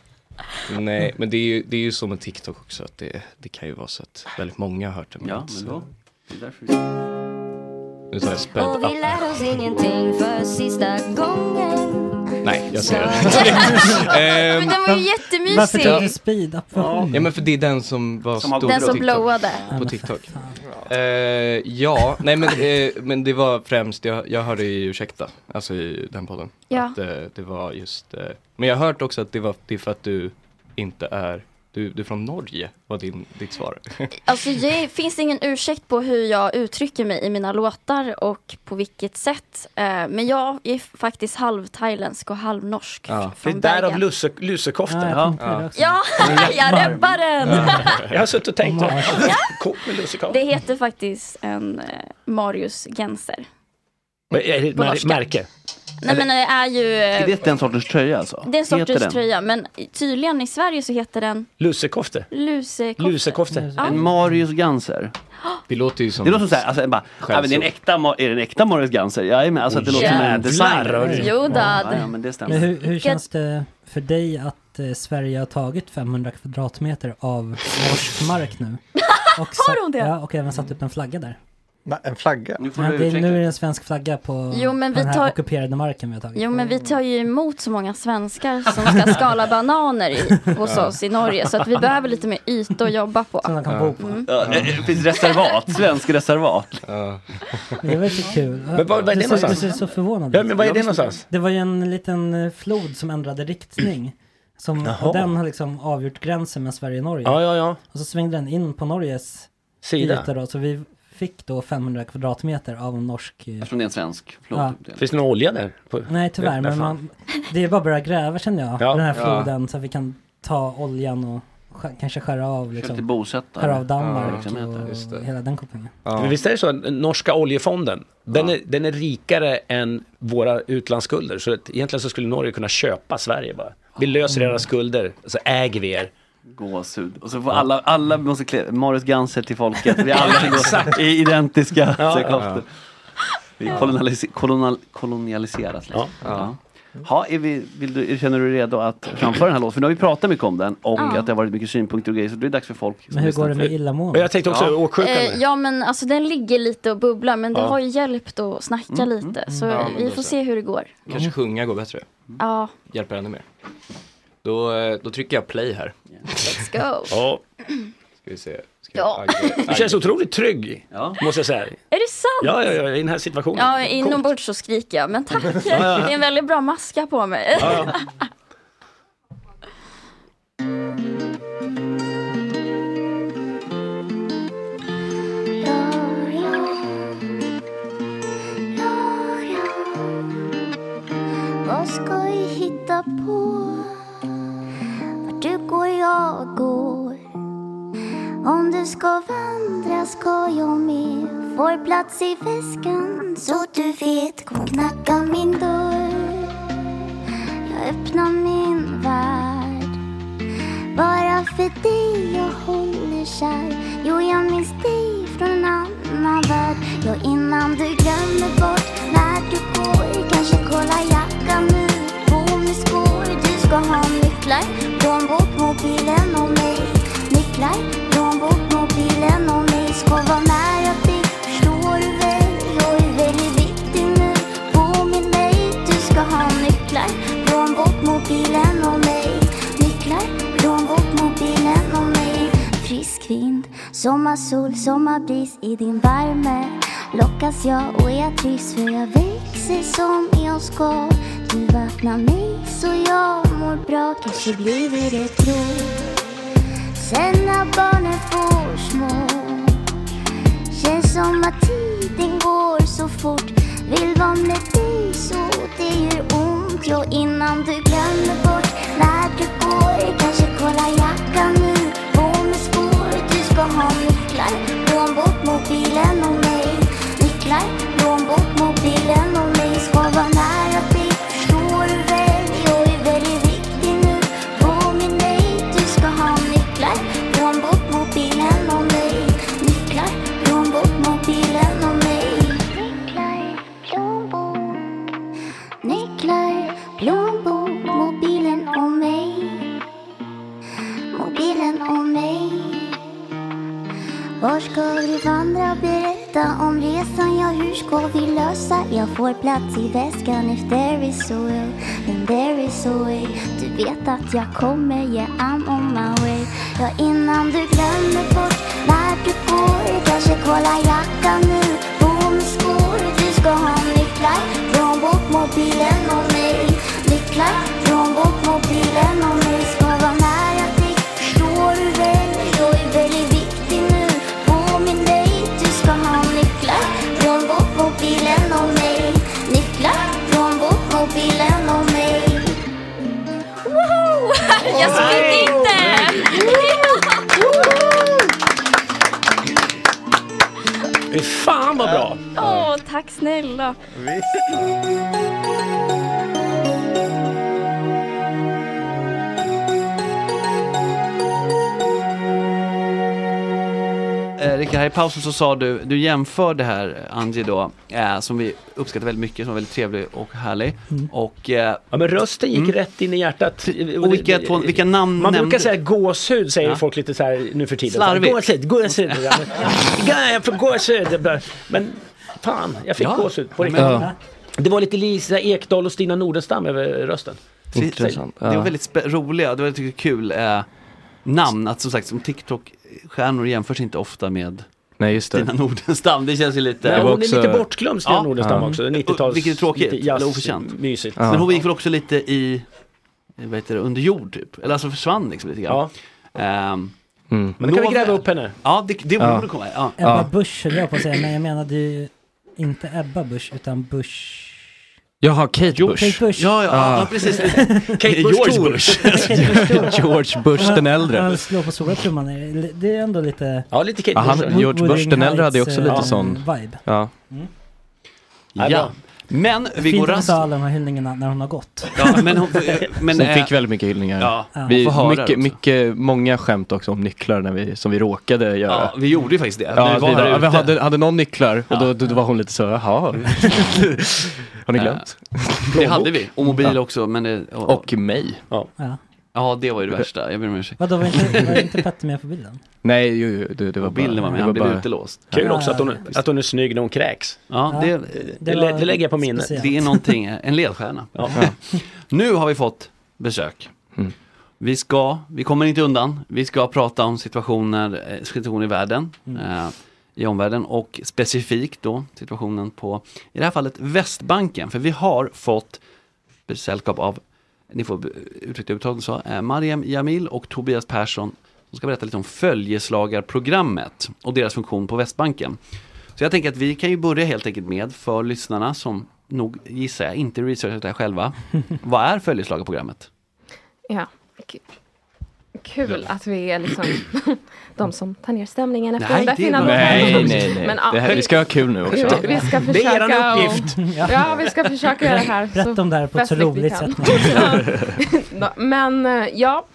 Speaker 9: Eh, nej, men det är, ju, det är ju så med TikTok också, att det, det kan ju vara så att väldigt många har hört det. men
Speaker 3: Ja,
Speaker 9: inte
Speaker 3: men
Speaker 9: så-
Speaker 3: då.
Speaker 9: Nu tar jag späd
Speaker 19: Och vi
Speaker 9: upp.
Speaker 19: lär oss ingenting för sista gången
Speaker 9: Nej, jag ser Ehm,
Speaker 15: Men den var ju
Speaker 5: Varför tog du
Speaker 15: jättemysig.
Speaker 5: speed up för
Speaker 9: Ja,
Speaker 5: honom?
Speaker 9: men för det är den som var
Speaker 15: Som har
Speaker 9: stor
Speaker 15: Den
Speaker 9: på
Speaker 15: som
Speaker 9: TikTok.
Speaker 15: blowade.
Speaker 9: På TikTok. Eh, ja, nej men, eh, men det var främst, jag, jag hörde ju Ursäkta, alltså i den podden.
Speaker 15: Ja.
Speaker 9: Att, eh, det var just, eh, men jag har hört också att det, var, det är för att du inte är, du, du är från Norge, var din, ditt svar.
Speaker 15: Alltså det finns ingen ursäkt på hur jag uttrycker mig i mina låtar och på vilket sätt. Eh, Men jag är faktiskt halvthailändsk och halvnorsk.
Speaker 7: Ja. Det är
Speaker 15: Från
Speaker 7: därav
Speaker 15: Bergen.
Speaker 7: lusse, lussekoftan.
Speaker 9: Alltså,
Speaker 15: Ja, jag reppar den!
Speaker 7: Jag har suttit och tänkt på kok med
Speaker 15: Det
Speaker 7: lussekoftan.
Speaker 15: heter faktiskt en eh, Marius Genser.
Speaker 7: Men Är det ett
Speaker 15: På
Speaker 7: mär-
Speaker 15: norska.
Speaker 7: märke?
Speaker 15: Nej men det är ju...
Speaker 3: Är
Speaker 15: eh,
Speaker 3: det den sortens tröja alltså?
Speaker 15: Det är en
Speaker 3: Heter den?
Speaker 15: sorters tröja men tydligen i Sverige så heter den
Speaker 7: Lusekofte.
Speaker 15: lusekofte. Ja.
Speaker 3: En Marius Ganser.
Speaker 9: Det låter ju som...
Speaker 3: Det låter som såhär, alltså, bara, ja, men det är, en äkta, Ma- är det en äkta Marius Ganser? Ja, men alltså att det
Speaker 7: Oh,
Speaker 3: låter som en
Speaker 7: jävlar.
Speaker 3: designer.
Speaker 15: Jo, då.
Speaker 3: Ja, ja, men det
Speaker 5: Men
Speaker 3: stämmer.
Speaker 5: hur, hur känns det för dig att eh, Sverige har tagit 500 kvadratmeter av norsk mark nu? Och har
Speaker 15: de det?
Speaker 5: Ja, och även satt upp en flagga där.
Speaker 8: Nej, en flagga?
Speaker 5: Ja, det, är- nu är det en svensk flagga på,
Speaker 15: Jo, men
Speaker 5: på
Speaker 15: vi
Speaker 5: den här
Speaker 15: tar-
Speaker 5: ockuperade marken vi har tagit.
Speaker 15: Jo men vi tar ju emot så många svenskar som ska skala bananer i, hos
Speaker 5: Ja.
Speaker 15: oss i Norge så att vi behöver lite mer yta att jobba på. Mm.
Speaker 3: Ja, det det finns reservat, svensk reservat.
Speaker 5: Det var lite kul.
Speaker 3: Men var- var är
Speaker 5: du,
Speaker 3: det
Speaker 5: ser, du
Speaker 3: någonstans?
Speaker 5: ser så förvånad ut.
Speaker 3: Ja, men var är det någonstans?
Speaker 5: Det var ju en liten eh, flod som ändrade riktning. Som,
Speaker 7: Jaha.
Speaker 5: och den har liksom avgjort gränsen mellan Sverige och Norge.
Speaker 7: Ja, ja, ja.
Speaker 5: Och så svängde den in på Norges
Speaker 7: Sida.
Speaker 5: yta då. Så vi fick då 500 kvadratmeter av en norsk... eh,
Speaker 3: Eftersom det är en svensk flod. typ.
Speaker 5: Ja.
Speaker 7: Finns det någon olja där? På-
Speaker 5: Nej tyvärr,
Speaker 7: Ja,
Speaker 5: men
Speaker 7: fan.
Speaker 5: man, det är bara att börja gräva känner jag.
Speaker 7: Ja.
Speaker 5: den här
Speaker 7: Ja.
Speaker 5: floden så att vi kan ta oljan och sk- kanske skära av
Speaker 3: lite
Speaker 5: liksom.
Speaker 3: bosättare.
Speaker 5: Skära av
Speaker 7: Ja,
Speaker 5: Danmark
Speaker 3: liksom,
Speaker 7: verksamheter. Just
Speaker 5: och hela den kopplingen.
Speaker 7: Men Visst är det så, att norska oljefonden, den, är, den är rikare än våra utlandsskulder. Så att egentligen så skulle Norge kunna köpa Sverige bara. Vi löser
Speaker 5: Mm.
Speaker 7: era skulder, så äger vi er.
Speaker 3: Gåshud. Och så får alla, alla måste klä, Marius Ganser till folket. Vi alla ska gå i identiska
Speaker 7: Ja,
Speaker 3: säckoftor.
Speaker 7: ja.
Speaker 3: Vi kolonialis- kolonial- kolonialiseras liksom. Ja. Ha, är vi, vill du, känner du dig redo att framföra den här låten? För nu har vi pratat mycket om den och
Speaker 15: Ja.
Speaker 3: att det har varit mycket synpunkter och grejer. Så det är dags för folk som
Speaker 5: Men hur går det
Speaker 3: lyssnar.
Speaker 5: med illamående?
Speaker 15: Eh, ja men alltså den ligger lite och bubblar men det
Speaker 9: Ja. Mm.
Speaker 15: har ju hjälpt att snacka lite så
Speaker 9: Ja, men
Speaker 15: vi
Speaker 9: då
Speaker 15: får
Speaker 9: så.
Speaker 15: se hur det går.
Speaker 9: Kanske sjunga går bättre,
Speaker 15: Ja,
Speaker 9: hjälper ännu mer. Då, eh, då trycker jag play här.
Speaker 15: let's go.
Speaker 7: Ja.
Speaker 9: Ska vi se. Ska
Speaker 15: Ja.
Speaker 7: Du känns otroligt trygg, måste jag säga.
Speaker 15: Är det sant?
Speaker 7: Ja, ja, ja, i den här situationen.
Speaker 15: Ja, inombords så skriker jag, men tack. Det
Speaker 7: ja.
Speaker 15: är en väldigt bra maska på mig.
Speaker 7: Ja.
Speaker 19: Vad ska vi hitta på? Vart du går jag går Om du ska vandra ska jag med Får plats i väskan så du vet Kom knacka min dörr Jag öppnar min värld Bara för dig jag håller kär Jo, jag minns dig från en annan annan värld Ja, innan du glömmer bort när du går Kanske kolla jackan nu, på med skor Du ska ha nycklar, plånbok, mobilen och mig Nycklar, plånbok, mobilen och mig Ska vara nära dig, förstår du väl? Jag är väldigt viktig nu, påminn mig Du ska ha nycklar, plånbok, mobilen och mig Nycklar, plånbok, mobilen och mig Frisk vind, sommarsol, sommarbris i din värme Lockas jag och jag trivs för jag växer som jag ska Du vattnar mig så jag mår bra Kanske blir vi det tror Sen när barnen får små Känns som att tiden går så fort Vill vara med dig så det gör ont Ja, innan du glömmer bort när du går Kanske kolla jackan nu, på med skor Du ska ha nycklar, plånbok, mobilen och mig Nycklar, plånbok, mobilen och mig Ska vara nära dig, förstår du väl? Jag är väldigt viktig nu Påminn mig, du ska ha nycklar Plånbok, mobilen och mig Nycklar, plånbok, mobilen och mig Nycklar, plånbok Nycklar, plånbok, mobilen och mig Mobilen och mig Var ska vi vandra? Berätta om resan, ja hur ska vi lösa? Jag får plats i väskan if there is a will, then there is a way Du vet att jag kommer, yeah I'm on my way Ja innan du glömmer bort när du går Kanske kolla jackan nu, boom skor Du ska ha nycklar, plånbok, mobilen och mig Nycklar, plånbok, mobilen och mig Ska vara nära dig, förstår du väl? Jag är väldigt viktig nu, påminn dig Du ska ha nycklar, plånbok, mobilen och mig Nycklar, plånbok, mobilen och mig Woho!
Speaker 15: Jag spydde
Speaker 7: Fy Fan vad bra!
Speaker 15: Åh, tack snälla.
Speaker 3: Eh, Rickard, här i pausen så sa du, du jämför det här Angie då, eh, som vi uppskattar väldigt mycket, som var väldigt trevlig och härlig.
Speaker 5: Mm.
Speaker 3: Och, eh,
Speaker 7: ja men rösten gick rätt in i hjärtat.
Speaker 3: Och vilka två- vilka namn
Speaker 7: Man brukar
Speaker 3: nämnde-
Speaker 7: säga gåshud säger
Speaker 3: Ja.
Speaker 7: folk lite så här nu för tiden.
Speaker 3: Slarvigt.
Speaker 7: Gåshud, gåshud. Ja, men- Ja, jag får gåshud. Men fan, jag fick
Speaker 3: Ja.
Speaker 7: gåshud på riktigt.
Speaker 3: Men- Ja.
Speaker 7: Det var lite Lisa Ekdahl och Stina Nordenstam över rösten.
Speaker 3: Intressant. Det var väldigt spä- roliga, det var väldigt kul eh, namn. Att som sagt, som TikTok-stjärnor jämförs inte ofta med
Speaker 1: Nej, just det.
Speaker 3: Stina Nordenstam. Det känns ju lite... Mm.
Speaker 7: Men hon är lite bortglömd Stina Nordenstam också. 90-tals,
Speaker 3: Vilket är tråkigt,
Speaker 7: lite jazz-
Speaker 3: eller oförtjänt.
Speaker 7: Mysigt.
Speaker 3: Men hon gick väl också lite i, vad heter det, under jord typ. Eller alltså försvann liksom lite grann. Ehm,
Speaker 7: Men då kan vi
Speaker 3: nåväl.
Speaker 7: gräva upp henne.
Speaker 3: Ja, det, det borde
Speaker 5: Ja.
Speaker 3: du komma ja.
Speaker 5: Ebba Busch höll jag på att säga, men jag menade ju inte Ebba Busch utan Busch.
Speaker 9: Jaha, Kate Bush.
Speaker 5: Kate Bush.
Speaker 9: Kate Bush Ah. George Thor. Bush.
Speaker 5: Thor.
Speaker 9: George Bush den äldre.
Speaker 5: Han slår på stora trumman. här. Det är ändå lite...
Speaker 7: Ja, lite
Speaker 9: Ja, han, George Bush den äldre hade ju också lite sån...
Speaker 5: eh, mm, Vibe.
Speaker 9: Ja.
Speaker 5: Ja, bra.
Speaker 3: Men vi
Speaker 5: Fint
Speaker 3: går
Speaker 5: att hon
Speaker 3: raskt.
Speaker 5: sa alla de här hyllningarna när hon har gått.
Speaker 3: Ja, men hon,
Speaker 9: Men,
Speaker 3: men,
Speaker 9: Sen
Speaker 3: eh,
Speaker 9: fick väldigt mycket hyllningar.
Speaker 3: Ja. Hon
Speaker 9: Vi,
Speaker 3: får höra det
Speaker 9: mycket,
Speaker 3: också.
Speaker 9: mycket, många skämt också om nycklar när vi, som vi råkade göra.
Speaker 3: ja, vi gjorde ju faktiskt det.
Speaker 9: Ja,
Speaker 3: vi
Speaker 9: vi,
Speaker 3: var här
Speaker 9: ja, vi
Speaker 3: ute.
Speaker 9: hade, hade någon nycklar och då, då, var hon lite så, jaha. Har ni glömt?
Speaker 3: Det hade vi. Och mobil
Speaker 9: Ja.
Speaker 3: också. Men det, och,
Speaker 9: Och mig.
Speaker 7: Ja.
Speaker 5: Ja.
Speaker 3: ja, det var ju det värsta. Jag ber om ursäkt.
Speaker 5: Vadå, var inte, var inte Petter med på bilden?
Speaker 9: Nej, jo, jo, det, det var
Speaker 3: Och bilden var med,
Speaker 9: det
Speaker 3: han blev
Speaker 9: bara-
Speaker 3: utelåst.
Speaker 7: Kul också att hon, att hon är snygg när hon kräks.
Speaker 3: Ja, det,
Speaker 7: det, lä- det lägger jag på minnet.
Speaker 3: Det är någonting, en ledstjärna.
Speaker 7: Ja.
Speaker 3: Nu har vi fått besök.
Speaker 9: Mm.
Speaker 3: Vi ska, vi kommer inte undan, vi ska prata om situationer, eh, situationer i världen,
Speaker 6: Mm.
Speaker 3: eh, i omvärlden och specifikt då situationen på, i det här fallet Västbanken, för vi har fått sällskap av, ni får be- uttrycka uttalet så, eh, Mariam Jamil och Tobias Persson som ska berätta lite om följeslagarprogrammet och deras funktion på Västbanken. Så jag tänker att vi kan ju börja helt enkelt med, för lyssnarna som nog gissar jag inte researchat det här själva, vad är följeslagarprogrammet?
Speaker 20: Ja, k- kul att vi är liksom de som tar ner stämningen efter
Speaker 9: Nej,
Speaker 20: den där
Speaker 9: det är
Speaker 20: fina
Speaker 9: bra. Nej,
Speaker 20: låten.
Speaker 9: nej, nej.
Speaker 20: Men, ja,
Speaker 9: Det här- vi ska ha kul nu också.
Speaker 20: Vi, vi ska
Speaker 9: Det är
Speaker 20: försöka
Speaker 9: eran
Speaker 20: och-
Speaker 9: uppgift.
Speaker 20: Ja, vi ska försöka göra det här
Speaker 5: Berätta om det här på ett så
Speaker 20: festligt vi
Speaker 5: roligt
Speaker 20: kan.
Speaker 5: sätt.
Speaker 20: Men eh, ja,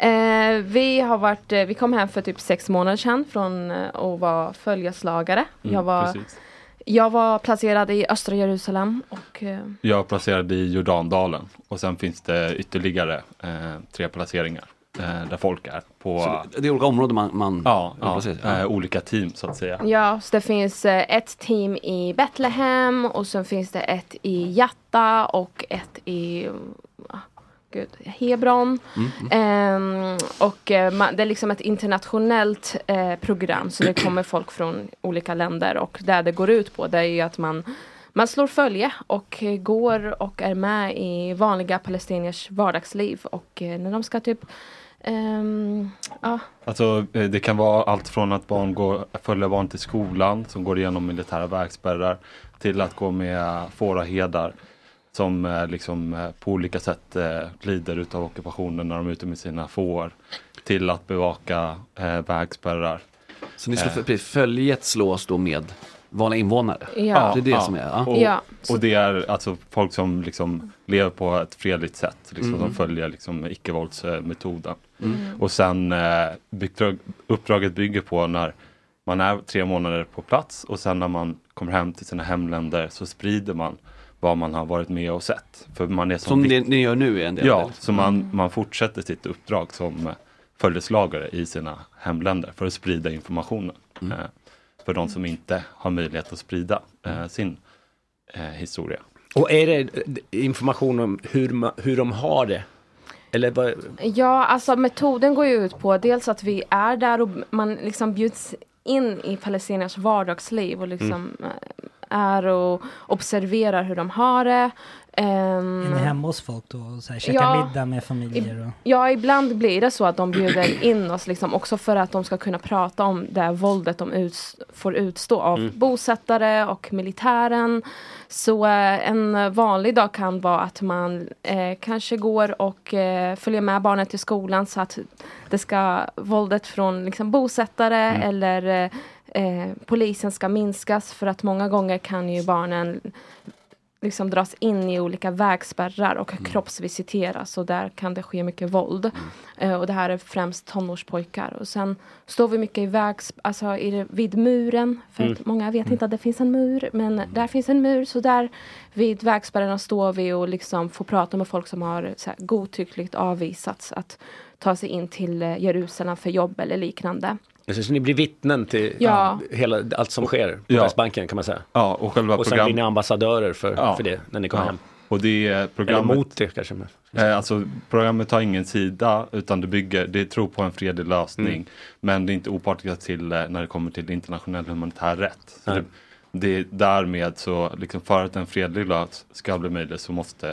Speaker 20: Eh, vi, har varit, eh, vi kom hem för typ sex månader sedan från eh, att vara följeslagare.
Speaker 21: Mm,
Speaker 20: jag, var,
Speaker 21: precis.
Speaker 20: jag var placerad i östra Jerusalem och eh,
Speaker 21: Jag placerade i Jordandalen och sen finns det ytterligare eh, tre placeringar eh, där folk är. På,
Speaker 3: Så det är olika områden man, man
Speaker 21: ja,
Speaker 3: man
Speaker 21: ja,
Speaker 3: placerar sig. Ja.
Speaker 21: Eh, olika team så att säga.
Speaker 20: ja, så det finns eh, ett team i Betlehem och sen finns det ett i Jatta och ett i ah, Gud, Hebron.
Speaker 13: Mm,
Speaker 20: Ehm, och eh, ma- det är liksom ett internationellt eh, program så det kommer folk från olika länder och där det går ut på det är ju att man man slår följe och eh, går och är med i vanliga palestiniers vardagsliv och eh, när de ska typ ehm, ja,
Speaker 21: Alltså, eh, det kan vara allt från att barn går, följa barn till skolan som går igenom militära vägspärrar till att gå med fåraherdar som eh, liksom, eh, på olika sätt eh, lider utav ockupationen när de är ute med sina får till att bevaka eh, vägspärrar.
Speaker 3: Så ni slår, precis, följet slås då med vanliga invånare?
Speaker 20: Ja.
Speaker 3: Det är det som är? Ja.
Speaker 21: Och,
Speaker 20: Ja.
Speaker 21: och det är alltså folk som liksom lever på ett fredligt sätt, liksom,
Speaker 3: Mm.
Speaker 21: som följer liksom, icke-våldsmetoden.
Speaker 3: Mm.
Speaker 21: Och sen eh, byggdrag, uppdraget bygger på när man är tre månader på plats och sen när man kommer hem till sina hemländer så sprider man vad man har varit med och sett. För man är som
Speaker 3: Som ni- ni gör nu är en del av det,
Speaker 21: Ja,
Speaker 3: liksom.
Speaker 21: så man, man fortsätter sitt uppdrag som eh, följeslagare i sina hemländer för att sprida informationen.
Speaker 3: Mm.
Speaker 21: Eh, för de som inte har möjlighet att sprida eh, sin eh, historia.
Speaker 7: Och är det eh, information om hur, ma- hur de har det? Eller vad?
Speaker 20: Ja, alltså metoden går ju ut på dels att vi är där och man liksom bjuds in i palestiniers vardagsliv och liksom eh, är och observerar hur de har det. Ehm,
Speaker 5: Är ni hemma hos folk då och så här, käkar
Speaker 20: Ja.
Speaker 5: middag med familjer? Och...
Speaker 20: Ja, ibland blir det så att de bjuder in oss liksom också för att de ska kunna prata om det här våldet de uts- får utstå av
Speaker 13: Mm.
Speaker 20: bosättare och militären. Så eh, en vanlig dag kan vara att man eh, kanske går och eh, följer med barnen till skolan så att det ska våldet från liksom, bosättare
Speaker 13: Mm.
Speaker 20: eller eh, eh, polisen ska minskas för att många gånger kan ju barnen liksom dras in i olika vägspärrar och
Speaker 13: Mm.
Speaker 20: kroppsvisiteras och där kan det ske mycket våld.
Speaker 13: Mm.
Speaker 20: Eh, och det här är främst tonårspojkar. Och sen står vi mycket i vägs, alltså i, det- vid muren, för att
Speaker 13: Mm.
Speaker 20: många vet inte att det finns en mur, men där finns en mur, så där vid vägspärrarna står vi och liksom får prata med folk som har så här, godtyckligt avvisats att ta sig in till eh, Jerusalem för jobb eller liknande.
Speaker 7: Alltså, Så, så ni blir vittnen till
Speaker 20: Ja.
Speaker 7: hela, allt som sker på
Speaker 21: Ja.
Speaker 7: Västbanken kan man säga?
Speaker 21: Ja, och själva
Speaker 7: Och sen
Speaker 21: program-
Speaker 7: blir ni ambassadörer för,
Speaker 21: Ja.
Speaker 7: för det när ni kommer
Speaker 21: Ja.
Speaker 7: hem?
Speaker 21: Och det är programmet...
Speaker 7: Eller mot det kanske? men-
Speaker 21: Eh, alltså programmet tar ingen sida utan det bygger, det tror på en fredlig lösning.
Speaker 7: Mm.
Speaker 21: Men det är inte opartiska till eh, när det kommer till internationell humanitär rätt. Så
Speaker 7: Nej.
Speaker 21: det, det är därmed så, liksom för att en fredlig lös ska bli möjlig så måste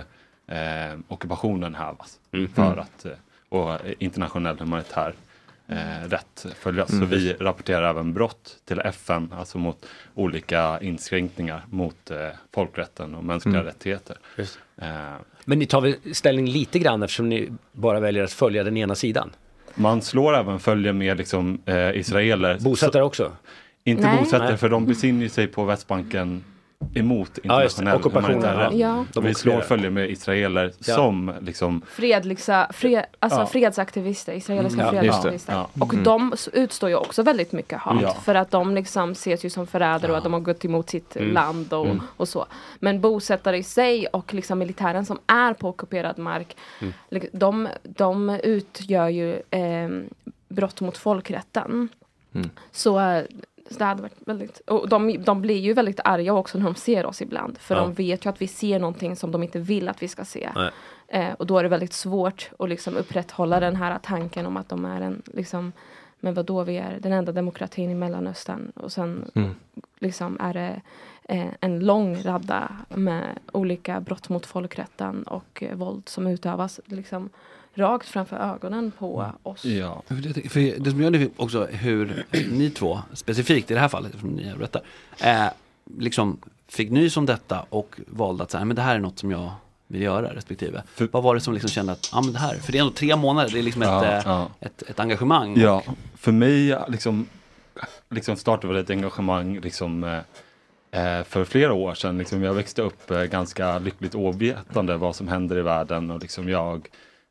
Speaker 21: eh, ockupationen hävas.
Speaker 7: Mm.
Speaker 21: För att, eh, och eh, internationell humanitär eh, rätt följas.
Speaker 7: Mm.
Speaker 21: Så vi rapporterar även brott till FN, alltså mot olika inskränkningar mot eh, folkrätten och mänskliga
Speaker 7: Mm.
Speaker 21: rättigheter. Eh,
Speaker 7: Men ni tar väl ställning lite grann eftersom ni bara väljer att följa den ena sidan?
Speaker 21: Man slår även följe med liksom, eh, israeler. Bosättare
Speaker 7: också?
Speaker 21: Inte
Speaker 7: Nej.
Speaker 21: bosättare,
Speaker 7: Nej.
Speaker 21: för de besinner sig på Västbanken emot
Speaker 7: Ja, just det.
Speaker 21: internationell
Speaker 7: Ockupationen,
Speaker 21: humanitär rätt.
Speaker 20: ja. Ja.
Speaker 21: Vi slår
Speaker 7: ockuperar.
Speaker 21: följe med israeler
Speaker 7: Ja.
Speaker 21: som liksom
Speaker 20: fredliga, fred, alltså
Speaker 21: Ja.
Speaker 20: fredsaktivister, israeliska
Speaker 21: Mm. Ja, just det.
Speaker 20: fredsaktivister.
Speaker 21: Ja.
Speaker 20: Och
Speaker 21: Mm.
Speaker 20: de s- utstår ju också väldigt mycket hat
Speaker 21: Ja.
Speaker 20: för att de liksom ses ju som förrädare och att de har gått emot sitt
Speaker 13: Mm.
Speaker 20: land och,
Speaker 13: Mm.
Speaker 20: och så. Men bosättare i sig och liksom militären som är på ockuperad mark,
Speaker 13: Mm.
Speaker 20: lik- de, de utgör ju eh, brott mot folkrätten.
Speaker 13: Mm.
Speaker 20: Så eh, så det hade varit väldigt, och de, de blir ju väldigt arga också när de ser oss ibland. För
Speaker 13: Ja.
Speaker 20: de vet ju att vi ser någonting som de inte vill att vi ska se.
Speaker 13: Nej.
Speaker 20: Eh, och då är det väldigt svårt att liksom upprätthålla den här tanken om att de är en, liksom, men vadå, vi är den enda demokratin i Mellanöstern. Och sen
Speaker 13: Mm.
Speaker 20: liksom är det eh, en lång radda med olika brott mot folkrätten och eh, våld som utövas liksom rakt framför ögonen på oss.
Speaker 21: Ja.
Speaker 3: Mm. För det, för det som jag undrar också hur ni två, specifikt i det här fallet, eftersom ni är rätta, eh, liksom fick nys om detta och valde att säga, men det här är något som jag vill göra respektive. Vad var det som liksom kände att, ja men det här, för det är ändå tre månader, det är liksom
Speaker 21: Ja,
Speaker 3: ett, eh,
Speaker 21: ja.
Speaker 3: Ett, ett engagemang.
Speaker 21: Ja, för mig liksom, liksom startade väl ett engagemang liksom, eh, eh, för flera år sedan. Liksom, jag växte upp eh, ganska lyckligt ovetande vad som händer i världen och liksom jag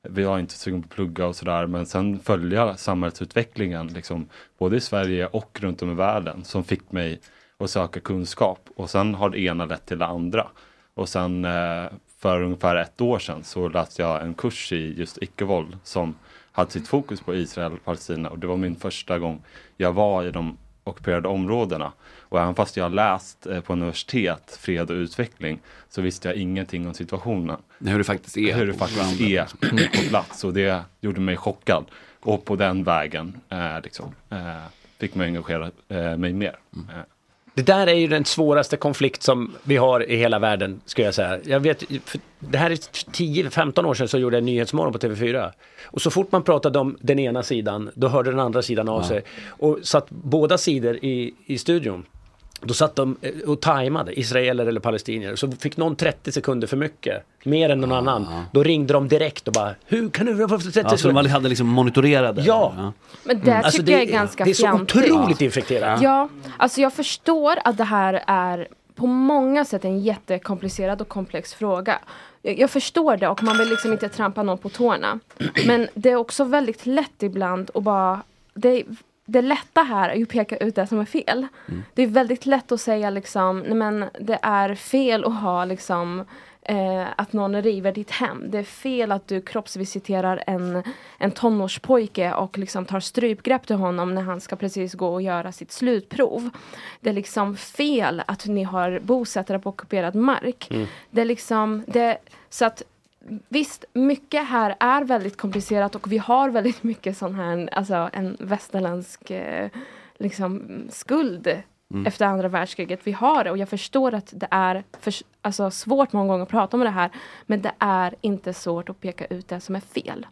Speaker 21: vi var inte sugen på att plugga och sådär, men sen följa samhällsutvecklingen, liksom, både i Sverige och runt om i världen, som fick mig att söka kunskap. Och sen har det ena lett till det andra. Och sen eh, för ungefär ett år sedan så läste jag en kurs i just icke-våld som hade sitt fokus på Israel och Palestina och det var min första gång jag var i de ockuperade områdena. Och även fast jag läst eh, på universitet, fred och utveckling, så visste jag ingenting om situationen.
Speaker 3: Hur det faktiskt är
Speaker 21: Hur det
Speaker 3: på
Speaker 21: faktiskt
Speaker 3: ground.
Speaker 21: är på plats och det gjorde mig chockad. Och på den vägen eh, liksom, eh, fick mig engagera eh, mig mer.
Speaker 3: Mm.
Speaker 21: Eh,
Speaker 7: Det där är ju den svåraste konflikt som vi har i hela världen, skulle jag säga. Jag vet, för det här är 10-15 år sedan så gjorde jag Nyhetsmorgon på TV4. Och så fort man pratade om den ena sidan, då hörde den andra sidan av
Speaker 3: Ja.
Speaker 7: sig. Och satt båda sidor i, i studion. Då satt de eh, och tajmade, israeler eller palestinier. Så fick någon 30 sekunder för mycket, mer än någon annan. Då ringde de direkt och bara, hur kan du... Varför 30
Speaker 3: Ja, så de
Speaker 7: sekunder?
Speaker 3: hade liksom monitorerade. Ja.
Speaker 20: Men det
Speaker 7: Alltså,
Speaker 20: tycker
Speaker 7: det
Speaker 20: jag är
Speaker 7: är-
Speaker 20: ganska
Speaker 7: det är så
Speaker 20: fjantigt.
Speaker 7: otroligt infekterat.
Speaker 20: Ja, alltså jag förstår att det här är på många sätt en jättekomplicerad och komplex fråga. Jag, jag förstår det och man vill liksom inte trampa någon på tårna. Men det är också väldigt lätt ibland att bara... Det, det lätta här är ju att peka ut det som är fel.
Speaker 7: Mm.
Speaker 20: Det är väldigt lätt att säga liksom, nej men det är fel att ha liksom eh, att någon river ditt hem. Det är fel att du kroppsvisiterar en, en tonårspojke och liksom tar strypgrepp till honom när han ska precis gå och göra sitt slutprov. Det är liksom fel att ni har bosättare på ockuperad mark.
Speaker 22: Mm.
Speaker 20: Det är liksom, det, så att Visst, mycket här är väldigt komplicerat och vi har väldigt mycket sån här, alltså en västerländsk eh, liksom, skuld
Speaker 23: Mm.
Speaker 20: efter andra världskriget. Vi har det och jag förstår att det är för, alltså, svårt många gånger att prata om det här. Men det är inte svårt att peka ut det som är fel.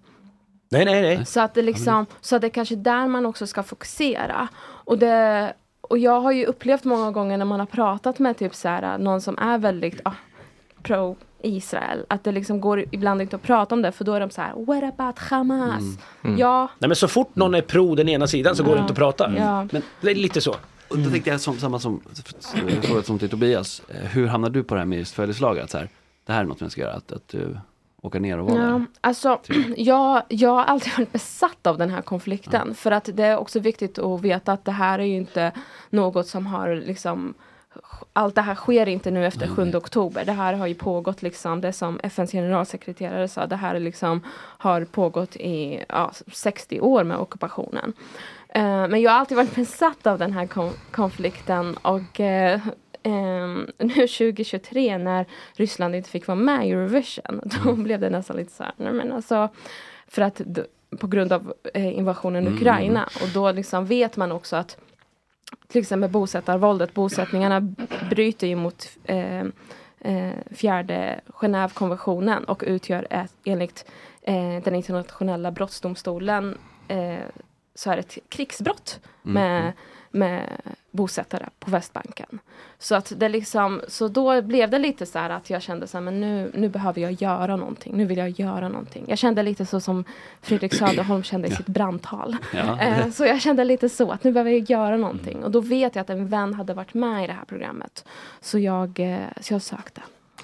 Speaker 7: Nej, nej, nej.
Speaker 20: Så att det liksom, så att det är kanske där man också ska fokusera. Och, det, och jag har ju upplevt många gånger när man har pratat med typ så här, någon som är väldigt ah, pro Israel, att det liksom går ibland inte att prata om det för då är de så här, what about Hamas?
Speaker 7: Mm.
Speaker 20: Mm.
Speaker 3: Mm.
Speaker 20: Ja,
Speaker 7: Nej men så fort någon är pro den ena sidan så går det inte att prata.
Speaker 20: Ja.
Speaker 7: Men det är lite så.
Speaker 3: Och då tänkte jag som, samma som jag frågade som till Tobias. Eh, Hur hamnar du på det här med just följeslaget? Så här, det här är något man ska göra, att, att du åker ner och vara
Speaker 20: Ja,
Speaker 3: där.
Speaker 20: alltså, jag, jag har alltid varit besatt av den här konflikten. För att det är också viktigt att veta att det här är ju inte något som har liksom allt det här sker inte nu efter 7 oktober. Det här har ju pågått liksom, det som FNs generalsekreterare sa, det här är liksom har pågått i ja, 60 år med ockupationen. Eh, men jag har alltid varit besatt av den här kon- konflikten och eh, ehm, nu 2023 när Ryssland inte fick vara med i Eurovision, då blev det nästan lite så här, nej men alltså, för att d- på grund av eh, invasionen i
Speaker 23: Mm.
Speaker 20: Ukraina och då liksom vet man också att till exempel bosättarvåldet, bosättningarna bryter ju mot eh, eh, fjärde Genèvekonventionen och utgör ett, enligt eh, den internationella brottsdomstolen eh, så är det ett krigsbrott
Speaker 23: Mm.
Speaker 20: med, med bosättare på Västbanken. Så, att det liksom, så då blev det lite så här att jag kände så här, men nu, nu behöver jag göra någonting. Nu vill jag göra någonting. Jag kände lite så som Fredrik Söderholm kände i sitt brandtal.
Speaker 23: Ja.
Speaker 20: Eh, Så jag kände lite så, att nu behöver jag göra någonting. Och då vet jag att en vän hade varit med i det här programmet. Så jag, eh, så jag sökte.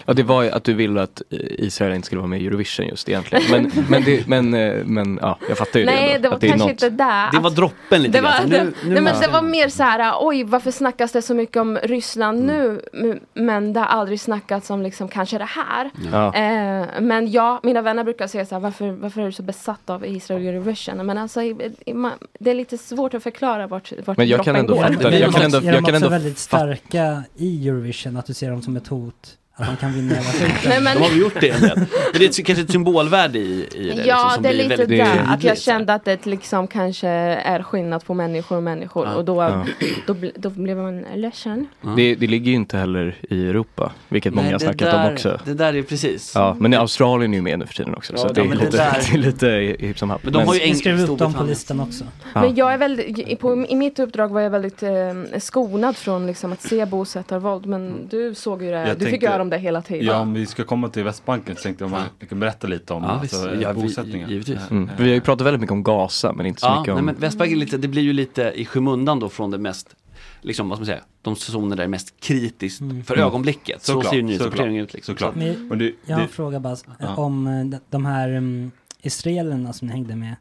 Speaker 24: Ja, det var ju att du ville att eh, Israel inte skulle vara med i Eurovision just egentligen. Men, men, det, men, eh, men ja, jag fattar ju det.
Speaker 20: Nej,
Speaker 24: ändå,
Speaker 20: det var
Speaker 24: att är
Speaker 20: kanske
Speaker 24: något-
Speaker 20: inte där. Det var
Speaker 3: droppen
Speaker 20: Det var, det, nej, men
Speaker 24: måste-
Speaker 20: det var mer så här, oj varför snackas det så mycket om Ryssland nu m- men det har aldrig snackats om liksom kanske det här.
Speaker 23: Ja.
Speaker 20: Eh, men ja, mina vänner brukar säga så här, varför, varför är du så besatt av Israel och Eurovision? Men alltså, i- i- ma- det är lite svårt att förklara vart, vart
Speaker 24: Men jag
Speaker 20: droppen
Speaker 24: kan ändå
Speaker 20: går.
Speaker 24: fatta det. Jag kan ändå,
Speaker 5: är de
Speaker 24: jag kan
Speaker 5: också
Speaker 24: ändå
Speaker 5: väldigt starka i Eurovision? Att du ser dem som ett hot? Att de kan vinna hela tiden?
Speaker 20: Nej, men-
Speaker 3: De har ju gjort det en del. Men det är ett- kanske ett symbolvärde i, i det.
Speaker 20: ja,
Speaker 3: liksom, som
Speaker 20: det
Speaker 3: blir
Speaker 20: är lite
Speaker 3: väldigt
Speaker 20: där.
Speaker 3: tydligt.
Speaker 20: Att jag kände att det liksom kanske är skillnad på människor och människor.
Speaker 24: Ja.
Speaker 20: Och då,
Speaker 24: Ja.
Speaker 20: då, bl- då blev man ledsen.
Speaker 24: det, det ligger ju inte heller i Europa, vilket
Speaker 3: Nej,
Speaker 24: många har
Speaker 3: det
Speaker 24: snackat
Speaker 3: där-
Speaker 24: om också.
Speaker 3: Det där är precis.
Speaker 24: Ja, men Australien är ju med nu för tiden också,
Speaker 3: Ja,
Speaker 24: så att
Speaker 3: ja,
Speaker 24: det är
Speaker 3: men det
Speaker 24: lite,
Speaker 3: där-
Speaker 24: det är lite hipp som happ.
Speaker 3: Men de har ju
Speaker 5: Vi skrev upp dem på listan också.
Speaker 24: Ja.
Speaker 20: Men jag är väldigt, i- på, i mitt uppdrag var jag väldigt eh, skonad från liksom, att se bosättarvåld. Men du såg ju det,
Speaker 21: Jag
Speaker 20: du fick
Speaker 21: tänkte-
Speaker 20: göra om det hela tiden.
Speaker 21: Ja, om vi ska komma till Västbanken så tänkte jag om man kan berätta lite om
Speaker 3: Ja,
Speaker 21: alltså,
Speaker 3: visst. Ja, vi-
Speaker 21: bosättningen.
Speaker 3: givetvis.
Speaker 24: Mm. Vi har ju pratat väldigt mycket om Gaza, men inte så
Speaker 3: Ja,
Speaker 24: mycket
Speaker 3: nej,
Speaker 24: om...
Speaker 3: men Västbanken är lite, det blir ju lite i skymundan då från det mest, liksom, vad ska man säga, de zoner där det är mest kritiskt för
Speaker 21: Mm.
Speaker 3: ögonblicket. Så
Speaker 21: Såklart,
Speaker 3: ser ju nyhetsrapporteringen
Speaker 21: såklart,
Speaker 3: ut. Liksom.
Speaker 21: såklart.
Speaker 3: Så att-
Speaker 5: Men jag har en fråga bara eh,
Speaker 3: Ja.
Speaker 5: om eh, de- de här mm, israelerna som ni hängde med,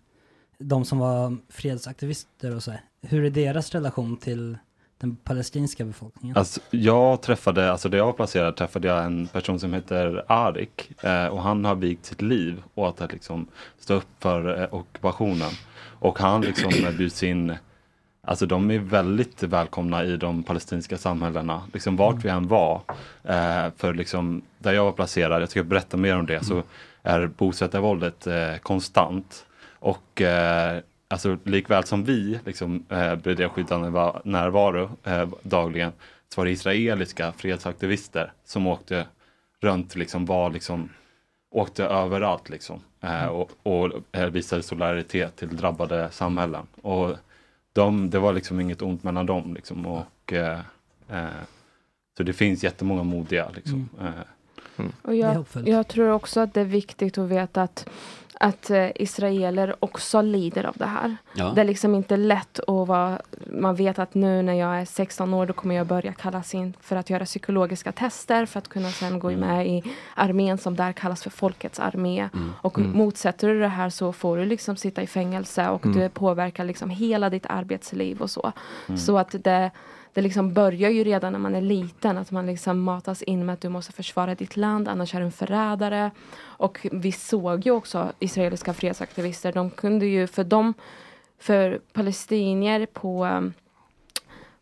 Speaker 5: de som var fredsaktivister och så, här, hur är deras relation till den palestinska befolkningen?
Speaker 21: Alltså, jag träffade, alltså där jag var placerad träffade jag en person som heter Arik eh, och han har vigt sitt liv åt att liksom stå upp för eh, ockupationen. Och han liksom eh, bjuds in, alltså de är väldigt välkomna i de palestinska samhällena, liksom vart vi än var. Eh, för liksom, där jag var placerad, jag ska berätta mer om det, så är bosättarvåldet eh, konstant. Och eh, alltså, likväl som vi liksom, eh, bedrev skyddande va- närvaro eh, dagligen, så var det israeliska fredsaktivister som åkte runt, liksom, var, liksom, åkte överallt liksom, eh, och, och eh, visade solidaritet till drabbade samhällen. Och de, det var liksom inget ont mellan dem. Liksom, och, eh, eh, så det finns jättemånga modiga. Liksom, eh.
Speaker 20: Och
Speaker 5: Det är
Speaker 20: jag,
Speaker 5: hoppfullt.
Speaker 20: jag tror också att det är viktigt att veta att, att eh, israeler också lider av det här.
Speaker 23: Ja.
Speaker 20: Det är liksom inte lätt att vara, man vet att nu när jag är 16 år då kommer jag börja kallas in för att göra psykologiska tester för att kunna sen gå
Speaker 23: Mm.
Speaker 20: med i armén som där kallas för folkets armé.
Speaker 23: Mm.
Speaker 20: Och
Speaker 23: Mm.
Speaker 20: motsätter du det här så får du liksom sitta i fängelse och
Speaker 23: Mm.
Speaker 20: det påverkar liksom hela ditt arbetsliv och så.
Speaker 23: Mm.
Speaker 20: Så att det, det liksom börjar ju redan när man är liten, att man liksom matas in med att du måste försvara ditt land, annars är du en förrädare. Och vi såg ju också israeliska fredsaktivister, de kunde ju, för dem, för palestinier på um,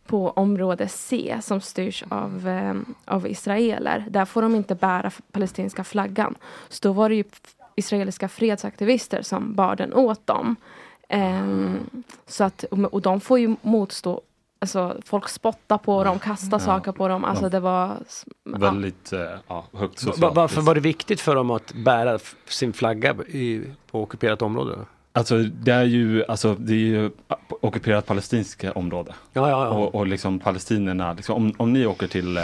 Speaker 20: på område C som styrs av, eh, av israeler. Där får de inte bära f- palestinska flaggan. Så då var det ju f- israeliska fredsaktivister som bar den åt dem. Ehm, så att, och de får ju motstå, alltså folk spottar på dem, kastar
Speaker 21: Ja.
Speaker 20: saker på dem. Alltså
Speaker 21: Ja.
Speaker 20: det var s-
Speaker 21: Väldigt eh, ja, högt
Speaker 20: Va-
Speaker 21: socialt.
Speaker 7: Va- Varför var det viktigt för dem att bära f- sin flagga i, på ockuperat område?
Speaker 21: Alltså det är ju, alltså, det är ju ockuperat palestinska område.
Speaker 7: Ja, ja, ja.
Speaker 21: Och, och liksom palestinierna, liksom, om, om ni åker till eh,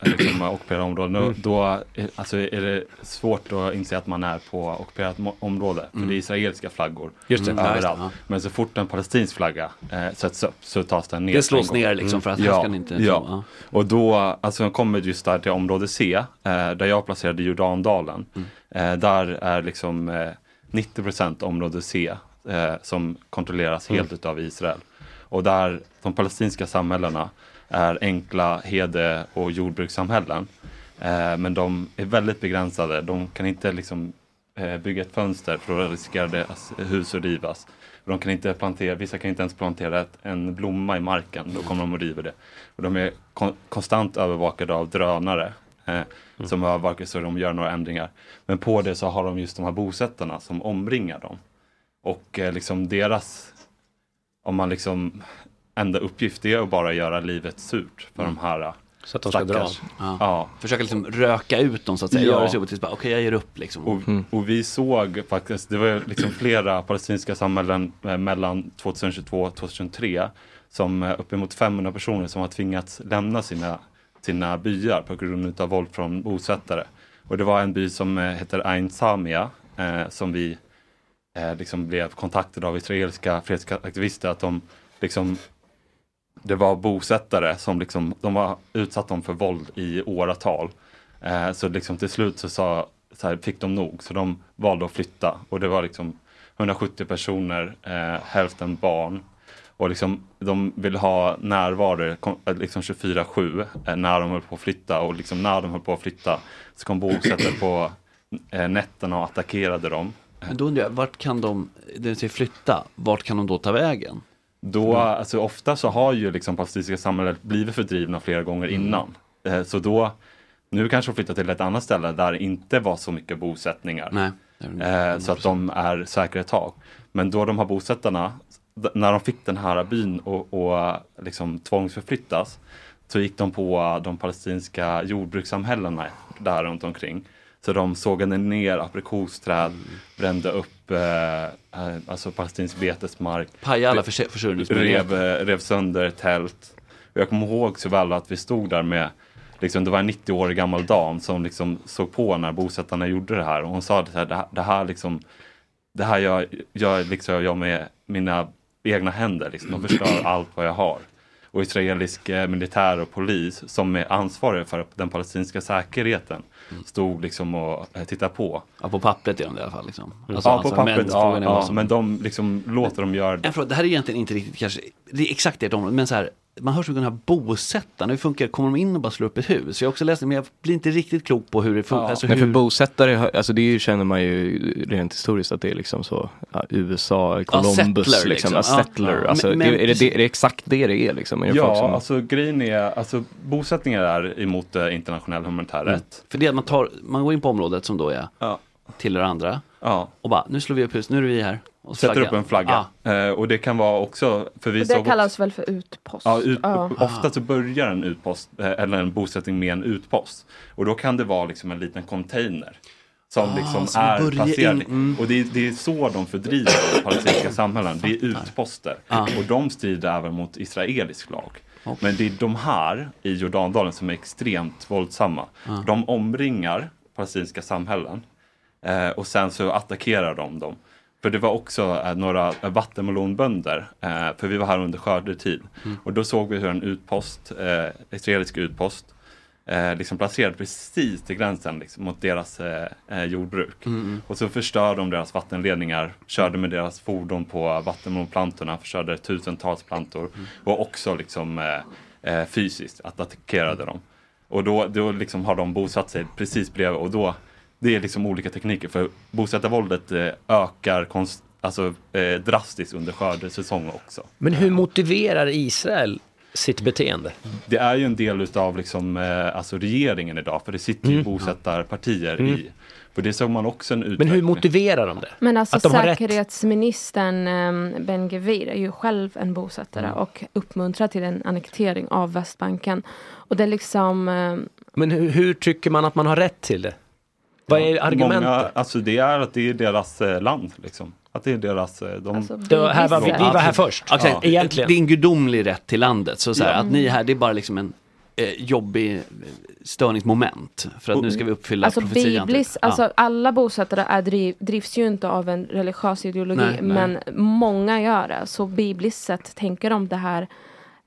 Speaker 21: liksom, ockuperade områden, då-
Speaker 7: Mm.
Speaker 21: då är- alltså, är det svårt att inse att man är på ockuperat mo- område. För det är israeliska flaggor Mm.
Speaker 7: Just det. Ja, just det,
Speaker 21: överallt.
Speaker 7: ja.
Speaker 21: Men så fort en palestinsk flagga eh, sätts upp så tas den ner.
Speaker 3: Det slås
Speaker 21: en gång.
Speaker 3: ner, liksom, för att här
Speaker 21: ja,
Speaker 3: ska ni inte-
Speaker 21: Ja,
Speaker 3: så, ja.
Speaker 21: och då, alltså jag kommer just där till område C, eh, där jag placerade Jordandalen. Eh, där är liksom eh, 90 område C eh, som kontrolleras helt
Speaker 7: Mm.
Speaker 21: utav Israel. Och där de palestinska samhällena är enkla hede och jordbrukssamhällen. Eh, men de är väldigt begränsade. De kan inte liksom eh, bygga ett fönster för då riskerar deras hus att rivas. De kan inte plantera, vissa kan inte ens plantera ett, en blomma i marken, då kommer de att riva det. Och de är kon- konstant övervakade av drönare eh,
Speaker 7: Mm.
Speaker 21: som övervakar så de gör några ändringar. Men på det så har de just de här bosättarna som omringar dem. Och eh, liksom deras, om man liksom, enda uppgift är att bara göra livet surt för de här eh,
Speaker 7: Så att de ska dra.
Speaker 21: stackars-
Speaker 3: Ja.
Speaker 21: Ja.
Speaker 3: Försöka liksom röka ut dem så att säga. Göra det så jobbigt tills bara, okej jag ger upp liksom.
Speaker 21: Och, och vi såg faktiskt, det var ju liksom flera palestinska samhällen eh, mellan 2022 och 2003 som eh, uppemot 500 personer som har tvingats lämna sina, sina byar på grund av våld från bosättare. Och det var en by som eh, heter Ain Samia eh, som vi eh, liksom blev kontaktade av israeliska fredsaktivister att de liksom det var bosättare som liksom, de var utsatt dem för våld i åratal. Eh, så liksom till slut så, sa, så här, fick de nog, så de valde att flytta. Och det var liksom 170 personer, eh, hälften barn. Och liksom, de ville ha närvaro kom, eh, liksom 24-7 eh, när de höll på att flytta. Och liksom när de höll på att flytta så kom bosättare på eh, nätterna och attackerade dem.
Speaker 3: Men då undrar jag, vart kan de, det vill säga flytta, vart kan de då ta vägen?
Speaker 21: Då, alltså ofta så har ju liksom palestinska samhället blivit fördrivna flera gånger
Speaker 3: Mm.
Speaker 21: innan. Eh, Så då, nu kanske de flyttar till ett annat ställe där det inte var så mycket bosättningar.
Speaker 3: Nej,
Speaker 21: Eh, så att de är säkra ett tag. Men då de här bosättarna, d- när de fick den här byn och, och liksom tvångsförflyttas, så gick de på eh, de palestinska jordbrukssamhällena där runt omkring. Så de sågade ner aprikosträd, brände upp eh, eh, alltså palestinsk betesmark.
Speaker 3: Pajade alla förse- försörjningsmöjligheter.
Speaker 21: Rev, eh, rev sönder tält. Och jag kommer ihåg så väl att vi stod där med Liksom, det var en 90-årig gammal dam som liksom såg på när bosättarna gjorde det här och hon sa det, så här, det, här- det här liksom, det här gör, gör liksom jag med mina egna händer. Liksom. De förstör allt vad jag har. och israelisk eh, militär och polis som är ansvariga för den palestinska säkerheten stod liksom och eh, tittade på.
Speaker 3: Mm. Ja, på pappret är de det i alla fall. Liksom.
Speaker 21: ja,
Speaker 3: Alltså,
Speaker 21: på
Speaker 3: alltså,
Speaker 21: pappret.
Speaker 3: men
Speaker 21: Ja,
Speaker 3: frågan är vad
Speaker 21: ja,
Speaker 3: som-
Speaker 21: men de liksom låter dem göra det.
Speaker 3: En fråga, det här är egentligen inte riktigt kanske, det är exakt ert område, men så här, man hör så mycket om den här bosättarna, hur funkar det, kommer de in och bara slår upp ett hus? Jag har också läst det, men jag blir inte riktigt klok på hur det funkar. Alltså,
Speaker 24: Nej, för
Speaker 3: hur...
Speaker 24: bosättare, har- alltså det är ju, känner man ju rent historiskt att det är liksom så, ja, USA, Columbus, liksom,
Speaker 21: settler liksom.
Speaker 24: Ja,
Speaker 21: Ja.
Speaker 24: settler.
Speaker 21: Ja.
Speaker 24: Alltså,
Speaker 21: Men- men
Speaker 24: är, är, det,
Speaker 21: precis.
Speaker 24: det, är det exakt det det är liksom? Är det
Speaker 21: Ja,
Speaker 24: folk som-
Speaker 21: alltså grejen är, alltså bosättningar är emot eh, internationell humanitär
Speaker 3: Mm.
Speaker 21: rätt.
Speaker 3: För det är att man, tar, man går in på området som då är tillhör andra och bara, nu slår vi upp hus, nu är vi här. Och
Speaker 21: Sätter
Speaker 3: flagga.
Speaker 21: upp en flagga. Eh, och det kan vara också, för vi
Speaker 20: Och det
Speaker 21: såg också,
Speaker 20: kallas väl för utpost?
Speaker 21: ja, ut,
Speaker 20: Ja.
Speaker 21: ofta så börjar en utpost, eh, eller en bosättning med en utpost. Och då kan det vara liksom en liten container. Som
Speaker 3: Ah,
Speaker 21: liksom
Speaker 3: som
Speaker 21: är
Speaker 3: börjar
Speaker 21: placerad.
Speaker 3: in- mm.
Speaker 21: Och det är, det är så de fördriver de palestinska samhällen. Det är utposter.
Speaker 3: Ah.
Speaker 21: Och de strider även mot israelisk lag. Men det är de här i Jordandalen som är extremt våldsamma.
Speaker 3: Ah.
Speaker 21: De omringar palestinska samhällen eh, och sen så attackerar de dem. För det var också eh, några vattenmelonbönder, eh, för vi var här under skördetid.
Speaker 3: Mm.
Speaker 21: Och då såg vi hur en utpost, eh, israelisk utpost, eh, liksom placerad precis till gränsen liksom, mot deras eh, eh, jordbruk.
Speaker 3: Mm, mm.
Speaker 21: Och så förstörde de deras vattenledningar, körde med deras fordon på vattenmelonplantorna, förstörde tusentals plantor och också liksom eh, eh, fysiskt att attackerade dem. Och då, då liksom har de bosatt sig precis bredvid och då, det är liksom olika tekniker för bosättarvåldet eh, ökar konst, alltså, eh, drastiskt under skördesäsong också.
Speaker 7: Men hur motiverar Israel sitt beteende?
Speaker 21: Det är ju en del utav liksom, eh, alltså regeringen idag, för det sitter ju
Speaker 7: Mm.
Speaker 21: bosättarpartier
Speaker 7: Mm.
Speaker 21: i. För det såg man också en
Speaker 7: Men
Speaker 21: utveckling.
Speaker 7: hur motiverar de det?
Speaker 20: Men alltså
Speaker 7: att de har rätt?
Speaker 20: säkerhetsministern eh, Ben Gvir är ju själv en bosättare
Speaker 7: Mm.
Speaker 20: och uppmuntrar till en annektering av Västbanken. Och det är liksom, eh,
Speaker 7: Men hur, hur tycker man att man har rätt till det? Vad är argumentet?
Speaker 21: Många, alltså det är att det är deras eh, land liksom. Att det är deras... eh, De,
Speaker 20: Alltså,
Speaker 7: Det var- här var vi- vi var här först.
Speaker 3: Ja, exakt.
Speaker 7: Ja. Egentligen.
Speaker 3: Det är en gudomlig rätt till landet. Så, så här,
Speaker 7: Ja.
Speaker 3: Att ni är här, det är bara liksom en eh, jobbig eh, störningsmoment. För att nu ska vi uppfylla
Speaker 20: alltså
Speaker 3: profetian. typ.
Speaker 20: bibliskt, alltså alla bosättare är driv, drivs ju inte av en religiös ideologi,
Speaker 3: Nej, nej.
Speaker 20: men många gör det. Så bibliskt sett tänker de det här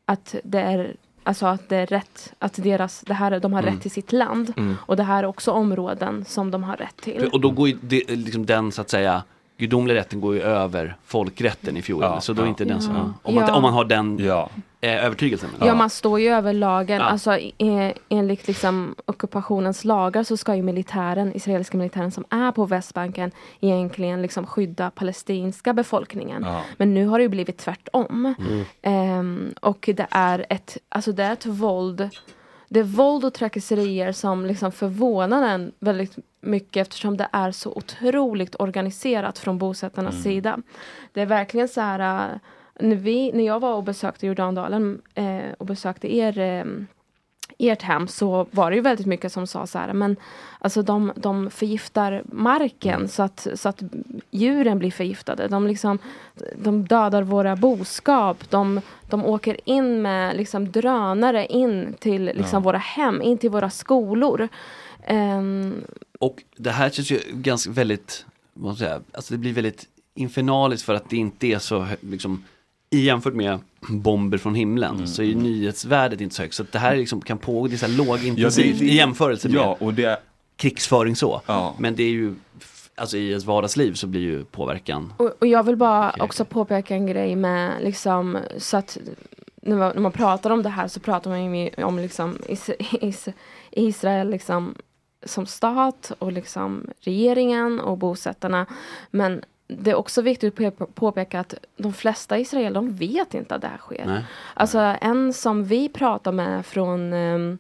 Speaker 20: att det är Alltså att det är rätt, att deras, det här, de har
Speaker 3: Mm.
Speaker 20: rätt till sitt land.
Speaker 3: Mm.
Speaker 20: Och det här är också områden som de har rätt till.
Speaker 3: Och då går ju det, liksom den så att säga gudomliga rätten går ju över folkrätten i fjol.
Speaker 21: Ja,
Speaker 3: så då är
Speaker 21: ja.
Speaker 3: inte den så,
Speaker 20: Ja.
Speaker 3: om, man,
Speaker 20: Ja.
Speaker 3: om man har den eh, övertygelsen.
Speaker 20: Ja, man står ju över lagen. Alltså, i- enligt liksom, ockupationens lagar så ska ju militären, israeliska militären som är på Västbanken egentligen liksom skydda palestinska befolkningen.
Speaker 23: Ja.
Speaker 20: Men nu har det ju blivit tvärtom. Ehm, och det är ett, alltså det är ett våld det är våld och trakasserier som liksom förvånar en väldigt mycket eftersom det är så otroligt organiserat från bosättarnas
Speaker 23: Mm.
Speaker 20: sida. Det är verkligen så här äh, när, vi, när jag var och besökte Jordandalen eh, och besökte er ehm, ert hem så var det ju väldigt mycket som sa så här, men alltså de, de förgiftar marken så, att, så att djuren blir förgiftade. De, liksom, de dödar våra boskap. De, de åker in med liksom drönare in till liksom
Speaker 3: Ja.
Speaker 20: våra hem, in till våra skolor. Ehm,
Speaker 3: Och det här känns ju ganska väldigt, vad man ska säga, alltså det blir väldigt infernaliskt för att det inte är så, hö- liksom, i jämfört med bomber från himlen
Speaker 21: Mm,
Speaker 3: så är ju nyhetsvärdet inte så högt. Så att det här liksom kan pågå, det är så här lågintensivt
Speaker 21: Ja, det-
Speaker 3: i jämförelse med
Speaker 21: Ja, och det,
Speaker 3: krigsföring så. Men det är ju, f- alltså i ens vardagsliv så blir ju påverkan
Speaker 20: Och, och jag vill bara också påpeka en grej med liksom så att när man, när man pratar om det här så pratar man ju om liksom is, is, Israel liksom som stat och liksom regeringen och bosättarna. Men det är också viktigt att pe- påpeka att de flesta israeler de vet inte att det här sker.
Speaker 23: Nej.
Speaker 20: Alltså en som vi pratar med från ehm,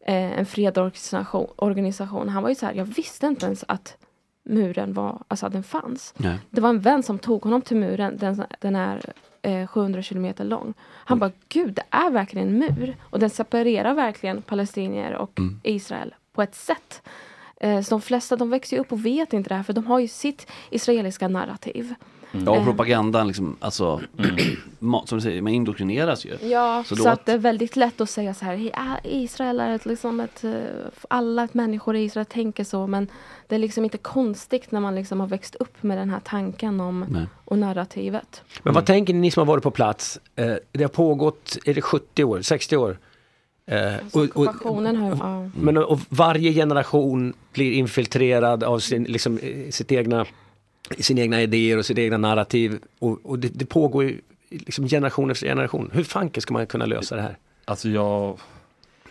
Speaker 20: eh, en fredsorganisation, organisation, han var ju så här, jag visste inte ens att muren var, alltså att den fanns.
Speaker 23: Nej.
Speaker 20: Det var en vän som tog honom till muren, den, den är eh, 700 kilometer lång.
Speaker 3: Mm.
Speaker 20: Han bara, gud det är verkligen en mur och den separerar verkligen palestinier och
Speaker 3: Mm.
Speaker 20: Israel på ett sätt. Eh, så de flesta de växer ju upp och vet inte det här för de har ju sitt israeliska narrativ.
Speaker 3: Mm.
Speaker 21: Mm.
Speaker 3: Ja, och propagandan liksom, alltså, ma- som du säger, man indoktrineras ju.
Speaker 20: Ja,
Speaker 3: så
Speaker 20: så,
Speaker 3: då
Speaker 20: att det är väldigt lätt att säga så här, "Hej, ah, Israel är ett, liksom ett, eh, alla människor i Israel tänker så, men det är liksom inte konstigt när man liksom har växt upp med den här tanken om
Speaker 7: Nej.
Speaker 20: och narrativet.
Speaker 7: Men
Speaker 21: Mm.
Speaker 7: vad tänker ni som har varit på plats? Eh, det har pågått, är det 70 år, 60 år? Eh, och, och,
Speaker 20: Alltså, Ockupationen har ju, ja.
Speaker 7: Mm. men och varje generation blir infiltrerad av sin, liksom, eh, sitt egna, sina egna idéer och sitt egna narrativ. Och, och det, det pågår ju liksom generation efter generation. Hur fanken ska man kunna lösa det här?
Speaker 21: Alltså jag...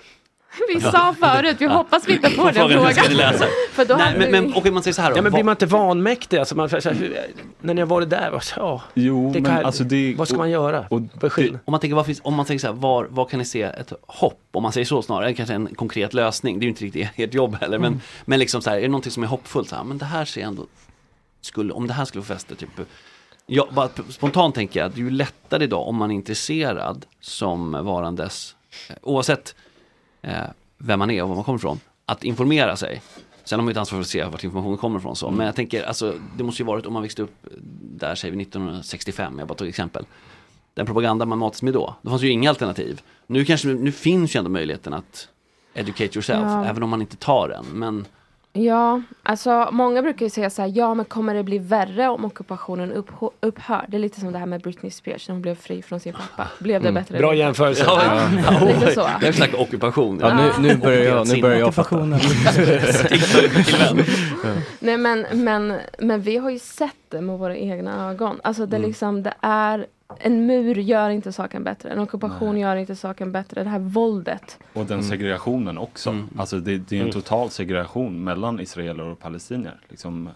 Speaker 20: Vi sa förut, vi hoppas vi inte får den
Speaker 7: Frågan, hur ska ni
Speaker 20: frågan.
Speaker 7: läsa?
Speaker 20: För då hade vi-
Speaker 3: man säger så här
Speaker 7: Ja, men blir man inte vanmäktig? Alltså man, så här, hur- när ni har varit där, vad- ja,
Speaker 21: jo, alltså
Speaker 7: det kan,
Speaker 3: alltså,
Speaker 7: vad ska man göra?
Speaker 3: om man tänker, vad finns, om man tänker så här, var, vad kan ni se ett hopp? Om man säger så snarare, än kanske en konkret lösning. Det är ju inte riktigt ert jobb heller. Men,
Speaker 25: Mm.
Speaker 3: men liksom så här, är det någonting som är hoppfullt? Så här, men det här ser jag ändå, skulle, om det här skulle få fäste, typ. Ja, bara p- spontant tänker jag att det är ju lättare idag om man är intresserad som varandes, eh, oavsett eh, vem man är och var man kommer ifrån, att informera sig. Sen har man ju ett ansvar för att se vart informationen kommer ifrån. Så. Men jag tänker, alltså, det måste ju varit om man växte upp, där säger vi 1965, jag bara tog exempel den propaganda man matas med då. Då fanns ju inga alternativ. Nu, kanske, nu finns ju ändå möjligheten att educate yourself,
Speaker 20: Ja.
Speaker 3: även om man inte tar den. Men
Speaker 20: Ja, alltså många brukar ju säga så här, ja men kommer det bli värre om ockupationen uppho- upphör? Det är lite som det här med Britney Spears, när hon blev fri från sin pappa. Blev det
Speaker 3: Mm.
Speaker 20: bättre?
Speaker 7: Bra jämförelse.
Speaker 20: Ja,
Speaker 3: Ja.
Speaker 20: lite så.
Speaker 3: Jag snackar ockupation.
Speaker 9: Ja, nu, nu börjar jag, nu börjar jag fatta.
Speaker 20: Nej men, men, men vi har ju sett det med våra egna ögon. Alltså det är
Speaker 26: Mm.
Speaker 20: liksom, det är en mur gör inte saken bättre. En ockupation gör inte saken bättre. Det här våldet.
Speaker 21: Och den segregationen också. Alltså det, det är ju en
Speaker 7: Mm.
Speaker 21: total segregation mellan israeler och palestinier. Liksom. eh,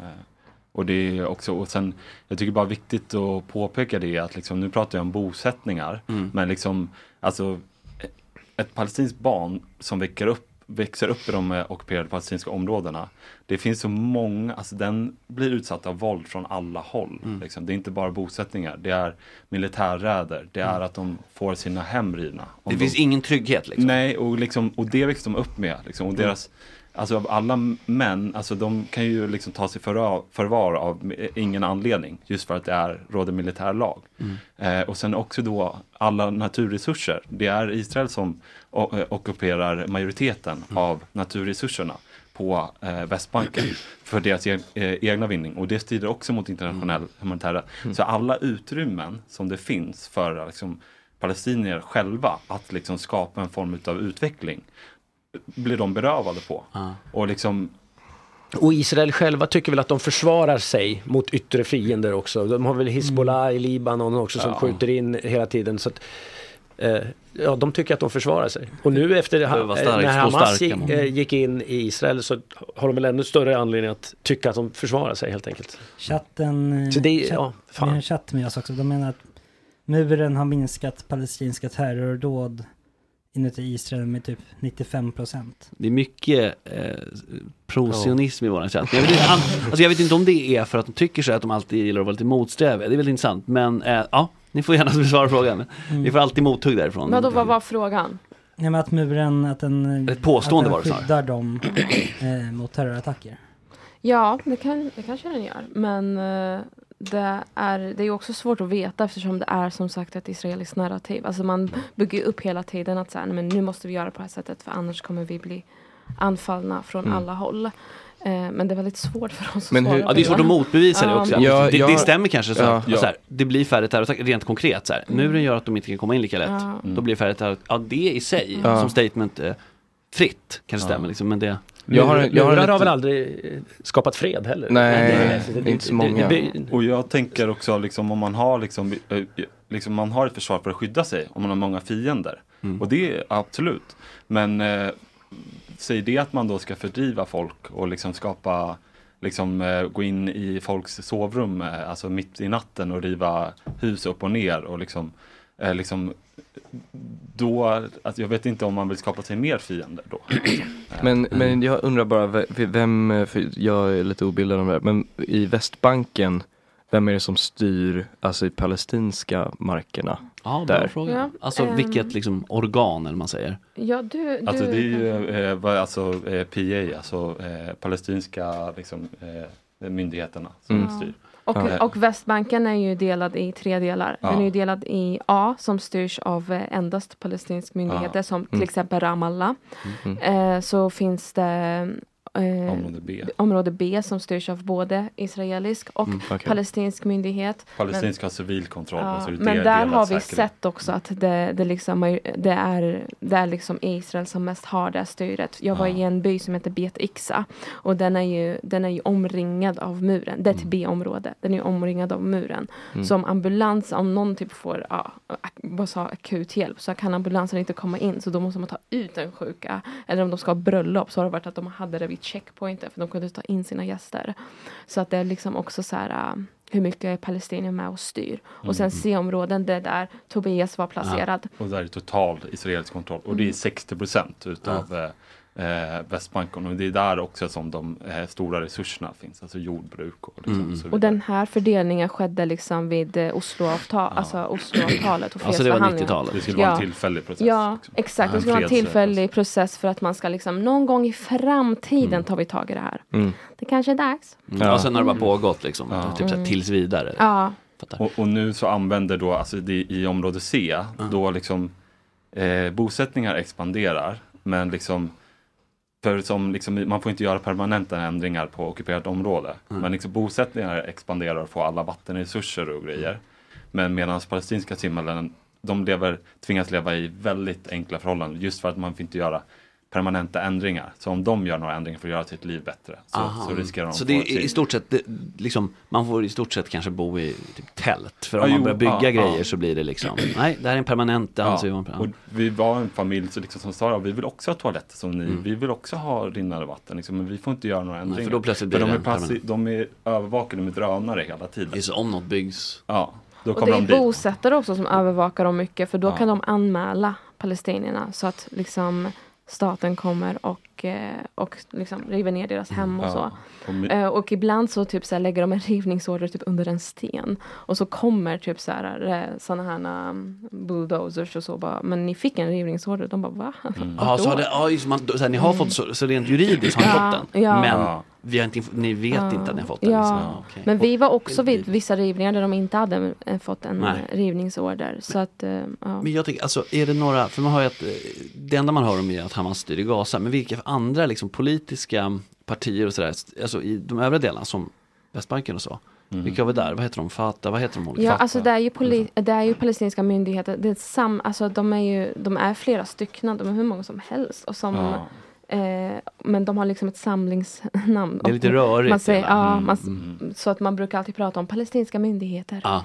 Speaker 21: Och det är också, och sen, jag tycker bara viktigt att påpeka det att liksom, nu pratar jag om bosättningar,
Speaker 7: Mm.
Speaker 21: men liksom, alltså eh, ett palestinskt barn som växer upp, växer upp i de eh, ockuperade palestinska områdena, det finns så många, alltså den blir utsatt av våld från alla håll.
Speaker 3: Mm.
Speaker 21: Liksom. Det är inte bara bosättningar, det är militärräder, det är
Speaker 3: Mm.
Speaker 21: att de får sina hem rivna. Om
Speaker 3: det
Speaker 21: de-
Speaker 3: finns ingen trygghet liksom.
Speaker 21: Nej, och, liksom, och det växte de upp med. Liksom, och
Speaker 3: Mm.
Speaker 21: deras, alltså av alla män, alltså de kan ju liksom ta sig förra- förvar av eh, ingen anledning. Just för att det är, råder militär lag.
Speaker 27: Mm.
Speaker 21: Eh, och sen också då alla naturresurser. Det är Israel som o- eh, ockuperar majoriteten av naturresurserna på eh, Västbanken för deras e- eh, egna vinning. Och det strider också mot internationell humanitär rätt. Så alla utrymmen som det finns för liksom, palestinier själva att liksom, skapa en form av utveckling eh, blir de berövade på. Och liksom,
Speaker 7: Och Israel själva tycker väl att de försvarar sig mot yttre fiender också. De har väl Hizbollah i Libanon också som
Speaker 3: Ja.
Speaker 7: skjuter in hela tiden. Så att, eh, ja, de tycker att de försvarar sig. Och nu efter det,
Speaker 3: Behöver vara
Speaker 7: eh,
Speaker 3: stark,
Speaker 7: när
Speaker 3: stå
Speaker 7: Hamas
Speaker 3: starka,
Speaker 7: gick,
Speaker 3: man.
Speaker 7: eh, gick in i Israel så har de väl ännu större anledning att tycka att de försvarar sig helt enkelt.
Speaker 5: Chatten, eh,
Speaker 7: Så det är-
Speaker 5: chatt,
Speaker 7: ja,
Speaker 5: det är en chatt med oss också. De menar att muren har minskat palestinska terrordåd inuti Israel med typ 95 procent.
Speaker 3: Det är mycket eh, prosionism i våran chatt. Men Jag vet, inte, all- alltså jag vet inte om det är för att de tycker så här att de alltid gillar att vara lite motsträviga. Det är väldigt intressant. Men eh, ja, ni får gärna besvara frågan. Vi får alltid mothugg därifrån.
Speaker 20: Vadå, vad var frågan?
Speaker 5: Nej men att muren, att den,
Speaker 3: Ett påstående var
Speaker 5: att
Speaker 3: det
Speaker 5: den
Speaker 3: snarare.
Speaker 5: skyddar dem eh, mot terrorattacker.
Speaker 20: Ja, det, kan, det kanske den gör. Men eh, det är ju det är ju också svårt att veta eftersom det är som sagt ett israeliskt narrativ. Alltså man bygger ju upp hela tiden att så här, "Nej, men nu måste vi göra på det här sättet för annars kommer vi bli anfallna från
Speaker 3: Mm.
Speaker 20: alla håll. Eh, men det är väldigt svårt för oss
Speaker 3: Men
Speaker 20: att
Speaker 3: hur,
Speaker 20: svara
Speaker 3: ja, det är
Speaker 20: på
Speaker 3: svårt att motbevisa det
Speaker 20: Ja.
Speaker 3: också.
Speaker 9: Ja,
Speaker 3: det, det
Speaker 9: jag-
Speaker 3: stämmer kanske så,
Speaker 9: Ja.
Speaker 3: att- så här, det blir färre terrorattacker rent konkret. Så här.
Speaker 9: Mm.
Speaker 3: Muren gör att de inte kan komma in lika lätt.
Speaker 9: Ja.
Speaker 3: Då blir det färre terrorattacker. Ja, det i sig
Speaker 9: Ja.
Speaker 3: som statement eh, fritt kanske stämmer liksom, men det...
Speaker 7: Jag har, jag har, väl aldrig eh, skapat fred heller? Det- det- det- det-
Speaker 21: Och jag tänker också liksom om man har liksom, eh, liksom man har ett försvar för att skydda sig om man har många fiender.
Speaker 9: Mm.
Speaker 21: Och det är absolut. Men eh, säg det att man då ska fördriva folk och liksom skapa liksom eh, gå in i folks sovrum, eh, alltså mitt i natten och riva hus upp och ner och liksom, eh, liksom då, alltså jag vet inte om man vill skapa sig mer fiender då.
Speaker 9: Men, men jag undrar bara, v- vem, eh, för jag är lite obildad om det här, men i Västbanken, vem är det som styr, alltså i palestinska markerna?
Speaker 3: Ja, bra
Speaker 9: där?
Speaker 3: fråga.
Speaker 20: Ja,
Speaker 3: alltså
Speaker 20: ehm.
Speaker 3: vilket liksom organ eller man säger.
Speaker 20: Ja, du, du,
Speaker 21: Alltså det är ju eh, vad- alltså, eh, PA, alltså eh, palestinska alltså, liksom, eh, eh, myndigheterna som
Speaker 20: Mm.
Speaker 21: styr.
Speaker 20: Och,
Speaker 21: Eh,
Speaker 20: och Västbanken är ju delad i tre delar.
Speaker 21: Ja.
Speaker 20: Den är ju delad i A som styrs av eh, endast palestinska myndigheter
Speaker 21: Ja.
Speaker 20: som till
Speaker 21: Mm.
Speaker 20: exempel Ramallah.
Speaker 21: Mhm.
Speaker 20: Eh, så finns det eh,
Speaker 21: Område B.
Speaker 20: område B som styrs av både israelisk och
Speaker 21: Mm, okej.
Speaker 20: palestinsk myndighet. Men-
Speaker 21: Palestinska har civil kontroll.
Speaker 20: Ja,
Speaker 21: och så är det
Speaker 20: men
Speaker 21: del-
Speaker 20: där
Speaker 21: delad
Speaker 20: har vi
Speaker 21: säkerhet.
Speaker 20: sett också att det, det, liksom, är- det är där liksom Israel som mest har det här styret. Jag var i en by som heter Bet Iksa och den är ju, den är ju omringad av muren. Det är ett B-område. Den är ju omringad av muren.
Speaker 23: Mm.
Speaker 20: Så om ambulans, om någon typ får ja, ak- vad sa, akut hjälp så kan ambulansen inte komma in så då måste man ta ut den sjuka. Eller om de ska ha bröllop så har det varit att de hade det vid checkpointen för de kunde ta in sina gäster. Så att det är liksom också så här äh, hur mycket är palestinier med och styr. Och sen
Speaker 21: Mm.
Speaker 20: C-områden, det är där Tobias var placerad. Mm.
Speaker 21: Ja. Och där är total israelisk kontroll. Och det är 60 procent utav eh, eh, Västbanken. Och det är där också som de eh, stora resurserna finns. Alltså jordbruk och liksom, så
Speaker 20: Mm. Och
Speaker 21: vidare.
Speaker 20: den här fördelningen skedde liksom vid eh, Osloavtal, alltså Osloavtalet och
Speaker 21: Alltså det var
Speaker 20: fredsförhandlingarna.
Speaker 21: 90-talet. Det skulle vara en tillfällig process liksom.
Speaker 20: Ja,
Speaker 21: också.
Speaker 20: exakt.
Speaker 21: Ja,
Speaker 20: Det skulle vara en
Speaker 21: freds-
Speaker 20: tillfällig process för att man ska liksom någon gång i framtiden tar vi tag i det här.
Speaker 2: Mm.
Speaker 20: Det kanske är dags.
Speaker 2: Ja. Och sen har det bara
Speaker 21: pågått liksom.
Speaker 20: typ så här Mm. tills
Speaker 21: vidare.
Speaker 20: Ja.
Speaker 21: Och, och nu så använder då, alltså det, i område C, då liksom eh, bosättningar expanderar. Men liksom, för som liksom, man får inte göra permanenta ändringar på ockuperat område. Men liksom bosättningar expanderar och får alla vattenresurser och grejer. Men medan palestinska simhallen, de lever, tvingas leva i väldigt enkla förhållanden just för att man får inte göra permanenta ändringar. Så om de gör några ändringar för att göra sitt liv bättre så,
Speaker 3: Aha.
Speaker 21: så riskerar de
Speaker 3: Så
Speaker 21: få
Speaker 3: det är
Speaker 21: ett liv.
Speaker 3: i stort sett, det, liksom, man får i stort sett kanske bo i typ tält. För om
Speaker 21: Ja,
Speaker 3: man
Speaker 21: jo,
Speaker 3: börjar bygga
Speaker 21: ja,
Speaker 3: grejer
Speaker 21: ja.
Speaker 3: så blir det liksom, nej, det här är en permanent, det anser
Speaker 21: Ja,
Speaker 3: vi
Speaker 21: och vi var en familj som, liksom, som sa ja, vi vill också ha toaletter som ni,
Speaker 3: Mm.
Speaker 21: vi vill också ha rinnande vatten, liksom, men vi får inte göra några ändringar.
Speaker 3: för då plötsligt blir
Speaker 21: de,
Speaker 3: det
Speaker 21: är
Speaker 3: en
Speaker 21: passi-
Speaker 3: permanent.
Speaker 21: de är övervakade med drönare hela tiden. Det är så om något byggs. Ja, då
Speaker 20: Och det
Speaker 21: kommer
Speaker 20: är
Speaker 21: de dit. Mm.
Speaker 20: bosättare också som övervakar dem mycket för då
Speaker 21: Ja.
Speaker 20: kan de anmäla palestinierna så att liksom staten kommer och, eh, och liksom river ner deras hem och
Speaker 21: Mm, Ja.
Speaker 20: så.
Speaker 21: Och my-
Speaker 20: Eh, Och ibland så typ så här lägger de en rivningsorder typ under en sten. Och så kommer typ så här eh, såna här um, bulldozers och så bara, men ni fick en rivningsorder. De bara va?
Speaker 21: Mm.
Speaker 3: Ja, så har det, ja, just, man, så här, ni har fått, så, så rent juridiskt har ni
Speaker 20: Ja,
Speaker 3: fått den.
Speaker 20: ja.
Speaker 3: Men vi har inte, inf- ni vet
Speaker 20: Ja.
Speaker 3: inte att ni har fått den.
Speaker 20: Ja.
Speaker 3: liksom. Ja, okej.
Speaker 20: Men vi var också vid vissa rivningar där de inte hade eh, fått en
Speaker 3: Nej.
Speaker 20: eh, rivningsorder. Så att, eh, ja.
Speaker 3: Men jag tänker, alltså är det några, för man har ju att, eh, det enda man hör om är att Hamas styr i Gaza, men vilka andra liksom politiska partier och sådär, st- alltså i de övriga delarna som Västbanken och så,
Speaker 21: Mm.
Speaker 3: vilka var där, vad heter de, Fatah, vad heter de olika?
Speaker 20: Ja, alltså det är, ju poli- det är ju palestinska myndigheter. Det är sam- alltså, de, är ju, de är flera stycken, de är hur många som helst. Och som, eh, men de har liksom ett samlingsnamn.
Speaker 3: Det är lite
Speaker 20: Och
Speaker 3: rörigt,
Speaker 20: Man säger,
Speaker 3: hela.
Speaker 20: ja,
Speaker 3: Mm, Ah,
Speaker 20: man, s- Så att man brukar alltid prata om palestinska myndigheter.
Speaker 21: Ja.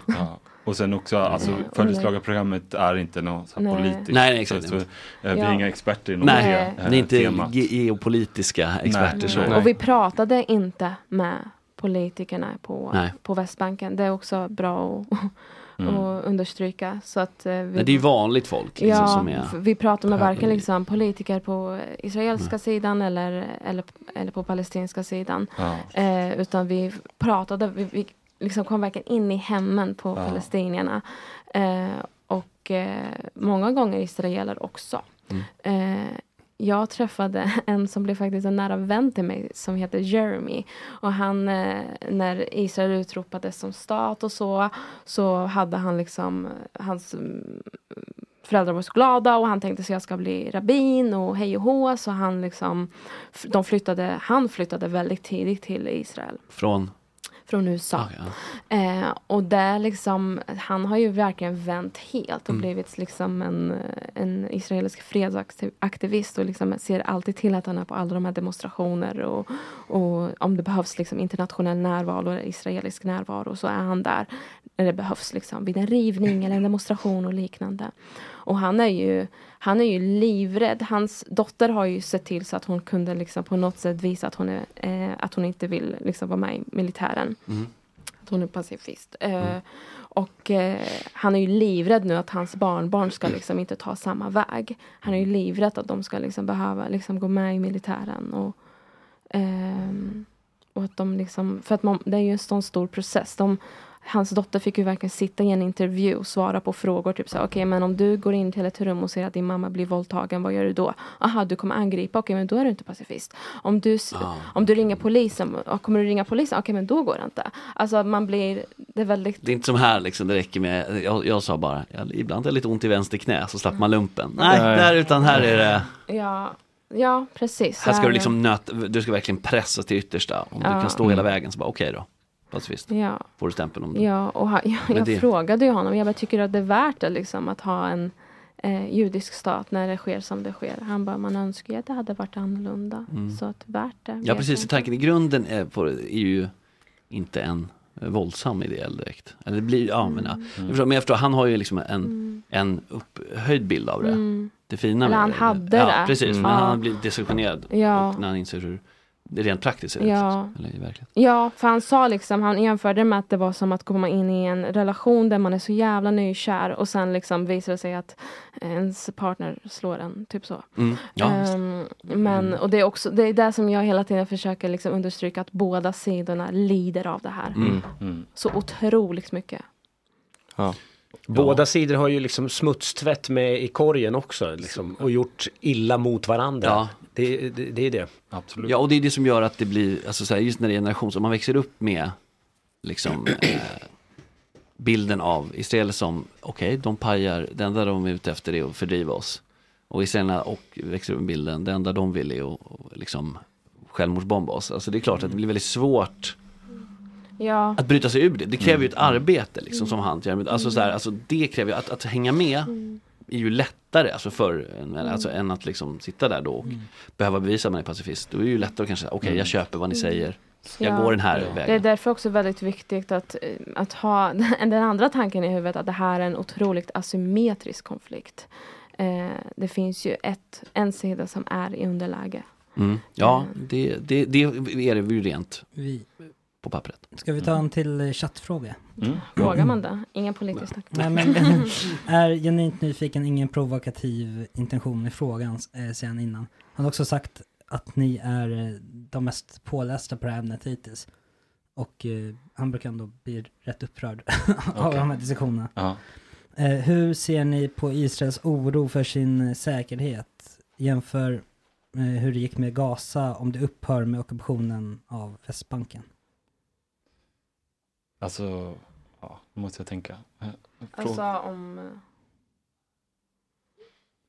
Speaker 21: Och sen också, alltså,
Speaker 20: Mm.
Speaker 21: följeslagarprogrammet är inte något så här
Speaker 20: Nej.
Speaker 21: politiskt.
Speaker 3: Nej, nej, exakt.
Speaker 21: Så, så, eh, vi är
Speaker 20: Ja.
Speaker 21: inga experter inom
Speaker 3: Nej,
Speaker 21: det eh,
Speaker 3: ni är inte
Speaker 21: temat.
Speaker 3: ge- geopolitiska experter
Speaker 21: Nej.
Speaker 3: så.
Speaker 21: Nej.
Speaker 20: Och vi pratade inte med politikerna på,
Speaker 3: Nej.
Speaker 20: på Västbanken. Det är också bra att
Speaker 3: Mm.
Speaker 20: att understryka. Så att, eh, vi
Speaker 3: Nej, det är ju vanligt folk liksom,
Speaker 20: ja,
Speaker 3: som är...
Speaker 20: f- vi pratar med
Speaker 3: Här-
Speaker 20: varken liksom, politiker på eh, israeliska sidan eller, eller, eller på palestinska sidan.
Speaker 3: Ja.
Speaker 20: Eh, utan vi pratade, vi, vi liksom kom verkligen in i hemmen på
Speaker 3: Ja.
Speaker 20: palestinierna. Eh, och eh, många gånger israeler också. Eh, jag träffade en som blev faktiskt en nära vän till mig som heter Jeremy. Och han, eh, när Israel utropades som stat och så, så hade han liksom, hans mm, föräldrar var så glada och han tänkte så jag ska bli rabbin och hej och hå. Så han liksom, f- de flyttade, han flyttade väldigt tidigt till Israel.
Speaker 3: Från?
Speaker 20: Från USA. eh, och där liksom, han har ju verkligen vänt helt och
Speaker 3: Mm.
Speaker 20: blivit liksom en, en israelisk fredsaktivist och liksom ser alltid till att han är på alla de här demonstrationer och, och om det behövs liksom internationell närvaro eller israelisk närvaro så är han där när det behövs liksom vid en rivning eller en demonstration och liknande. Och han är ju, han är ju livrädd. Hans dotter har ju sett till så att hon kunde liksom på något sätt visa att hon, är, eh, att hon inte vill liksom vara med i militären. Att hon är pacifist. Eh, Och eh, han är ju livrädd nu att hans barnbarn ska liksom inte ta samma väg. Han är ju livrädd att de ska liksom behöva liksom gå med i militären. Och, ehm, och att de liksom, för att man, det är ju en sån stor process. De, hans dotter fick ju verkligen sitta i en intervju och svara på frågor. Typ så här, okej men om du går in till ett rum och ser att din mamma blir våldtagen, vad gör du då? Aha, du kommer angripa, okej men då är du inte pacifist. Om du, s-
Speaker 23: Ah.
Speaker 20: om du ringer polisen, ja, kommer du ringa polisen? Okej men då går det inte. Alltså man blir, det är väldigt
Speaker 3: Det är inte som här liksom, det räcker med, jag, jag sa bara, jag, ibland är det lite ont i vänster knä så slapp man lumpen. Nej,
Speaker 20: Nej.
Speaker 3: där utan här är det,
Speaker 20: Ja, ja precis.
Speaker 3: här
Speaker 20: Så
Speaker 3: ska
Speaker 20: är
Speaker 3: du
Speaker 20: det.
Speaker 3: liksom nöt, du ska verkligen pressa till yttersta. Om du
Speaker 20: Ja.
Speaker 3: kan stå hela vägen så bara okej då, pacifist.
Speaker 20: Ja.
Speaker 3: Får du stämpeln om du
Speaker 20: Ja, och han,
Speaker 3: Men
Speaker 20: jag, jag
Speaker 3: det-
Speaker 20: frågade ju honom. Jag bara, tycker du att det är värt det liksom att ha en eh, judisk stat när det sker som det sker? Han bara, man önskar ju att det hade varit annorlunda.
Speaker 3: Mm.
Speaker 20: Så att värt det.
Speaker 3: Ja
Speaker 20: vet
Speaker 3: precis,
Speaker 20: jag
Speaker 3: tanken i grunden är, på, är ju inte en eh, våldsam idé direkt. Eller det blir, ja, men, ja.
Speaker 20: Mm.
Speaker 3: Jag förstår, men jag förstår, han har ju liksom en, en upphöjd bild av det.
Speaker 20: Mm.
Speaker 3: Det fina
Speaker 20: Eller
Speaker 3: med
Speaker 20: han
Speaker 3: det.
Speaker 20: hade
Speaker 3: ja,
Speaker 20: det.
Speaker 3: Precis,
Speaker 20: Mm.
Speaker 3: men
Speaker 20: Ja.
Speaker 3: han har blivit desillusionerad.
Speaker 20: Ja.
Speaker 3: Och när han inser hur det rent praktiskt är.
Speaker 20: Ja.
Speaker 3: Eller i verkligheten.
Speaker 20: Ja, för han sa liksom, han jämförde med att det var som att komma in i en relation där man är så jävla nykär och sen liksom visar det sig att ens partner slår en, typ så.
Speaker 3: Mm, ja, Mm. visst.
Speaker 20: Ehm, men, och det är också, det är det som jag hela tiden försöker liksom understryka, att båda sidorna lider av det här.
Speaker 7: Mm, mm.
Speaker 20: Så otroligt mycket.
Speaker 7: Båda sidor har ju liksom smutstvätt med i korgen också liksom, och gjort illa mot varandra.
Speaker 3: Ja.
Speaker 7: Det, det, det är det.
Speaker 3: Ja, och det är det som gör att det blir, alltså så här, just när det är generations, om man växer upp med liksom eh, bilden av israeler som, okej, de pajar, det enda de är ute efter är att fördriva oss. Och israelerna och växer upp med bilden, det enda de vill är att att liksom självmordsbomba oss. Alltså det är klart att det blir väldigt svårt
Speaker 20: Ja.
Speaker 3: att bryta sig ur det. Det kräver ju ett arbete liksom som han gör. Men Alltså, så här, alltså det kräver ju, att, att hänga med
Speaker 20: Mm.
Speaker 3: är ju lättare alltså för, en- alltså, än att liksom sitta där då och behöva bevisa att man är pacifist. Då är det ju lättare att kanske, säga, okej jag köper vad ni
Speaker 20: Mm. Mm.
Speaker 3: säger. Jag
Speaker 20: Ja.
Speaker 3: går den här
Speaker 20: Det är
Speaker 3: vägen.
Speaker 20: därför också väldigt viktigt att, eh, att ha den andra tanken i huvudet att det här är en otroligt asymmetrisk konflikt. Eh, det finns ju ett, en sida som är i underläge.
Speaker 3: Mm. Ja, det, det, det är det ju rent
Speaker 5: Vi,
Speaker 3: på pappret.
Speaker 5: ska vi ta en till eh, chattfråga?
Speaker 20: Frågar man det? Ingen politisk snack.
Speaker 5: Nej, men, är genuint nyfiken, ingen provokativ intention i frågan, eh, säger han innan. Han har också sagt att ni är eh, de mest pålästa på det här ämnet hittills. Och eh, han brukar ändå bli rätt upprörd av
Speaker 21: Okej.
Speaker 5: de här diskussionerna.
Speaker 21: Ja.
Speaker 5: Eh, hur ser ni på Israels oro för sin eh, säkerhet? Jämför eh, hur det gick med Gaza om det upphör med ockupationen av Västbanken.
Speaker 21: Alltså, ja, nu måste jag tänka. Eh, fråga.
Speaker 20: Alltså om...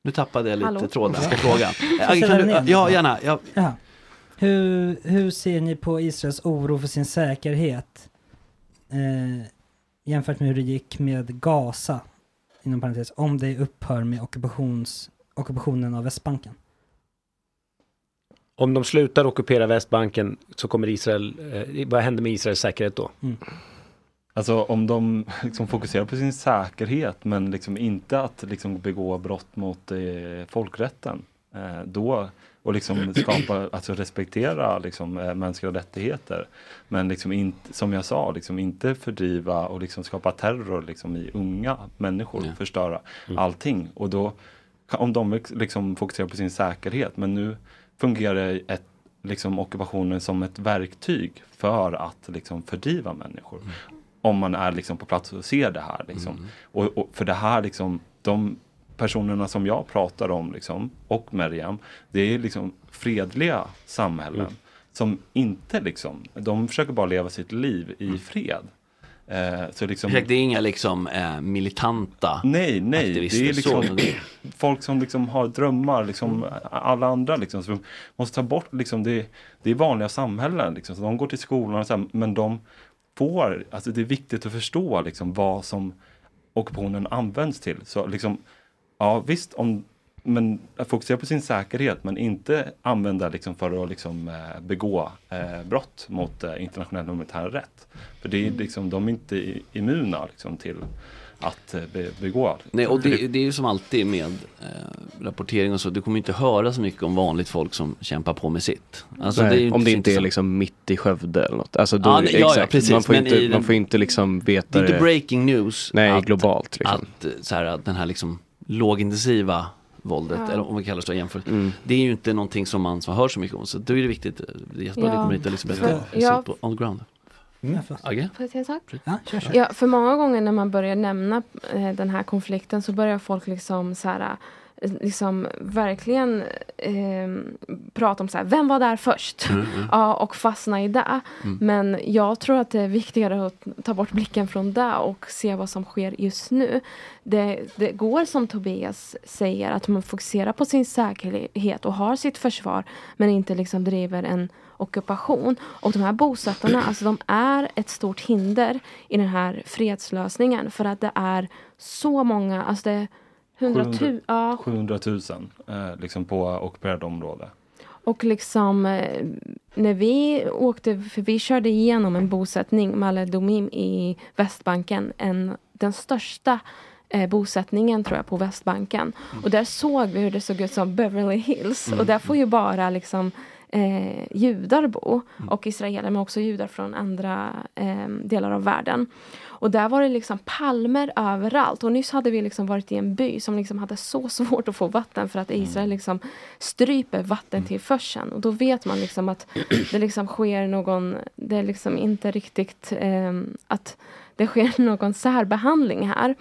Speaker 3: Nu tappade jag lite
Speaker 5: Hallå?
Speaker 3: tråden på
Speaker 5: Ja.
Speaker 3: frågan.
Speaker 5: Ska
Speaker 3: Ja,
Speaker 5: jag
Speaker 3: kan
Speaker 5: ställa den igen?
Speaker 3: du, ja, gärna. Ja.
Speaker 5: Ja. Hur, hur ser ni på Israels oro för sin säkerhet eh, jämfört med hur det gick med Gaza, inom parentes, om det upphör med ockupations, ockupationen av Västbanken?
Speaker 7: Om de slutar ockupera Västbanken så kommer Israel, eh, vad händer med Israels säkerhet då?
Speaker 21: Alltså om de liksom fokuserar på sin säkerhet men liksom inte att liksom begå brott mot eh, folkrätten. Eh, då, och liksom skapa, alltså respektera liksom, eh, mänskliga rättigheter. Men liksom inte, som jag sa, liksom inte fördriva och liksom skapa terror liksom i unga människor. Förstöra
Speaker 7: Mm.
Speaker 21: allting. Och då, om de liksom fokuserar på sin säkerhet. Men nu fungerar ett, liksom, ockupationen som ett verktyg för att liksom, fördriva människor.
Speaker 3: Mm.
Speaker 21: Om man är liksom, på plats och ser det här. Liksom. Och, och, för det här, liksom, de personerna som jag pratar om liksom, och Meriam, det är liksom fredliga samhällen.
Speaker 3: Mm.
Speaker 21: Som inte liksom, de försöker bara leva sitt liv i fred. Eh, så liksom,
Speaker 3: Ursäkta, Mm. Det är inga liksom eh, militanta
Speaker 21: Nej, nej.
Speaker 3: aktivister.
Speaker 21: Det är liksom
Speaker 3: så, det-
Speaker 21: folk som liksom har drömmar, liksom alla andra liksom. Så de måste ta bort liksom, det, det är vanliga samhällen liksom. Så de går till skolan och så här, men de får, alltså det är viktigt att förstå liksom vad som ockupationen används till. Så liksom, ja visst, om, men att fokusera på sin säkerhet men inte använda liksom för att liksom eh, begå eh, brott mot eh, internationell humanitär rätt. För det är liksom, de är inte i- immuna liksom till att eh, be, begå.
Speaker 3: Nej, och det,
Speaker 20: Mm.
Speaker 3: det är ju som alltid med eh, rapportering och så, du kommer ju inte höra så mycket om vanligt folk som kämpar på med sitt. Alltså,
Speaker 24: Nej,
Speaker 3: det är ju
Speaker 24: om det
Speaker 3: så
Speaker 24: inte är
Speaker 3: intressant.
Speaker 24: liksom mitt i Skövde eller något. Alltså då,
Speaker 3: Ja, nej, ja, ja,
Speaker 24: exakt.
Speaker 3: precis,
Speaker 24: man, får
Speaker 3: men
Speaker 24: inte,
Speaker 3: i den-
Speaker 24: man får inte liksom veta
Speaker 3: Det är inte
Speaker 24: det.
Speaker 3: breaking news.
Speaker 24: Nej, globalt liksom.
Speaker 3: Att, eh, så här, att den här liksom lågintensiva våldet,
Speaker 24: Ja.
Speaker 3: eller om vi kallar det så jämfört,
Speaker 24: Mm.
Speaker 3: det är ju inte någonting som man som hör så mycket om. Så då är det viktigt, eh, det är jättebra att
Speaker 20: Ja.
Speaker 3: ni kommer hit och liksom
Speaker 20: För-
Speaker 3: berättar
Speaker 20: ja.
Speaker 3: ja. on the ground.
Speaker 5: Mm.
Speaker 1: Agge?
Speaker 20: Får jag säga en sak?
Speaker 5: Ja, kör, kör.
Speaker 20: Ja, för många gånger när man börjar nämna eh, den här konflikten så börjar folk liksom så här eh, liksom verkligen eh, prata om så här, vem var där först?
Speaker 23: Mm, mm.
Speaker 20: Ja, och fastna i det.
Speaker 23: Mm.
Speaker 20: Men jag tror att det är viktigare att ta bort blicken från det och se vad som sker just nu. Det, det går som Tobias säger, att man fokuserar på sin säkerhet och har sitt försvar, men inte liksom driver en ockupation. Och de här bosättarna, alltså de är ett stort hinder i den här fredslösningen för att det är så många, alltså det är 100 000, ja,
Speaker 21: 700 000 eh, liksom på ockuperade område.
Speaker 20: och liksom eh, när vi åkte, för vi körde igenom en bosättning, Malle Domim i Västbanken, en, den största eh, bosättningen tror jag på Västbanken. Och där såg vi hur det såg ut som Beverly Hills
Speaker 23: Mm.
Speaker 20: och där får ju bara liksom eh, judar bo och israeler men också judar från andra eh, delar av världen. Och där var det liksom palmer överallt och nyss hade vi liksom varit i en by som liksom hade så svårt att få vatten för att Israel liksom stryper vattentillförseln och då vet man liksom att det liksom sker någon, det är liksom inte riktigt eh, att det sker någon särbehandling här.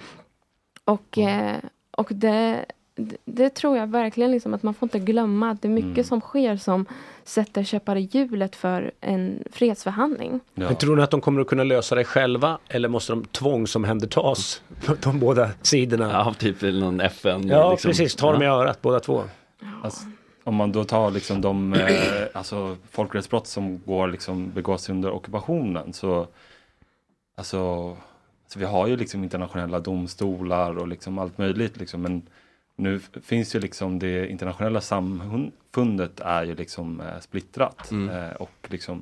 Speaker 20: Och, eh, och det, det, det tror jag verkligen liksom att man får inte glömma att det är mycket som sker som sätter käppar i hjulet för en fredsförhandling.
Speaker 7: Men tror ni att de kommer att kunna lösa det själva eller måste de tvångsomhändertas? De båda sidorna.
Speaker 3: Ja, typ någon FN.
Speaker 7: Ja,
Speaker 3: liksom.
Speaker 7: precis. Ta dem i
Speaker 3: Ja.
Speaker 7: örat båda två.
Speaker 21: Alltså, om man då tar liksom de eh, alltså, folkrättsbrott som går liksom begås under ockupationen så alltså, så vi har ju liksom internationella domstolar och liksom allt möjligt liksom men nu f- finns ju liksom det internationella samfundet är ju liksom eh, splittrat
Speaker 3: Mm.
Speaker 21: eh, och liksom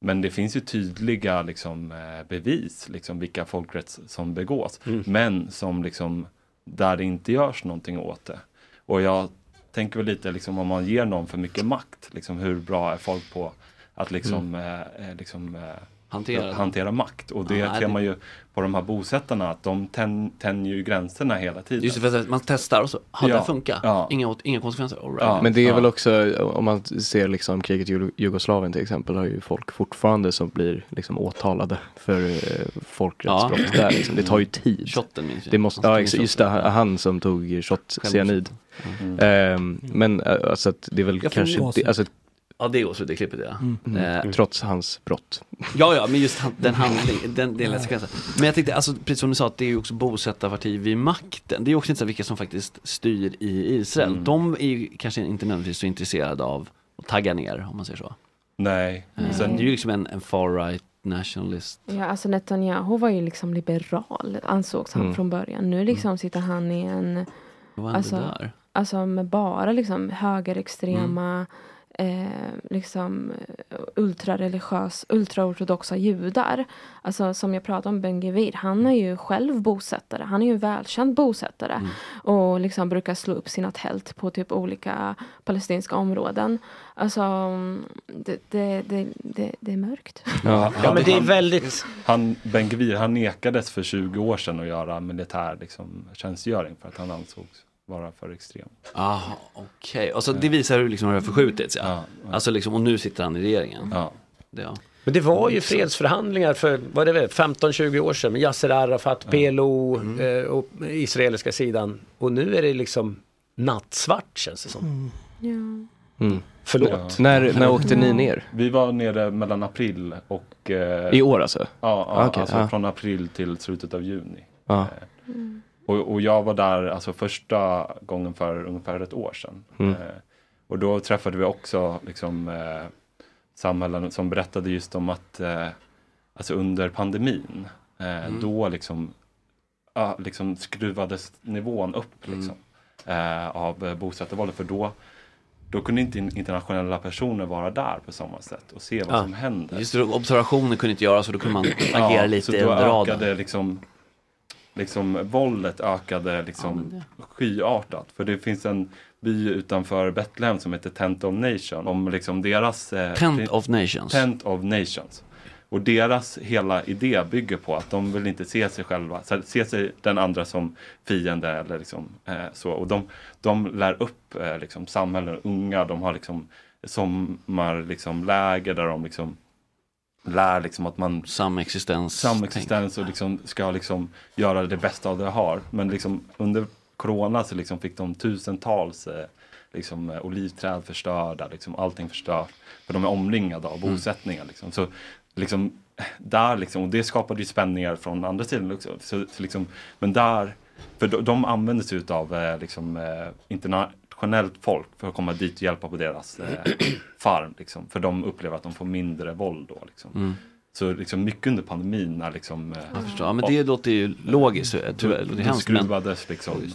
Speaker 21: men det finns ju tydliga liksom, eh, bevis, liksom, vilka folkrätts som begås.
Speaker 7: Mm.
Speaker 21: Men som liksom, där det inte görs någonting åt det. Och jag tänker väl lite liksom, om man ger någon för mycket makt, liksom, hur bra är folk på att liksom, eh, eh, liksom, eh,
Speaker 3: Mm. Hantera det.
Speaker 21: hantera makt? Och det
Speaker 3: Ja,
Speaker 21: ser
Speaker 3: det-
Speaker 21: man ju på de här bosättarna, att de tänjer tänjer ju gränserna hela tiden.
Speaker 3: Just det, för att man testar och så, har
Speaker 21: Ja.
Speaker 3: det funkat?
Speaker 21: Ja.
Speaker 3: Inga, åt- inga konsekvenser? All right.
Speaker 24: Men det är väl också, om man ser liksom kriget i Jugo- Jugoslavien till exempel, har ju folk fortfarande som blir liksom åtalade för eh, folkrättsbrott
Speaker 3: Ja.
Speaker 24: där. Liksom. Det tar ju tid.
Speaker 3: Shotten minns jag.
Speaker 24: det måste,
Speaker 3: Han
Speaker 24: ja,
Speaker 3: tog
Speaker 24: ex-
Speaker 3: en
Speaker 24: just det, han som tog shot cyanid.
Speaker 3: Mm.
Speaker 24: Ehm, men eh, alltså att det är väl
Speaker 3: Jag får
Speaker 24: kanske,
Speaker 3: gåshud.
Speaker 24: det, alltså,
Speaker 3: Ja, det är också det klippet ja.
Speaker 24: mm.
Speaker 3: Eh,
Speaker 24: trots hans brott.
Speaker 3: Ja, ja, men just han, den handlingen, den delen av sekvensen. Men jag tänkte, alltså, precis som du sa, att det är ju också bosättarparti vid makten. Det är ju också inte så här vilka som faktiskt styr i Israel.
Speaker 21: Mm.
Speaker 3: De är ju kanske inte nödvändigtvis så intresserade av att tagga ner, om man säger så.
Speaker 21: Nej.
Speaker 3: Eh,
Speaker 20: Nej.
Speaker 3: Det är ju liksom en, en far-right nationalist.
Speaker 20: Ja, alltså Netanyahu var ju liksom liberal, ansågs han
Speaker 3: Mm.
Speaker 20: från början. Nu liksom sitter han i en...
Speaker 3: Vad hände
Speaker 20: Alltså,
Speaker 3: där?
Speaker 20: alltså med bara liksom
Speaker 3: Mm.
Speaker 20: högerextrema, eh, liksom eh, ultrareligiös, ultraortodoxa judar. Alltså som jag pratade om Ben Gvir, han är ju själv bosättare. Han är ju en välkänd bosättare.
Speaker 3: Mm.
Speaker 20: Och liksom brukar slå upp sina tält på typ olika palestinska områden. Alltså, det, det, det, det, det är mörkt.
Speaker 21: Ja,
Speaker 7: Ja, men det är väldigt...
Speaker 21: Han, ben Gvir, han nekades för 20 år sedan att göra militär liksom, tjänstgöring för att han ansågs vara för extrem.
Speaker 3: Ah, okej. Alltså, det visar hur liksom, det har förskjutits. Ja. Alltså, liksom, och nu sitter han i regeringen.
Speaker 21: Ja.
Speaker 3: Det, ja.
Speaker 7: Men det var ju fredsförhandlingar för, vad är det, 15-20 år sedan med Yasser Arafat, PLO
Speaker 3: Mm.
Speaker 7: eh, och israeliska sidan. Och nu är det liksom nattsvart känns det som.
Speaker 3: Mm.
Speaker 7: Förlåt.
Speaker 24: När, när åkte ni ner?
Speaker 21: Vi var nere mellan april och... eh,
Speaker 24: I år alltså?
Speaker 21: Ja, ja
Speaker 24: Ah, okej,
Speaker 21: alltså
Speaker 24: ja.
Speaker 21: från april till slutet av juni. Eh,
Speaker 24: Ja.
Speaker 21: Mm. Och, och jag var där alltså första gången för ungefär ett år sedan.
Speaker 24: Mm.
Speaker 21: Eh, och då träffade vi också liksom, eh, samhällen som berättade just om att eh, alltså under pandemin, eh,
Speaker 3: Mm.
Speaker 21: då liksom, ja, liksom skruvades nivån upp
Speaker 3: Mm.
Speaker 21: liksom, eh, av eh, bosättarvåldet. För då, då kunde inte in- internationella personer vara där på samma sätt och se vad
Speaker 3: Ja.
Speaker 21: som händer.
Speaker 3: Just det, observationer kunde inte göras och då kunde man agera
Speaker 21: Ja,
Speaker 3: lite
Speaker 21: så
Speaker 3: under
Speaker 21: då
Speaker 3: radarn.
Speaker 21: ökade liksom, liksom våldet ökade liksom skyartat. För det finns en by utanför Betlehem som heter Tent of Nation. Om liksom deras... eh,
Speaker 3: Tent
Speaker 21: prin-
Speaker 3: of Nations.
Speaker 21: Tent of Nations. Och deras hela idé bygger på att de vill inte se sig själva, så- se sig den andra som fiende eller liksom eh, så. Och de, de lär upp eh, liksom samhällen, unga, de har liksom sommarläger liksom, läger där de liksom lär liksom att man
Speaker 3: Samexistens.
Speaker 21: samexistens och liksom ska liksom göra det bästa av det jag har. Men liksom under corona så liksom fick de tusentals eh, liksom, eh, olivträd förstörda, liksom, allting förstört. För de är omringade av bosättningar. Liksom. Så liksom, där liksom, och det skapade ju spänningar från andra sidan också. Så, så liksom, men där, för de, de använder sig utav eh, liksom, eh, internationellt folk för att komma dit och hjälpa på deras eh, farm. Liksom, för de upplever att de får mindre våld då. Liksom.
Speaker 3: Mm.
Speaker 21: Så liksom mycket under pandemin när liksom... eh,
Speaker 3: Jag förstår. Ja, men det låter ju logiskt. eh, Tyvärr, det
Speaker 21: det
Speaker 3: är hemskt. Men...
Speaker 21: skruvades liksom. eh,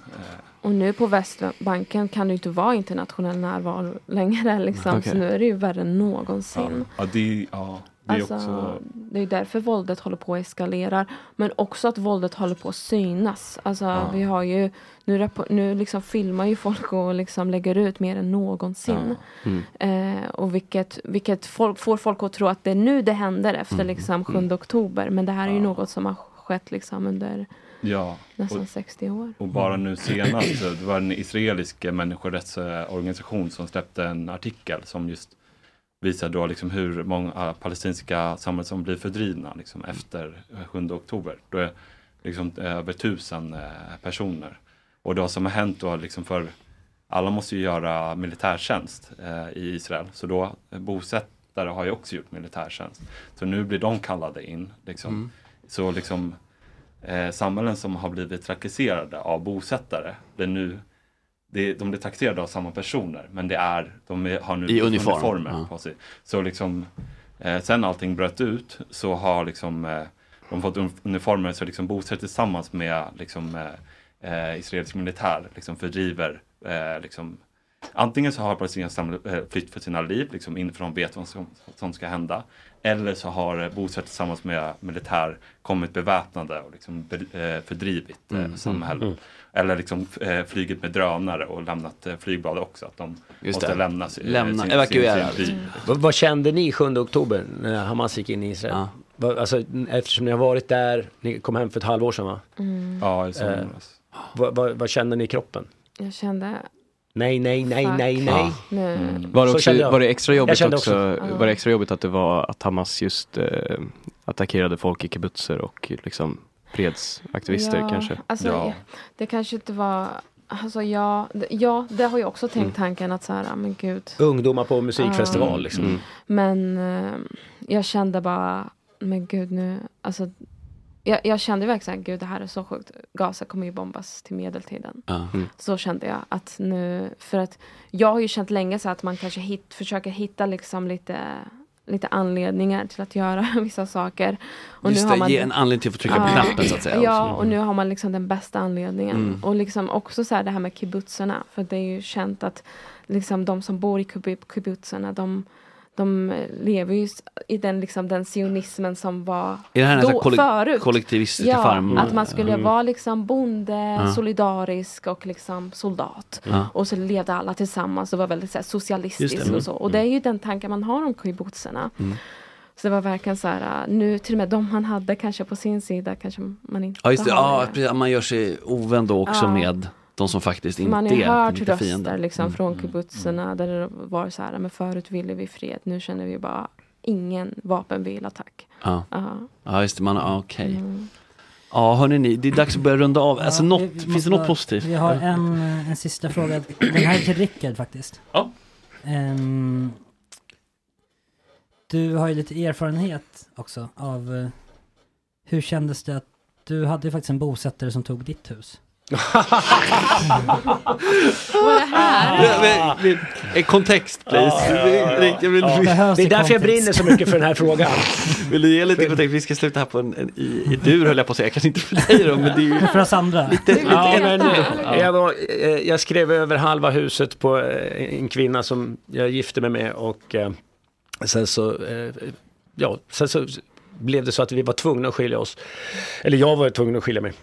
Speaker 20: Och nu på Västbanken kan det ju inte vara internationell närvaro längre. Liksom.
Speaker 21: Mm, Okej.
Speaker 20: Så nu är det ju värre än någonsin.
Speaker 21: Ja, det, ja, det är
Speaker 20: alltså,
Speaker 21: också...
Speaker 20: det är därför våldet håller på att eskalera. Men också att våldet håller på att synas. Alltså,
Speaker 21: Ja.
Speaker 20: vi har ju, nu rappo- nu liksom filmar ju folk och liksom lägger ut mer än någonsin.
Speaker 13: Mm.
Speaker 20: Eh, och vilket, vilket folk, får folk att tro att det är nu det händer efter
Speaker 21: Mm.
Speaker 20: liksom 7
Speaker 21: Mm.
Speaker 20: oktober. Men det här är ju något som har skett liksom under
Speaker 21: Ja.
Speaker 20: nästan
Speaker 21: och-
Speaker 20: 60 år.
Speaker 21: Och bara nu senast, så det var en israelisk eh, människorättsorganisation som släppte en artikel som just visar då liksom hur många palestinska samhällen som blir fördrivna liksom efter eh, 7 oktober. Då är liksom över tusen eh, personer. Och det som har hänt då liksom för alla måste ju göra militärtjänst eh, i Israel, så då eh, bosättare har ju också gjort militärtjänst. Så nu blir de kallade in. Liksom.
Speaker 3: Mm.
Speaker 21: Så liksom eh, samhällen som har blivit trakasserade av bosättare blir nu det, de blir trakasserade av samma personer men det är, de är, har nu
Speaker 3: I uniform,
Speaker 21: uniformer
Speaker 3: ja.
Speaker 21: på sig. Så liksom, eh, sen allting bröt ut så har liksom, eh, de fått un- uniformer så liksom bosätter tillsammans med liksom, eh, eh, israelisk militär liksom fördriver eh, liksom, Antingen så har palestinierna saml- eh, flytt för sina liv, liksom inifrån de vet vad som, som ska hända. Eller så har eh, bosättare tillsammans med militär kommit beväpnade och liksom be, eh, fördrivit eh,
Speaker 3: Mm.
Speaker 21: samhället.
Speaker 3: Mm.
Speaker 21: Eller liksom f- eh, flygit med drönare och lämnat eh, flygbad också. Att de
Speaker 3: Just
Speaker 21: måste
Speaker 3: det.
Speaker 21: lämna, si- eh,
Speaker 3: Lämna,
Speaker 21: sin-
Speaker 3: evakuera.
Speaker 21: sin- sin by.
Speaker 7: Mm. Vad, vad kände ni 7 oktober när Hamas gick in i Israel? Vad- Alltså, eftersom ni har varit där, ni kom hem för ett halvår sedan va?
Speaker 20: Mm.
Speaker 21: Ja, i
Speaker 7: eh,
Speaker 21: somras.
Speaker 7: vad, vad, vad kände ni i kroppen?
Speaker 20: Jag kände
Speaker 7: Nej, nej, nej,
Speaker 20: Fuck.
Speaker 7: nej,
Speaker 20: Ja.
Speaker 7: nej.
Speaker 20: Nu- Mm.
Speaker 24: Var det,
Speaker 7: Så
Speaker 24: också,
Speaker 7: kände jag.
Speaker 24: var det extra
Speaker 7: Jag
Speaker 24: jobbigt
Speaker 7: kände
Speaker 24: också,
Speaker 7: också.
Speaker 24: Var det extra jobbigt att det var att Hamas just eh, attackerade folk i kibbutzer och liksom fredsaktivister
Speaker 20: ja,
Speaker 24: kanske?
Speaker 20: Alltså, ja. Det kanske inte var... Alltså ja, d- ja, det har jag också tänkt tanken att så här, ah, men gud.
Speaker 7: Ungdomar på musikfestival
Speaker 20: Ja.
Speaker 7: liksom.
Speaker 24: Mm.
Speaker 20: Men eh, jag kände bara, men gud nu, alltså. Jag, jag kände verkligen, gud det här är så sjukt. Gaza kommer ju bombas till medeltiden.
Speaker 3: Ja. Mm.
Speaker 20: Så kände jag att nu, för att jag har ju känt länge så att man kanske hit, försöker hitta liksom lite, lite anledningar till att göra vissa saker.
Speaker 3: Just det, ge en anledning till att få trycka på
Speaker 20: Ja.
Speaker 3: knappen, så att säga,
Speaker 20: Ja,
Speaker 3: också.
Speaker 20: och nu har man liksom den bästa anledningen.
Speaker 3: Mm.
Speaker 20: Och liksom också så här det här med kibbutzerna. För det är ju känt att liksom de som bor i kibbut- kibbutzerna, de de lever ju s- i den, liksom, den sionismen som var
Speaker 3: Är det här nästan
Speaker 20: då,
Speaker 3: kollek-
Speaker 20: förut.
Speaker 3: kollektivistiska
Speaker 20: ja,
Speaker 3: farm-
Speaker 20: Att man skulle
Speaker 3: Mm.
Speaker 20: vara liksom bonde,
Speaker 3: Ja.
Speaker 20: solidarisk och liksom soldat.
Speaker 3: Ja.
Speaker 20: Och så levde alla tillsammans och var väldigt så här, socialistisk
Speaker 3: Just det, mm,
Speaker 20: och så. Och det är ju den tanken man har om kibbutzerna.
Speaker 3: Mm.
Speaker 20: Så det var verkligen så här, äh, nu till och med de han hade kanske på sin sida kanske man inte
Speaker 3: Ja, just det.
Speaker 20: har.
Speaker 3: Ja, precis. Man gör sig ovän då också
Speaker 20: Ja.
Speaker 3: med de som faktiskt inte
Speaker 20: Man har ju
Speaker 3: är
Speaker 20: hört
Speaker 3: inte
Speaker 20: röster
Speaker 3: fienden.
Speaker 20: liksom,
Speaker 3: Mm.
Speaker 20: från kibbutzerna där det var så här, men förut ville vi fred, nu känner vi bara ingen vapenvilattack.
Speaker 3: Ja.
Speaker 20: Ja.
Speaker 3: ja, just det. Man, ja, okej.
Speaker 20: Mm.
Speaker 3: Ja, hörni ni, det är dags att börja runda av. Alltså, något,
Speaker 5: vi- vi
Speaker 3: finns
Speaker 5: måste
Speaker 3: det något
Speaker 5: bara-
Speaker 3: positivt?
Speaker 5: Vi har en, eh, en sista fråga. Den här är till Rickard faktiskt. Ehm,
Speaker 1: Ja.
Speaker 5: du har ju lite erfarenhet också av eh, hur kändes det att du hade ju faktiskt en bosättare som tog ditt hus.
Speaker 20: Vad är det här?
Speaker 3: Ja, men- men- eh, Kontext, please.
Speaker 7: Ja, ja, ja.
Speaker 3: Rick, jag vill-
Speaker 7: Ja. Det är därför jag brinner så mycket för den här frågan.
Speaker 3: Vill du ge lite kontext? Vi ska sluta här på en, en i, i dur, höll jag på att säga. Kanske inte för dig då, men det är ju...
Speaker 5: För oss andra.
Speaker 3: Lite, lite
Speaker 7: Ja, men,
Speaker 3: Ja.
Speaker 7: eh, jag, var, eh, jag skrev över halva huset på eh, en kvinna som jag gifte mig med och eh, sen så, eh, ja, sen så blev det så att vi var tvungna att skilja oss. Eller jag var tvungen att skilja mig.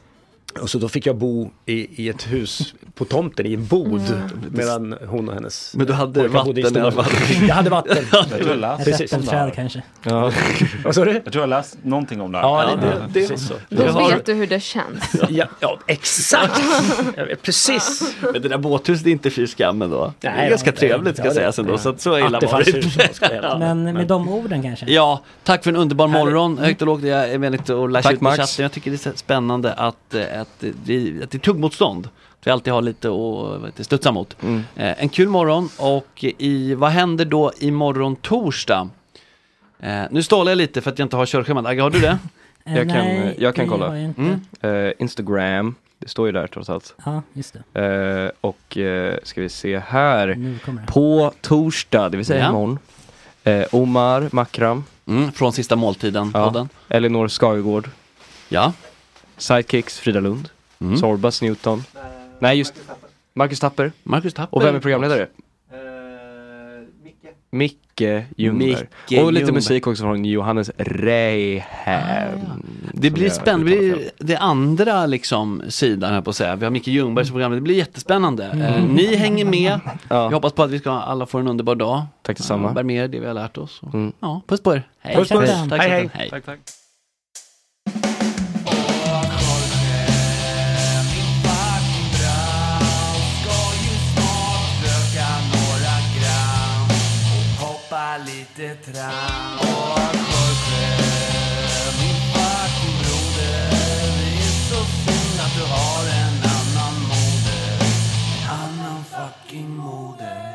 Speaker 7: Och så då fick jag bo i, i ett hus på tomten, i en bod.
Speaker 3: Mm.
Speaker 7: Medan hon och hennes
Speaker 3: Men du hade
Speaker 7: pojkar bodde i
Speaker 3: vatten i alla
Speaker 7: stora-
Speaker 3: fall.
Speaker 7: Jag hade vatten.
Speaker 21: Jag tror jag läst
Speaker 7: Precis.
Speaker 21: om det här.
Speaker 7: Ja. Vad sa du?
Speaker 21: Jag tror jag läst någonting om det här.
Speaker 7: Ja, det, det, det,
Speaker 21: Precis så.
Speaker 20: Då
Speaker 7: Jag har-
Speaker 20: vet du hur det känns.
Speaker 7: Ja, ja exakt! Jag vet Precis!
Speaker 3: Men det där båthuset är inte fy skam ändå. Det
Speaker 7: Nej,
Speaker 3: är ganska
Speaker 7: det-
Speaker 3: trevligt ska
Speaker 7: ja, det-
Speaker 3: sägas ändå,
Speaker 7: ja.
Speaker 3: så att så illa
Speaker 7: Att det
Speaker 3: var
Speaker 7: fanns hus, jag ska
Speaker 3: det
Speaker 7: helt
Speaker 3: inte.
Speaker 5: Men med de orden kanske?
Speaker 3: Ja, tack för en underbar morgon. Högt och lågt, jag är vänligt att lära sig
Speaker 5: Mm. Tack,
Speaker 3: ut på
Speaker 5: Max.
Speaker 3: chatten. Jag tycker det är spännande att, eh, att, det, att det är tuggmotstånd. Att vi alltid har lite att vad heter det, studsa mot.
Speaker 5: Mm.
Speaker 3: Eh, en kul morgon och i, vad händer då imorgon torsdag? Eh, nu stalar jag lite för att jag inte har körschemat. Agge, har du det?
Speaker 5: Eh, Jag kan, nej, eh, jag kan det kolla. har jag inte.
Speaker 24: Eh, Instagram, det står ju där trots allt.
Speaker 5: Ja, just det.
Speaker 24: Eh, och eh, ska vi se här.
Speaker 5: Nu kommer det.
Speaker 24: På torsdag, det vill säga
Speaker 5: Ja.
Speaker 24: imorgon. Eh, Omar Makram.
Speaker 3: Mm, från Sista Måltiden-podden.
Speaker 24: Ja. Elinor Skagegård.
Speaker 3: Ja. Mm.
Speaker 24: Sidekicks Frida Lund. Sorbas Newton. Nej, just Marcus Tapper.
Speaker 3: Marcus Tapper.
Speaker 24: Och vem är programledare? Micke. Ljungberg.
Speaker 3: Micke
Speaker 24: Och lite
Speaker 3: Ljungberg. Ah,
Speaker 24: musik också från Johannes Reihem.
Speaker 3: Det blir
Speaker 24: jag
Speaker 3: spännande, det blir det andra liksom sidan här på att säga. Vi har Micke Ljungberg som program, det blir jättespännande. Eh,
Speaker 24: Mm.
Speaker 3: ni hänger med. Jag hoppas på att vi ska alla få en underbar dag. Tack detsamma. Bär med er det vi har lärt oss.
Speaker 24: Mm.
Speaker 3: Och- Ja, puss på er. Hej.
Speaker 13: Puss, puss.
Speaker 3: Tack,
Speaker 13: Hej, hej.
Speaker 3: chatten. hej.
Speaker 13: Tack, tack.
Speaker 23: Hoppa lite tram Och Jorge, min fucking broder Det är så synd att du har en annan moder En annan fucking moder